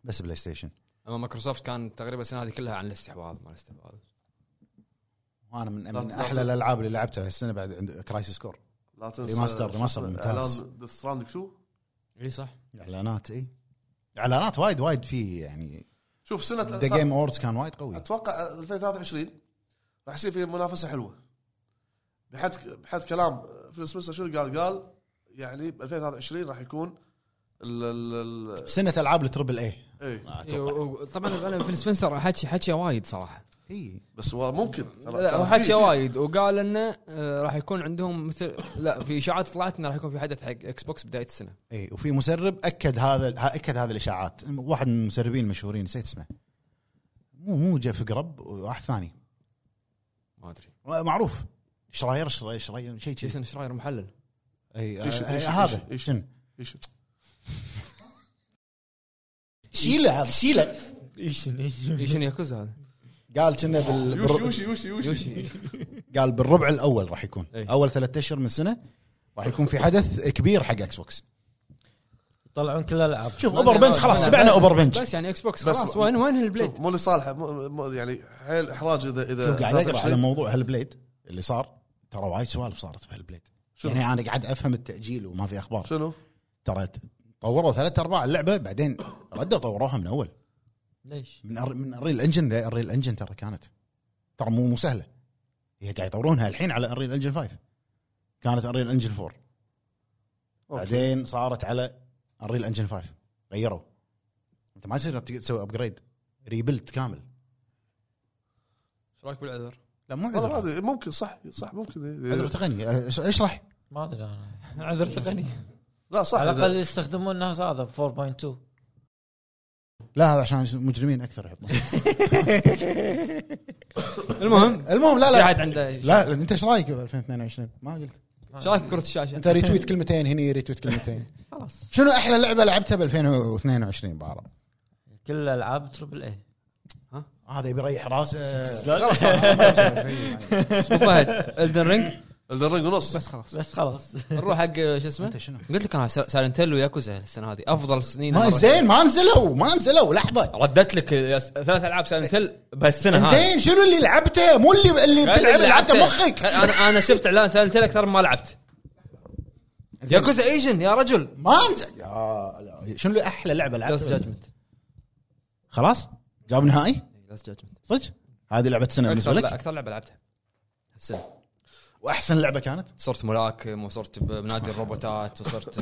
بس بلاي ستيشن اما مايكروسوفت كان تقريبا السنه هذه كلها عن الاستحواذ ما الاستحواذ وانا من, لا- من لا احلى تنسى. الالعاب اللي لعبتها هالسنه بعد عند كرايسيس كور لا تنسى ريماستر- ريماستر ممتاز. ديث ستراندنج 2 اي صح اعلانات اي اعلانات وايد وايد في يعني شوف سنه ذا جيم اوردز كان وايد قوي اتوقع 2023 راح يصير في منافسه حلوه بحد بحد كلام آه، فيل سبنسر شنو قال؟ قال يعني ب 2023 راح يكون ال ال ال- سنه العاب التربل اي ايه آه، طبعا انا في سبنسر حكي حكي وايد صراحه اي بس هو ممكن ترى- لا هو ترى في- حكي في- وايد وقال انه آه، راح يكون عندهم مثل لا في اشاعات طلعت انه راح يكون في حدث حق اكس بوكس بدايه السنه اي إيه، وفي مسرب اكد هذا ها- اكد هذه الاشاعات واحد من المسربين المشهورين نسيت اسمه مو مو جيف قرب واحد ثاني ما ادري معروف شراير شراير شراير شيء كذي جيسون شراير محلل اي إيش- آه، آه، إيش- هذا إيش- شنو إيش- شيله هذا شيله ايش ايش إي شنو ياكوزا هذا قال كنا بال... يوشي بالر... يوشي يوشي يوشي يوشي قال بالربع الاول راح يكون إيه. إي. اول ثلاثة اشهر من السنه راح يكون في حدث كبير حق اكس بوكس يطلعون كل الالعاب شوف اوبر بنج خلاص سبعنا اوبر بنج بس يعني اكس بوكس بس- خلاص وين وين شوف البليد مو اللي صالحه مو- مو- يعني حيل احراج اذا اذا شوف قاعد اقرا على 23 موضوع هالبليد اللي صار ترى وايد سوالف صارت بهالبليد شنو؟ يعني انا قاعد افهم التاجيل وما في اخبار شنو؟ ترى طوروا ثلاث ارباع اللعبه بعدين ردوا طوروها من اول ليش؟ من أر... من الريل انجن الريل انجن ترى كانت ترى مو مو سهله هي قاعد يطورونها الحين على الريل انجن 5 كانت الريل انجن 4 أوكي. بعدين صارت على الريل انجن 5 غيروا انت ما يصير تق- تسوي ابجريد ريبلت كامل ايش رايك بالعذر؟ لا مو والله ما عذر ادري ممكن صح صح ممكن عذر إيه. تقني أش- اشرح ما ادري انا عذر تقني لا صح على إذا- الاقل يستخدمون الناس هذا 4.2 لا هذا عشان مجرمين اكثر يحطون المهم المهم لا لا قاعد عنده لا لا، انت ايش رايك ب 2022 ما قلت ايش رايك بكره الشاشه؟ انت ريتويت كلمتين هني ريتويت كلمتين خلاص شنو احلى لعبه لعبتها ب 2022 بعرب؟ كل الالعاب تربل اي هذا يبي يريح راسه أبو فهد الدن رينج الرنج ونص بس خلاص بس خلاص نروح حق شو اسمه؟ انت شنو؟ قلت لك انا سالنتيلو ياكوزا السنه هذه افضل سنين ما مرة. زين ما نزلوا ما نزلوا لحظه ردت لك يس- ثلاث العاب سالنتيل بهالسنه هذه زين شنو اللي لعبته مو اللي اللي بتلعب لعبته مخك انا انا شفت اعلان سالنتيل اكثر ما لعبت ياكوزا ايجن يا رجل ما نزل يا لا. شنو اللي احلى لعبه لاست لعبتها؟ جادجمنت خلاص جاب نهائي لاست جادجمنت صدق هذه لعبه سنه بالنسبه اكثر لا، لك اكثر لعبه لعبتها السنه واحسن لعبه كانت صرت ملاكم وصرت بنادي الروبوتات وصرت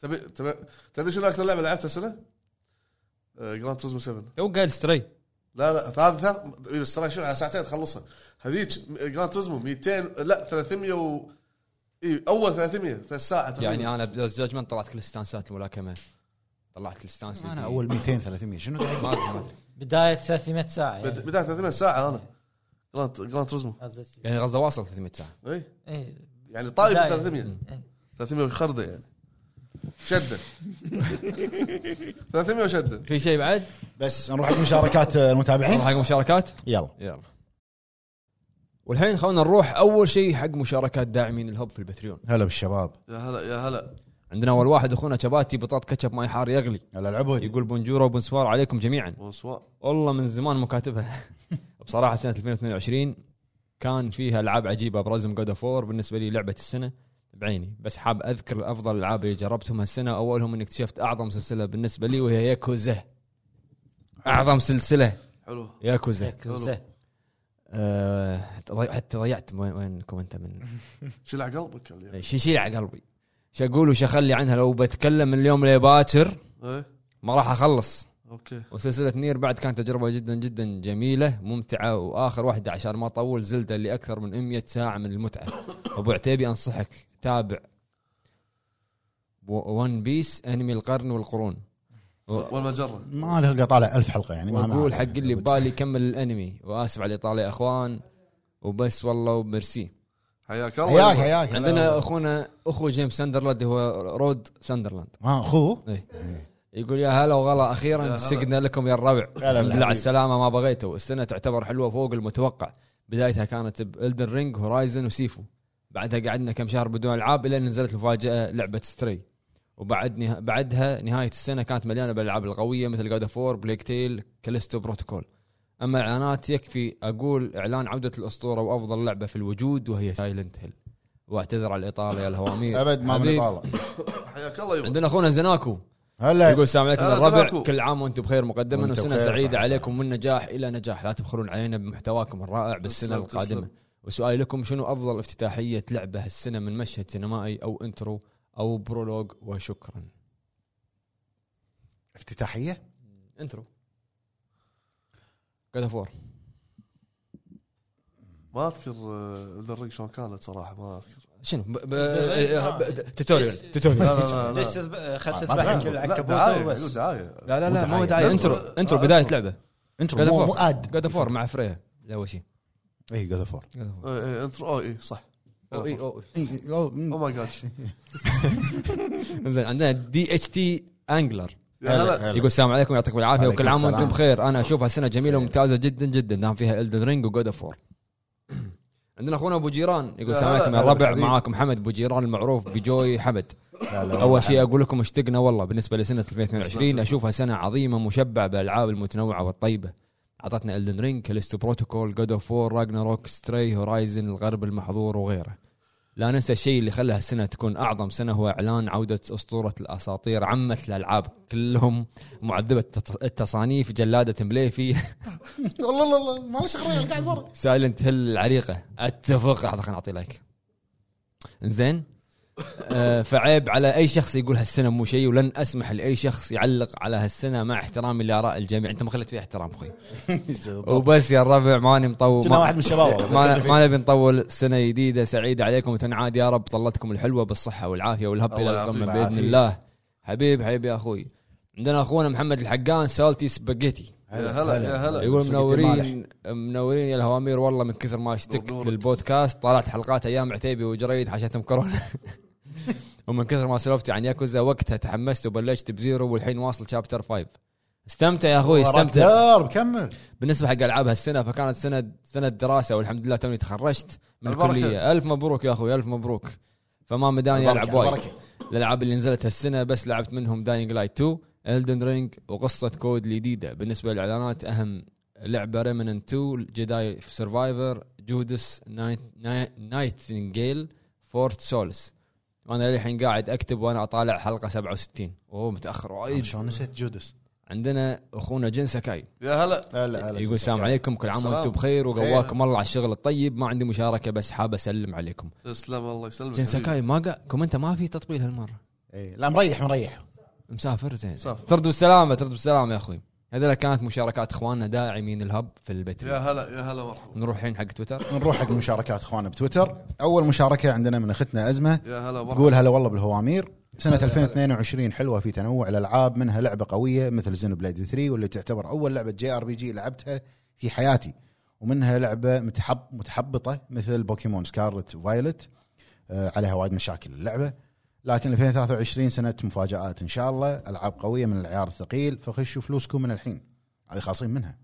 تبي تبي تدري شنو اكثر لعبه لعبتها آه، السنه؟ جراند توريزمو 7 تو قال ستري لا لا هذا ثا- إي بس ترى شنو على ساعتين تخلصها هذيك جراند توريزمو 200 لا 300 و اي اول 300 ثلاث ساعه يعني تقريبا انا بلاست جادجمنت طلعت كل استانسات الملاكمه طلعت الستانس انا الجديد. اول 200 300 شنو ما ادري ما ادري بدايه 300 ساعه بد- يعني بدايه 300 ساعه انا جراند جراند توريزمو قصدك يعني قصده واصل 300 ساعه اي ايه يعني طايف بداية. 300 300 وخرده يعني شده 300 وشده في شيء بعد؟ بس نروح حق مشاركات المتابعين نروح حق مشاركات يلا يلا والحين خلونا نروح اول شيء حق مشاركات داعمين الهب في البتريون هلا بالشباب يا هلا يا هلا عندنا اول واحد اخونا شباتي بطاط كاتشب ماي حار يغلي هلا العبود يقول بونجورو وبونسوار عليكم جميعا بونسوار والله من زمان مكاتبها بصراحه سنه 2022 كان فيها العاب عجيبه ابرزهم جود اوف بالنسبه لي لعبه السنه بعيني بس حاب اذكر افضل الالعاب اللي جربتهم هالسنه اولهم اني اكتشفت اعظم سلسله بالنسبه لي وهي ياكوزا اعظم سلسله حلو ياكوزا ياكوزا آه، ضي- حتى ضيعت وين وينكم انت من شيل على قلبك اللي شو يشيل على قلبي شو اقول وش اخلي عنها لو بتكلم من اليوم لباكر ايه ما راح اخلص اوكي وسلسله نير بعد كانت تجربه جدا جدا جميله ممتعه واخر واحده عشان ما اطول زلده لاكثر من 100 ساعه من المتعه ابو عتيبي انصحك تابع ون بيس انمي القرن والقرون والمجره ما له القى طالع ألف حلقه يعني ما واقول حق اللي ببالي كمل الانمي واسف على الاطاله يا اخوان وبس والله وميرسي حياك حياك الله حياك عندنا اخونا اخو جيمس ساندرلاند هو رود ساندرلاند ما اخوه إيه. يقول يا هلا وغلا اخيرا سقنا لكم يا الربع هلا الحمد لله بالحبيب. على السلامه ما بغيته السنه تعتبر حلوه فوق المتوقع بدايتها كانت بالدن رينج هورايزن وسيفو بعدها قعدنا كم شهر بدون العاب الى أن نزلت المفاجاه لعبه ستري وبعد نه... بعدها نهايه السنه كانت مليانه بالالعاب القويه مثل جاد فور بليك تيل كاليستو بروتوكول اما اعلانات يكفي اقول اعلان عوده الاسطوره وافضل لعبه في الوجود وهي سايلنت هيل واعتذر على الاطاله يا الهوامير ابد ما حبيب. من طالع حياك الله يوم عندنا اخونا زناكو يقول هلا السلام عليكم هلا الربع سلامكم. كل عام وانتم بخير مقدما وأنتم وسنه بخير، صح، سعيده صح. عليكم من نجاح الى نجاح لا تبخلون علينا بمحتواكم الرائع بالسنه تسلم، القادمه تسلم. وسؤالي لكم شنو افضل افتتاحيه لعبه هالسنه من مشهد سينمائي او انترو او برولوج وشكرا افتتاحيه انترو جاد فور ما اذكر الرينج شلون كانت صراحه ما اذكر شنو ب- ب- آه، ب- توتوريال لا توتوريال لا لا ليش لا تذب- خلت ما- ما تذبح تذبح. كل لا العنكبوت دعايه عيون، وبس دعايه لا لا لا مو مو داعي دعاية. انترو انترو. انترو آه، بدايه انترو. لعبه انترو جاد مو فور مو اد جاد فور مع فريا لا اول شيء اي جاد فور God of War. إيه، إيه، انترو اه اي صح أو إي، أو إي. إيه، او ماي جاد زين عندنا دي اتش تي انجلر يا هلا يقول السلام عليكم يعطيكم العافيه عليكم وكل عام السلام. وانتم بخير انا اشوفها سنه جميله وممتازه جدا جدا دام نعم، فيها الدن رينج وجود اوف وور عندنا اخونا ابو جيران يقول يا السلام عليكم يا هلا الربع بالحبيب. معاكم حمد ابو جيران المعروف بجوي حمد اول شيء اقول لكم اشتقنا والله بالنسبه لسنه 2022 تسلم. اشوفها سنه عظيمه مشبعه بالالعاب المتنوعه والطيبه اعطتنا الدن رينج كاليستو بروتوكول جود اوف وور راجناروك ستري هورايزن الغرب المحظور وغيره لا ننسى الشيء اللي خلى هالسنه تكون اعظم سنه هو اعلان عوده اسطوره الاساطير عمه الالعاب كلهم معذبه التص- التصانيف جلاده مليفي والله الله الله معلش اخرج قاعد برا سايلنت هيل العريقه اتفق لحظه خليني اعطي لايك زين آه، فعيب على اي شخص يقول هالسنه مو شيء ولن اسمح لاي شخص يعلق على هالسنه مع احترامي لاراء الجميع انت ما خليت فيها احترام اخوي وبس يا الربع ماني مطول كنا واحد من الشباب والله. ما ما نبي نطول سنه جديده سعيده عليكم وتنعاد يا رب طلتكم الحلوه بالصحه والعافيه والهب الله الى القمه يعافيك. باذن عافيك. الله حبيب حبيبي يا اخوي عندنا اخونا محمد الحقان سالتي سباجيتي يا هلا يا هلا يقول فقدت طيب، المالح. منورين منورين يا الهوامير والله من كثر ما اشتقت نورك. للبودكاست طلعت حلقات ايام عتيبي وجريد حاشتهم كورونا ومن كثر ما سولفتي عن ياكوزا وقتها تحمست وبلشت بزيرو والحين واصل شابتر 5 استمتع يا اخوي استمتع درب كمل بالنسبه حق العاب هالسنه فكانت سنه سنه دراسه والحمد لله توني تخرجت من البركة. الكليه الف مبروك يا اخوي الف مبروك فما مداني العب البركة، وايد البركة. الالعاب اللي نزلت هالسنه بس لعبت منهم داينج لايت 2 الدن رينج وقصه كود الجديده بالنسبه للاعلانات اهم لعبه ريمننت 2 جداي سرفايفر جودس نايت نايت- نايتنجيل فورت سولس وانا للحين قاعد اكتب وانا اطالع حلقه 67 اوه متاخر وايد شلون نسيت جودس عندنا اخونا جن سكاي يا هلا هلا هلا يقول السلام عليكم كل عام السلام. وانتم بخير بخير. وقواكم الله على الشغل الطيب ما عندي مشاركه بس حاب اسلم عليكم تسلم الله يسلمك جن حبيبي. سكاي ما قا... كومنتا ما في تطبيل هالمره إيه، لا مريح مريح مسافر زين مسافر. ترد بالسلامه ترد بالسلامه يا اخوي هذول كانت مشاركات اخواننا داعمين الهب في البيت يا هلا يا هلا مرحبا نروح الحين حق تويتر نروح حق مشاركات اخواننا بتويتر اول مشاركه عندنا من اختنا ازمه يا هلا مرحبا تقول هلا والله بالهوامير سنة 2022 حلوة في تنوع الألعاب منها لعبة قوية مثل زين بليد 3 واللي تعتبر أول لعبة جي ار بي جي لعبتها في حياتي ومنها لعبة متحب متحبطة مثل بوكيمون سكارلت فايلت آه، عليها وايد مشاكل اللعبة لكن 2023 سنة مفاجآت إن شاء الله ألعاب قوية من العيار الثقيل فخشوا فلوسكم من الحين هذه خالصين منها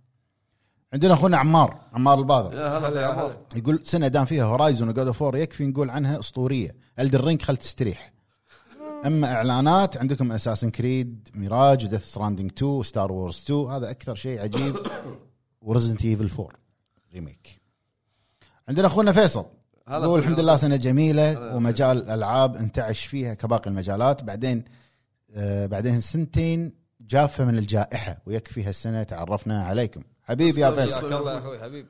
عندنا أخونا عمار عمار البادر يا هلا يا عمر يقول سنه دام فيها هورايزون وجود اوف يكفي نقول عنها اسطوريه الدر رينج خل تستريح اما اعلانات عندكم اساسن كريد ميراج وديث ستراندنج 2 وستار وورز 2 هذا اكثر شيء عجيب ورزنت ايفل 4 ريميك عندنا اخونا فيصل هلا يقول فيصل. الحمد لله سنه هلا جميله ومجال الالعاب انتعش فيها كباقي المجالات بعدين آه بعدين سنتين جافه من الجائحه ويكفي هالسنه تعرفنا عليكم حبيبي يا تسلم، فيصل تسلم. اخوي حبيب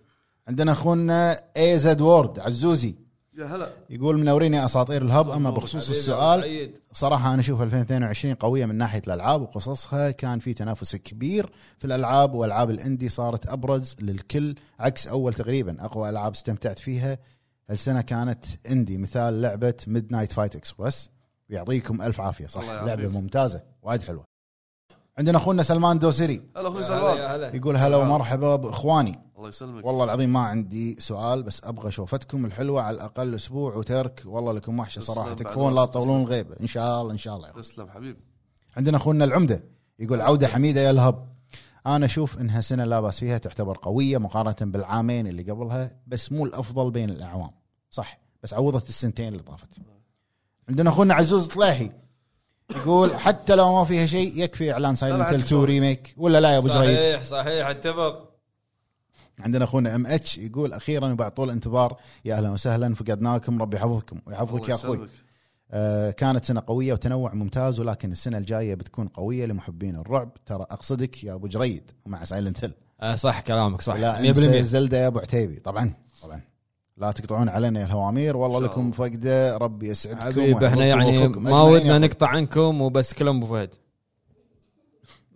عندنا اخونا ايزد وورد عزوزي يا هلا يقول منوريني اساطير الهب اما بخصوص السؤال صراحة أنا أشوف 2022 قوية من ناحية الألعاب وقصصها كان في تنافس كبير في الألعاب وألعاب الإندي صارت أبرز للكل عكس أول تقريبا أقوى ألعاب استمتعت فيها هالسنة كانت إندي مثال لعبة ميد نايت فايت إكسبرس يعطيكم ألف عافية صح الله يعافيك. لعبة ممتازة وايد حلوة عندنا أخونا سلمان دوسري هلا اخوي سلمان سلمان يقول هلا ومرحبا بإخواني الله يسلمك والله العظيم ما عندي سؤال بس ابغى شوفتكم الحلوه على الاقل اسبوع وترك والله لكم وحشه تسلم صراحه بعد تكفون لا راسك، تطولون الغيبه ان شاء الله ان شاء الله تسلم حبيبي عندنا اخونا العمده يقول عوده حميده يا الهب انا اشوف انها سنه لا باس فيها تعتبر قويه مقارنه بالعامين اللي قبلها بس مو الافضل بين الاعوام صح بس عوضت السنتين اللي طافت عندنا اخونا عزوز طلاحي يقول حتى لو ما فيها شيء يكفي اعلان لا، سايلنت عاد 2 ريميك ولا لا يا ابو جريد صحيح صحيح اتفق عندنا اخونا ام اتش يقول اخيرا وبعد طول انتظار يا اهلا وسهلا فقدناكم ربي يحفظكم ويحفظك الله يا اخوي يسلمك. آه كانت سنه قويه وتنوع ممتاز ولكن السنه الجايه بتكون قويه لمحبين الرعب ترى اقصدك يا ابو جريد ومع سايلنت هيل آه، صح كلامك صح لا انسى 100% زلده يا ابو عتيبي طبعا طبعا لا تقطعون علينا يا الهوامير والله إن شاء لكم الله. فقده ربي يسعدكم حبيب احنا ويحفظكم يعني ويوفقكم. ما أجمعين يا ودنا أخوي. نقطع عنكم وبس كلام ابو فهد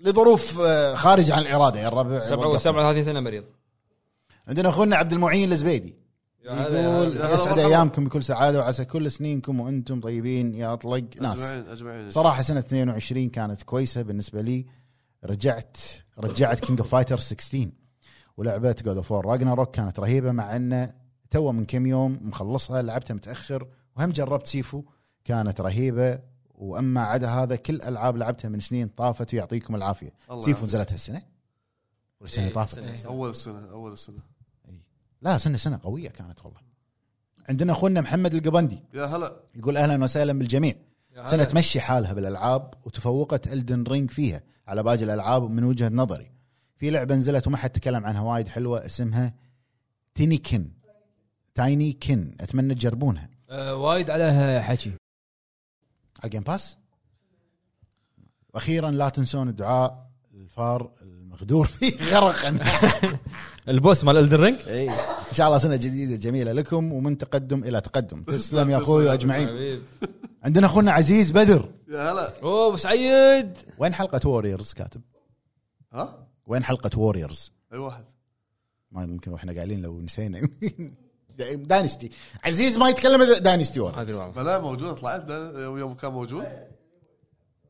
لظروف آه، خارجه عن الاراده يا الربع سبعة- وقفنا. 37 سنه مريض عندنا اخونا عبد المعين الزبيدي يا هلا، يا يقول هلا. يسعد مرحبا. ايامكم بكل سعاده وعسى كل سنينكم وانتم طيبين يا اطلق ناس اجمعين اجمعين صراحه سنه 22 كانت كويسه بالنسبه لي رجعت رجعت كينج اوف فايتر 16 ولعبه جود اوف وور راجناروك كانت رهيبه مع انه تو من كم يوم مخلصها لعبتها متاخر وهم جربت سيفو كانت رهيبه واما عدا هذا كل العاب لعبتها من سنين طافت ويعطيكم العافيه الله سيفو يعافيك. نزلت هالسنه ولا السنه اللي طافت إيه، السنة. اول السنه اول السنه لا سنه سنه قويه كانت والله عندنا اخونا محمد القبندي يا هلا يقول اهلا وسهلا بالجميع هلا. سنه تمشي حالها بالالعاب وتفوقت الدن رينج فيها على باقي الالعاب من وجهه نظري في لعبه نزلت وما حد تكلم عنها وايد حلوه اسمها تينيكن تايني كن اتمنى تجربونها آه، وايد عليها حكي على الجيم باس واخيرا لا تنسون الدعاء الفار المغدور فيه غرقا البوس مال الدن رينج إي. ان شاء الله سنه جديده جميله لكم ومن تقدم الى تقدم تسلم يا اخوي واجمعين حبيب عندنا اخونا عزيز بدر يا هلا اوه ابو سعيد وين حلقه ووريرز كاتب ها وين حلقه ووريرز اي واحد ما يمكن واحنا قايلين لو نسينا يمكن. داينستي عزيز ما يتكلم إذا داينستي ما ووريرز ادري والله بلا موجود طلعت بلا- يوم يوم كان موجود إيه.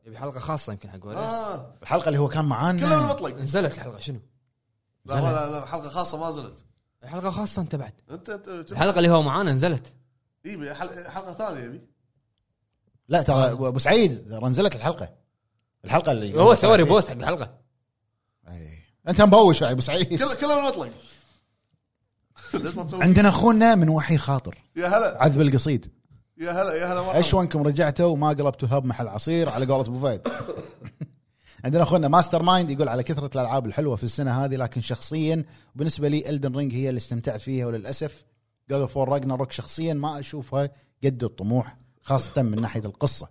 يبي حلقه خاصه يمكن حق ولا اه الحلقه اللي هو كان كله معانا بالمطلق نزلت الحلقه شنو؟ لا لا لا حلقه خاصه ما نزلت حلقه خاصه انت بعد انت انت الحلقه اللي هو معانا نزلت اي إيه، حل- حلقه ثانيه يبي لا ترى ابو سعيد ترى نزلت الحلقه الحلقه اللي هو سوى لي بوست حق الحلقه إي. انت مبوش يا ابو سعيد كله كله بالمطلق ليش ما تسوي عندنا اخونا من وحي خاطر يا هلا عذب القصيد يا هلا يا هلا مرحبا اشونكم رجعتوا وما قلبتوا هب محل عصير على قولة ابو فهد عندنا اخونا ماستر مايند يقول على كثره الالعاب الحلوه في السنه هذه لكن شخصيا بالنسبه لي الدن رينج هي اللي استمتعت فيها وللاسف جود اوف راجنا روك شخصيا ما اشوفها قد الطموح خاصه من ناحيه القصه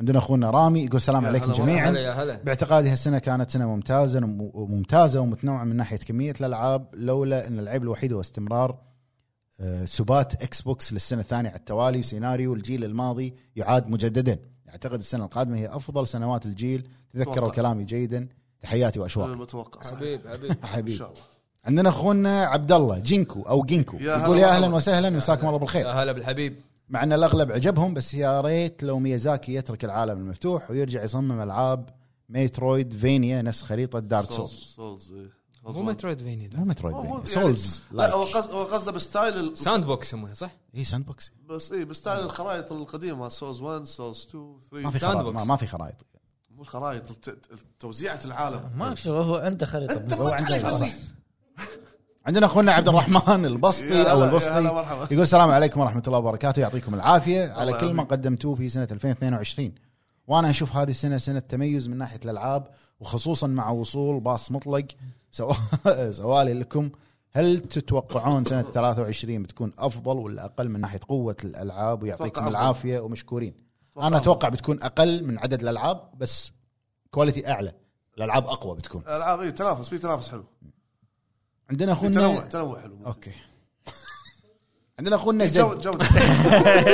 عندنا اخونا رامي يقول السلام يا عليكم هلا جميعا يا هلا باعتقادي هالسنه كانت سنه ممتازه وممتازه ومتنوعه من ناحيه كميه الالعاب لولا ان العيب الوحيد هو استمرار آه، سبات اكس بوكس للسنه الثانيه على التوالي سيناريو الجيل الماضي يعاد مجددا اعتقد السنه القادمه هي افضل سنوات الجيل تذكروا أتوقع. كلامي جيدا تحياتي واشواق إيه، متوقع صح ان حبيب حبيب حبيبي شاء الله عندنا اخونا عبد الله جينكو او جينكو يا هلا يقول يا اهلا والله. وسهلا مساكم الله بالخير يا هلا بالحبيب مع ان الاغلب عجبهم بس يا ريت لو ميازاكي يترك العالم المفتوح ويرجع يصمم العاب ميترويد فينيا نفس خريطه دارك سولز سولز إيه. مو مترويد فيني مو ده مترويد مو- مو- فينيا يعني- سولز لا هو لايك قصد- هو قصده بستايل ال- ساند بوكس يسمونها صح؟ اي ساند بوكس بس اي بستايل الخرائط القديمه سولز 1 سولز 2 ما 3 في ساند خرائط ما, بوكس. ما في خرائط مو الخرائط الت- الت- توزيعه العالم طيب. ما أشوف، هو عنده خريطه هو عنده خرائط. عندنا اخونا عبد الرحمن البسطي يا او هلا- يا هلا البسطي مرحبا يقول السلام عليكم ورحمه الله وبركاته يعطيكم العافيه على الله كل ما يعافيك. قدمتوه في سنه 2022 وانا اشوف هذه السنه سنه تميز من ناحيه الالعاب وخصوصا مع وصول باص مطلق سو- سؤالي لكم هل تتوقعون سنه 23 بتكون افضل ولا اقل من ناحيه قوه الالعاب ويعطيكم أتوقع أفضل. العافيه ومشكورين انا اتوقع بتكون اقل من عدد الالعاب بس كواليتي اعلى الالعاب اقوى بتكون إيه، العاب اي تنافس في تنافس حلو عندنا في تنوع اخونا تنوع حلو اوكي عندنا اخونا جو- زين جوده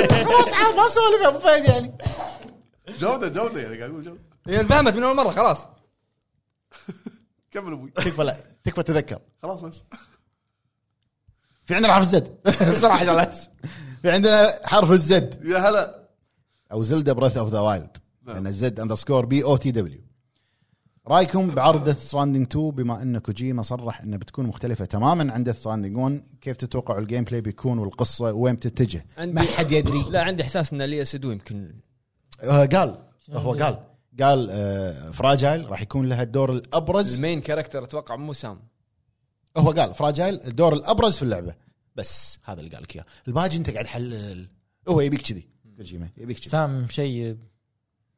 خلاص عاد ما سولف يا ابو فهد يعني جوده جوده يعني قاعد اقول جوده هي انفهمت من اول مره خلاص كمل ابوي تكفى لا تكفى تذكر خلاص بس في عندنا حرف الزد بسرعه عشان لا أنسى. في عندنا حرف الزد يا هلا او زلدا بريث اوف ذا وايلد نعم. لان الزد اندرسكور بي او تي دبليو رايكم بعرض ديث ستراندنج 2 بما ان كوجيما صرح انه بتكون مختلفه تماما عن ديث ستراندنج 1 كيف تتوقعوا الجيم بلاي بيكون والقصه وين بتتجه؟ ما حد يدري لا عندي احساس ان ليا سدو يمكن آه، قال هو قال قال آه، فراجايل راح يكون لها الدور الابرز المين كاركتر اتوقع مو سام هو قال فراجايل الدور الابرز في اللعبه بس هذا اللي قال لك اياه الباقي انت قاعد حلل هو يبيك كذي كوجيما يبيك كذي سام شيء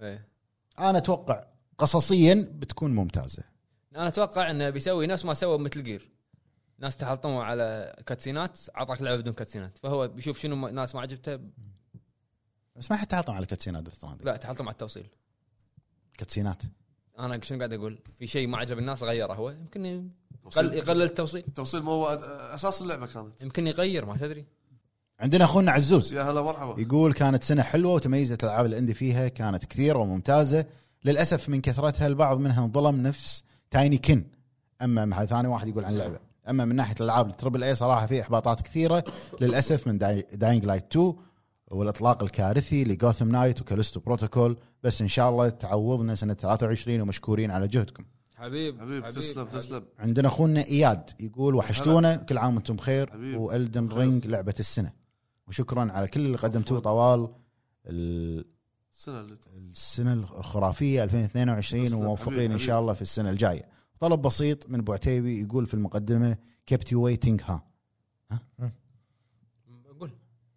إيه. انا اتوقع قصصيا بتكون ممتازه انا اتوقع انه بيسوي نفس ما سوى مثل جير ناس تحطموا على كاتسينات اعطاك لعبه بدون كاتسينات فهو بيشوف شنو ما- ناس ما عجبته بس ما حد تحطم على كاتسينات ديث ستراندنج لا تحطم على التوصيل كاتسينات انا شنو قاعد اقول في شيء ما عجب الناس غيره هو يمكن يقل- يقلل التوصيل التوصيل ما هو اساس اللعبه كانت يمكن يغير ما تدري عندنا اخونا عزوز يا هلا مرحبا يقول كانت سنه حلوه وتميزت الالعاب الاندي فيها كانت كثيره وممتازه للاسف من كثرتها البعض منها انظلم نفس تايني كن اما مع ثاني واحد يقول عن اللعبه اما من ناحيه الالعاب التربل اي صراحه في احباطات كثيره للاسف من داينج لايت 2 والاطلاق الكارثي لجوثم نايت وكالستو بروتوكول بس ان شاء الله تعوضنا سنه 23 ومشكورين على جهدكم حبيب حبيب تسلم تسلم عندنا اخونا اياد يقول وحشتونا كل عام وانتم بخير حبيب. والدن بخير. رينج لعبه السنه وشكرا على كل اللي قدمتوه طوال ال- السنه اللي السنه الخرافيه 2022 تسلم. وموفقين حبيب، ان حبيب. شاء الله في السنه الجايه طلب بسيط من ابو عتيبي يقول في المقدمه كبت يو ويتنج ها قول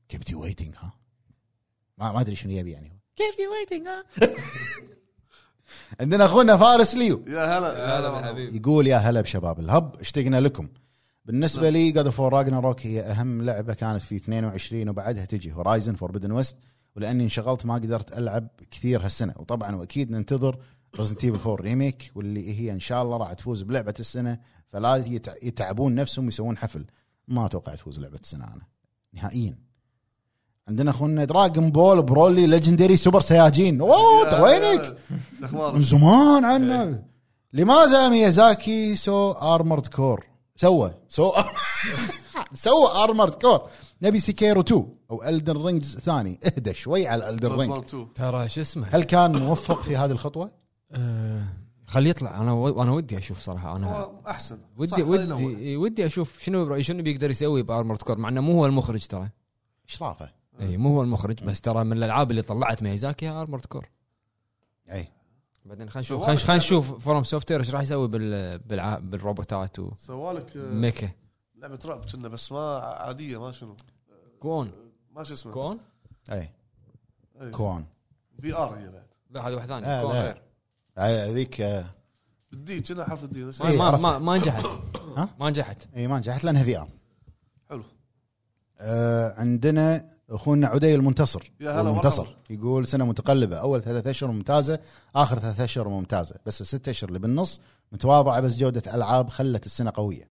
كبت يو ويتنج ها ما ما ادري شنو يبي يعني كبت يو ويتنج ها عندنا اخونا فارس ليو يا هلا يا هلا مرحبا. حبيب يقول يا هلا بشباب الهب اشتقنا لكم بالنسبه لي جاد اوف راجناروك هي اهم لعبه كانت في 22 وبعدها تجي هورايزن فوربدن ويست ولاني انشغلت ما قدرت العب كثير هالسنه وطبعا واكيد ننتظر ريزنت ايفل 4 ريميك واللي هي ان شاء الله راح تفوز بلعبه السنه فلا يتع- يتعبون نفسهم يسوون حفل ما اتوقع تفوز لعبه السنه انا نهائيا عندنا اخونا دراجون بول برولي ليجندري سوبر سياجين اوه يا- طيب وينك من الاخبار زمان عنا لماذا ميازاكي سو ارمرد كور سوى سو سوى ارمرد كور نبي سيكيرو 2 او الدن رينج ثاني اهدى شوي على الدن رينج Bloodborne 2. ترى شو اسمه هل كان موفق في هذه الخطوه؟ خليه يطلع انا و- انا ودي اشوف صراحه انا هو احسن صح، ودي خلينا ودي إي، ودي اشوف شنو شنو بيقدر يسوي بارمورد كور مع انه مو هو المخرج ترى اشرافه اي مو هو المخرج بس ترى من الالعاب اللي طلعت ميزاكي ارمورد كور اي بعدين خلينا نشوف واضح خلينا خلينا يعني- نشوف فروم سوفت وير ايش راح يسوي بال بالع- بالروبوتات سوالك آه، وميكا لعبه رعب كنا بس ما عاديه ما شنو كون ما شو اسمه كون اي أي. كون في ار هي بعد لا هذه واحده ثانيه آه، كون لا. غير آه، هذيك آه، الدي كنا حرف الدي بس ما- إيه، ما عرفت. ما ما نجحت ها؟ ما نجحت اي ما نجحت لانها في ار حلو آه، عندنا اخونا عدي المنتصر يا هلا المنتصر مرحبا. يقول سنه متقلبه اول ثلاث اشهر ممتازه اخر ثلاث اشهر ممتازه بس الست اشهر اللي بالنص متواضعه بس جوده العاب خلت السنه قويه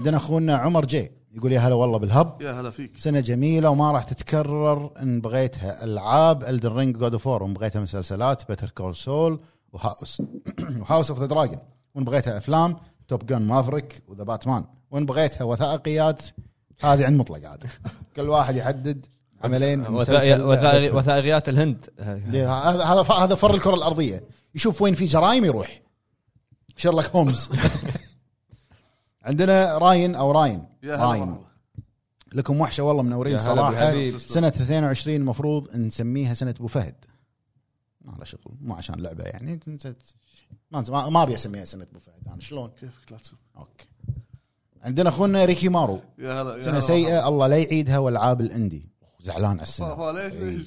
عندنا اخونا عمر جي يقول يا هلا والله بالهب يا هلا فيك سنه جميله وما راح تتكرر ان بغيتها العاب الدن رينج جود اوف وان بغيتها مسلسلات بيتر كول سول وهاوس وهاوس اوف ذا دراجون وان بغيتها افلام توب جان مافريك وذا باتمان وان بغيتها وثائقيات هذه عند مطلق عاد كل واحد يحدد عملين مسلسل- وثائقي- وثائقيات الهند هذا هذا هذا فر الكره الارضيه يشوف وين في جرائم يروح شيرلوك هومز عندنا راين او راين يا هلا راين مرحبا. لكم وحشه والله منورين يا هلا صراحه بالحبيب. سنه 22 المفروض نسميها سنه ابو فهد ما له شغل مو عشان لعبه يعني ما ما ما ابي اسميها سنه ابو فهد انا شلون كيفك لا تسب اوكي عندنا اخونا ريكي مارو يا هلا يا هلا سنه مرحبا. سيئه الله لا يعيدها والعاب الاندي زعلان على صح، السنه ما ليش ليش إيه.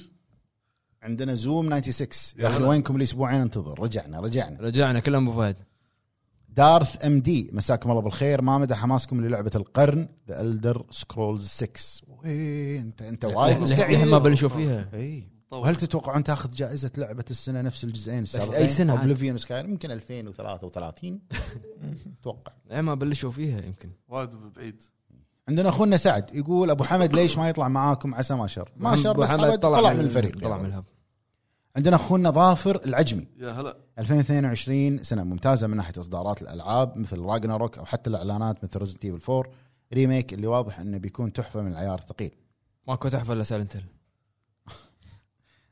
عندنا زوم 96 يا يا اخي ولد. وينكم الاسبوعين انتظر رجعنا رجعنا رجعنا كلهم ابو فهد دارث ام دي مساكم الله بالخير ما مدى حماسكم للعبه القرن ذا الدر سكرولز 6 وين انت انت وايد لحين طيب، مستعجل إيه. ما بلشوا فيها اي طول. وهل تتوقعون تاخذ جائزه لعبه السنه نفس الجزئين السابقين أي سنة عاد؟ اوبليفيون سكاي ممكن 2033 اتوقع إيه، ما بلشوا فيها يمكن وايد بعيد عندنا اخونا سعد يقول ابو حمد ليش ما يطلع معاكم عسى ما شر ما شر بس طلع, طلع من الفريق يعني. طلع من الهب عندنا اخونا ظافر العجمي يا هلا 2022 سنه ممتازه من ناحيه اصدارات الالعاب مثل راجناروك او حتى الاعلانات مثل ريزنت ايفل 4 ريميك اللي واضح انه بيكون تحفه من العيار الثقيل ماكو تحفه الا سايلنت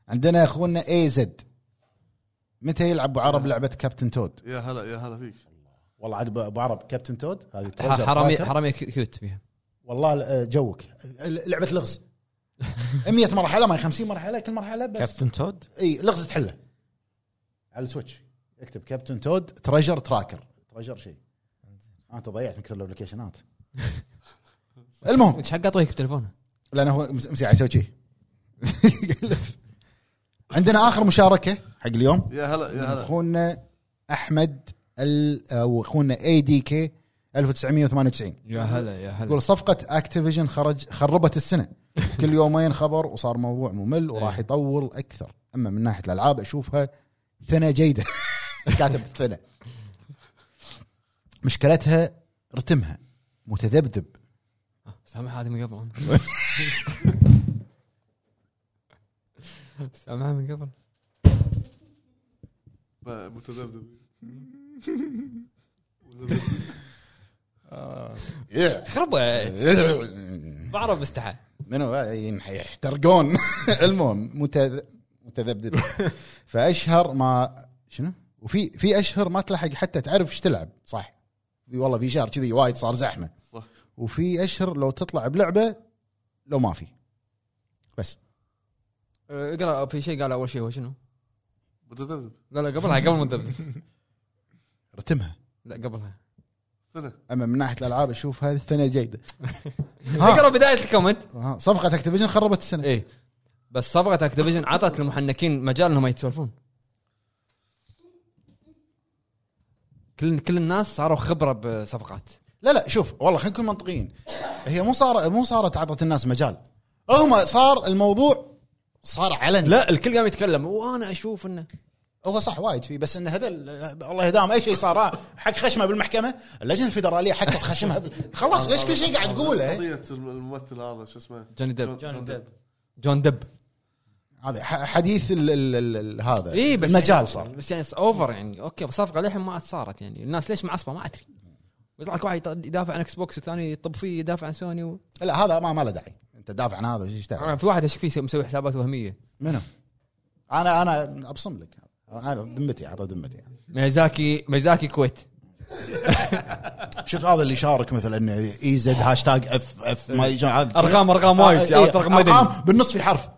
عندنا اخونا اي زد متى يلعب ابو عرب لعبه كابتن تود يا هلا يا هلا فيك والله عاد ابو عرب كابتن تود هذه ترجر حرامي تراكر. حرامي كيو- كيوت فيها والله آه، جوك لعبه لغز 100 مرحله ما هي 50 مرحله كل مرحله بس كابتن تود اي لغز تحله على السويتش اكتب كابتن تود تريجر تراكر تريجر شيء آه، انت ضيعت من كثر الابلكيشنات المهم ايش حق اعطيك بتليفونه لان هو مس- مسي قاعد يسوي شيء يقلب. عندنا اخر مشاركه حق اليوم يا هلا يا من هلا اخونا احمد ال او اخونا اي دي كي 1998 يا هلا يا هلا يقول صفقه اكتيفيجن خرج خربت السنه كل يومين خبر وصار موضوع ممل وراح يطول اكثر اما من ناحيه الالعاب اشوفها ثنا جيده كاتب ثنا مشكلتها رتمها متذبذب سامع هذا من قبل سامعها من قبل ما- متذبذب خربت بعرف مستحى منو آه، ينح- يحترقون المهم متذ- متذبذب فاشهر ما شنو؟ وفي في اشهر ما تلحق حتى تعرف ايش تلعب صح في والله في شهر كذي وايد صار زحمه صح. وفي اشهر لو تطلع بلعبه لو ما في بس أه، اقرا في شيء قال اول شيء هو شنو؟ متذبذب لا لا قبلها قبل ما تبدا رتمها لا قبلها سنة اما من ناحيه الالعاب اشوف هذه الثانيه جيده اقرا بدايه الكومنت ها، صفقه اكتيفيجن آه، خربت السنه ايه بس صفقه اكتيفيجن عطت المحنكين مجال انهم يتسولفون كل كل الناس صاروا خبره بصفقات لا لا شوف والله خلينا نكون منطقيين هي مو صار مو صارت عطت الناس مجال هم صار الموضوع صار علني لا الكل قام يتكلم وانا اشوف انه هو صح وايد فيه بس ان هذا ال- الله يدام اي شيء صار آه، حق خشمه بالمحكمه اللجنه الفيدراليه حقت خشمها بال- خلاص ليش كل شيء قاعد تقوله قضية الم- الممثل هذا شو اسمه جوني ديب. جون- جون ديب جون دب هذا ح- حديث ال ال ال ال هذا اي إيه، بس إيه، المجال صار بس يعني اوفر يعني اوكي بس صفقه للحين ما صارت يعني الناس ليش معصبه ما ادري ويطلع لك واحد يط- يدافع عن اكس بوكس والثاني يطب فيه يدافع عن سوني و... لا هذا ما ما له داعي انت دافع عن هذا ايش داعي أنا في واحد اشك فيه مسوي حسابات وهميه منو؟ انا انا ابصم لك انا ذمتي اعطى ذمتي ميزاكي ميزاكي كويت شفت هذا اللي شارك مثلا اي زد هاشتاج اف اف ما يجون هذا أرقام- أرقام وايد، آه، إيه، جاوبت رقم مدني. أرقام بالنص في حرف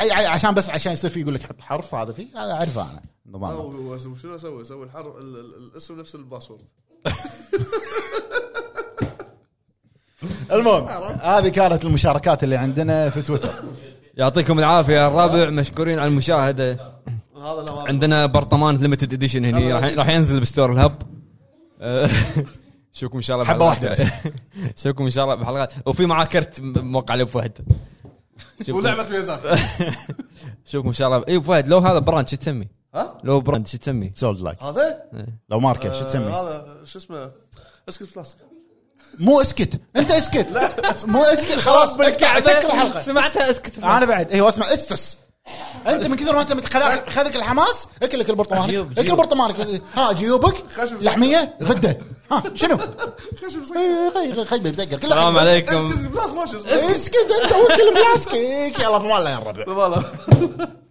اي أي- عشان بس عشان يصير في يقول لك حط حرف هذا فيه هذا اعرفه انا لا، نظام هو- هو شنو اسوي؟ اسوي الحرف ال- ال- الاسم نفس الباسورد المهم هذه كانت المشاركات اللي عندنا في تويتر يعطيكم العافيه يا الربع مشكورين على المشاهده هذا لا ما- عندنا برطمان ليمتد اديشن هني راح راح ينزل بستور الهب أه، شوفكم ان شاء الله حبة بحلقات- واحدة بس. شوفكم ان شاء الله بحلقات وفي معاه كرت م- موقع لابو فهد شوفكم- ولعبة ميزاكي شوفكم ان شاء الله اي فهد لو هذا براند شو تسمي؟ ها؟ لو براند شو تسمي؟ سولز لايك هذا؟ لو ماركه شو آه، تسمي؟ هذا شو اسمه اسكت فلاسك مو اسكت انت اسكت مو اسكت خلاص اقطع سكر الحلقه سمعتها اسكت انا بعد ايوه اسمع استس انت من كثر ما انت متخذ- خذك الحماس اكلك البرطمانك جيوب- اكل جيوب. برطمانك ها جيوبك خشب. لحميه غده ها شنو؟ إيه، خي- خي مسكر كله السلام خشب. عليكم اسكت فلاس ما شو اسمه اسكت انت وكل بلاسكيك يلا في الله يا الربع والله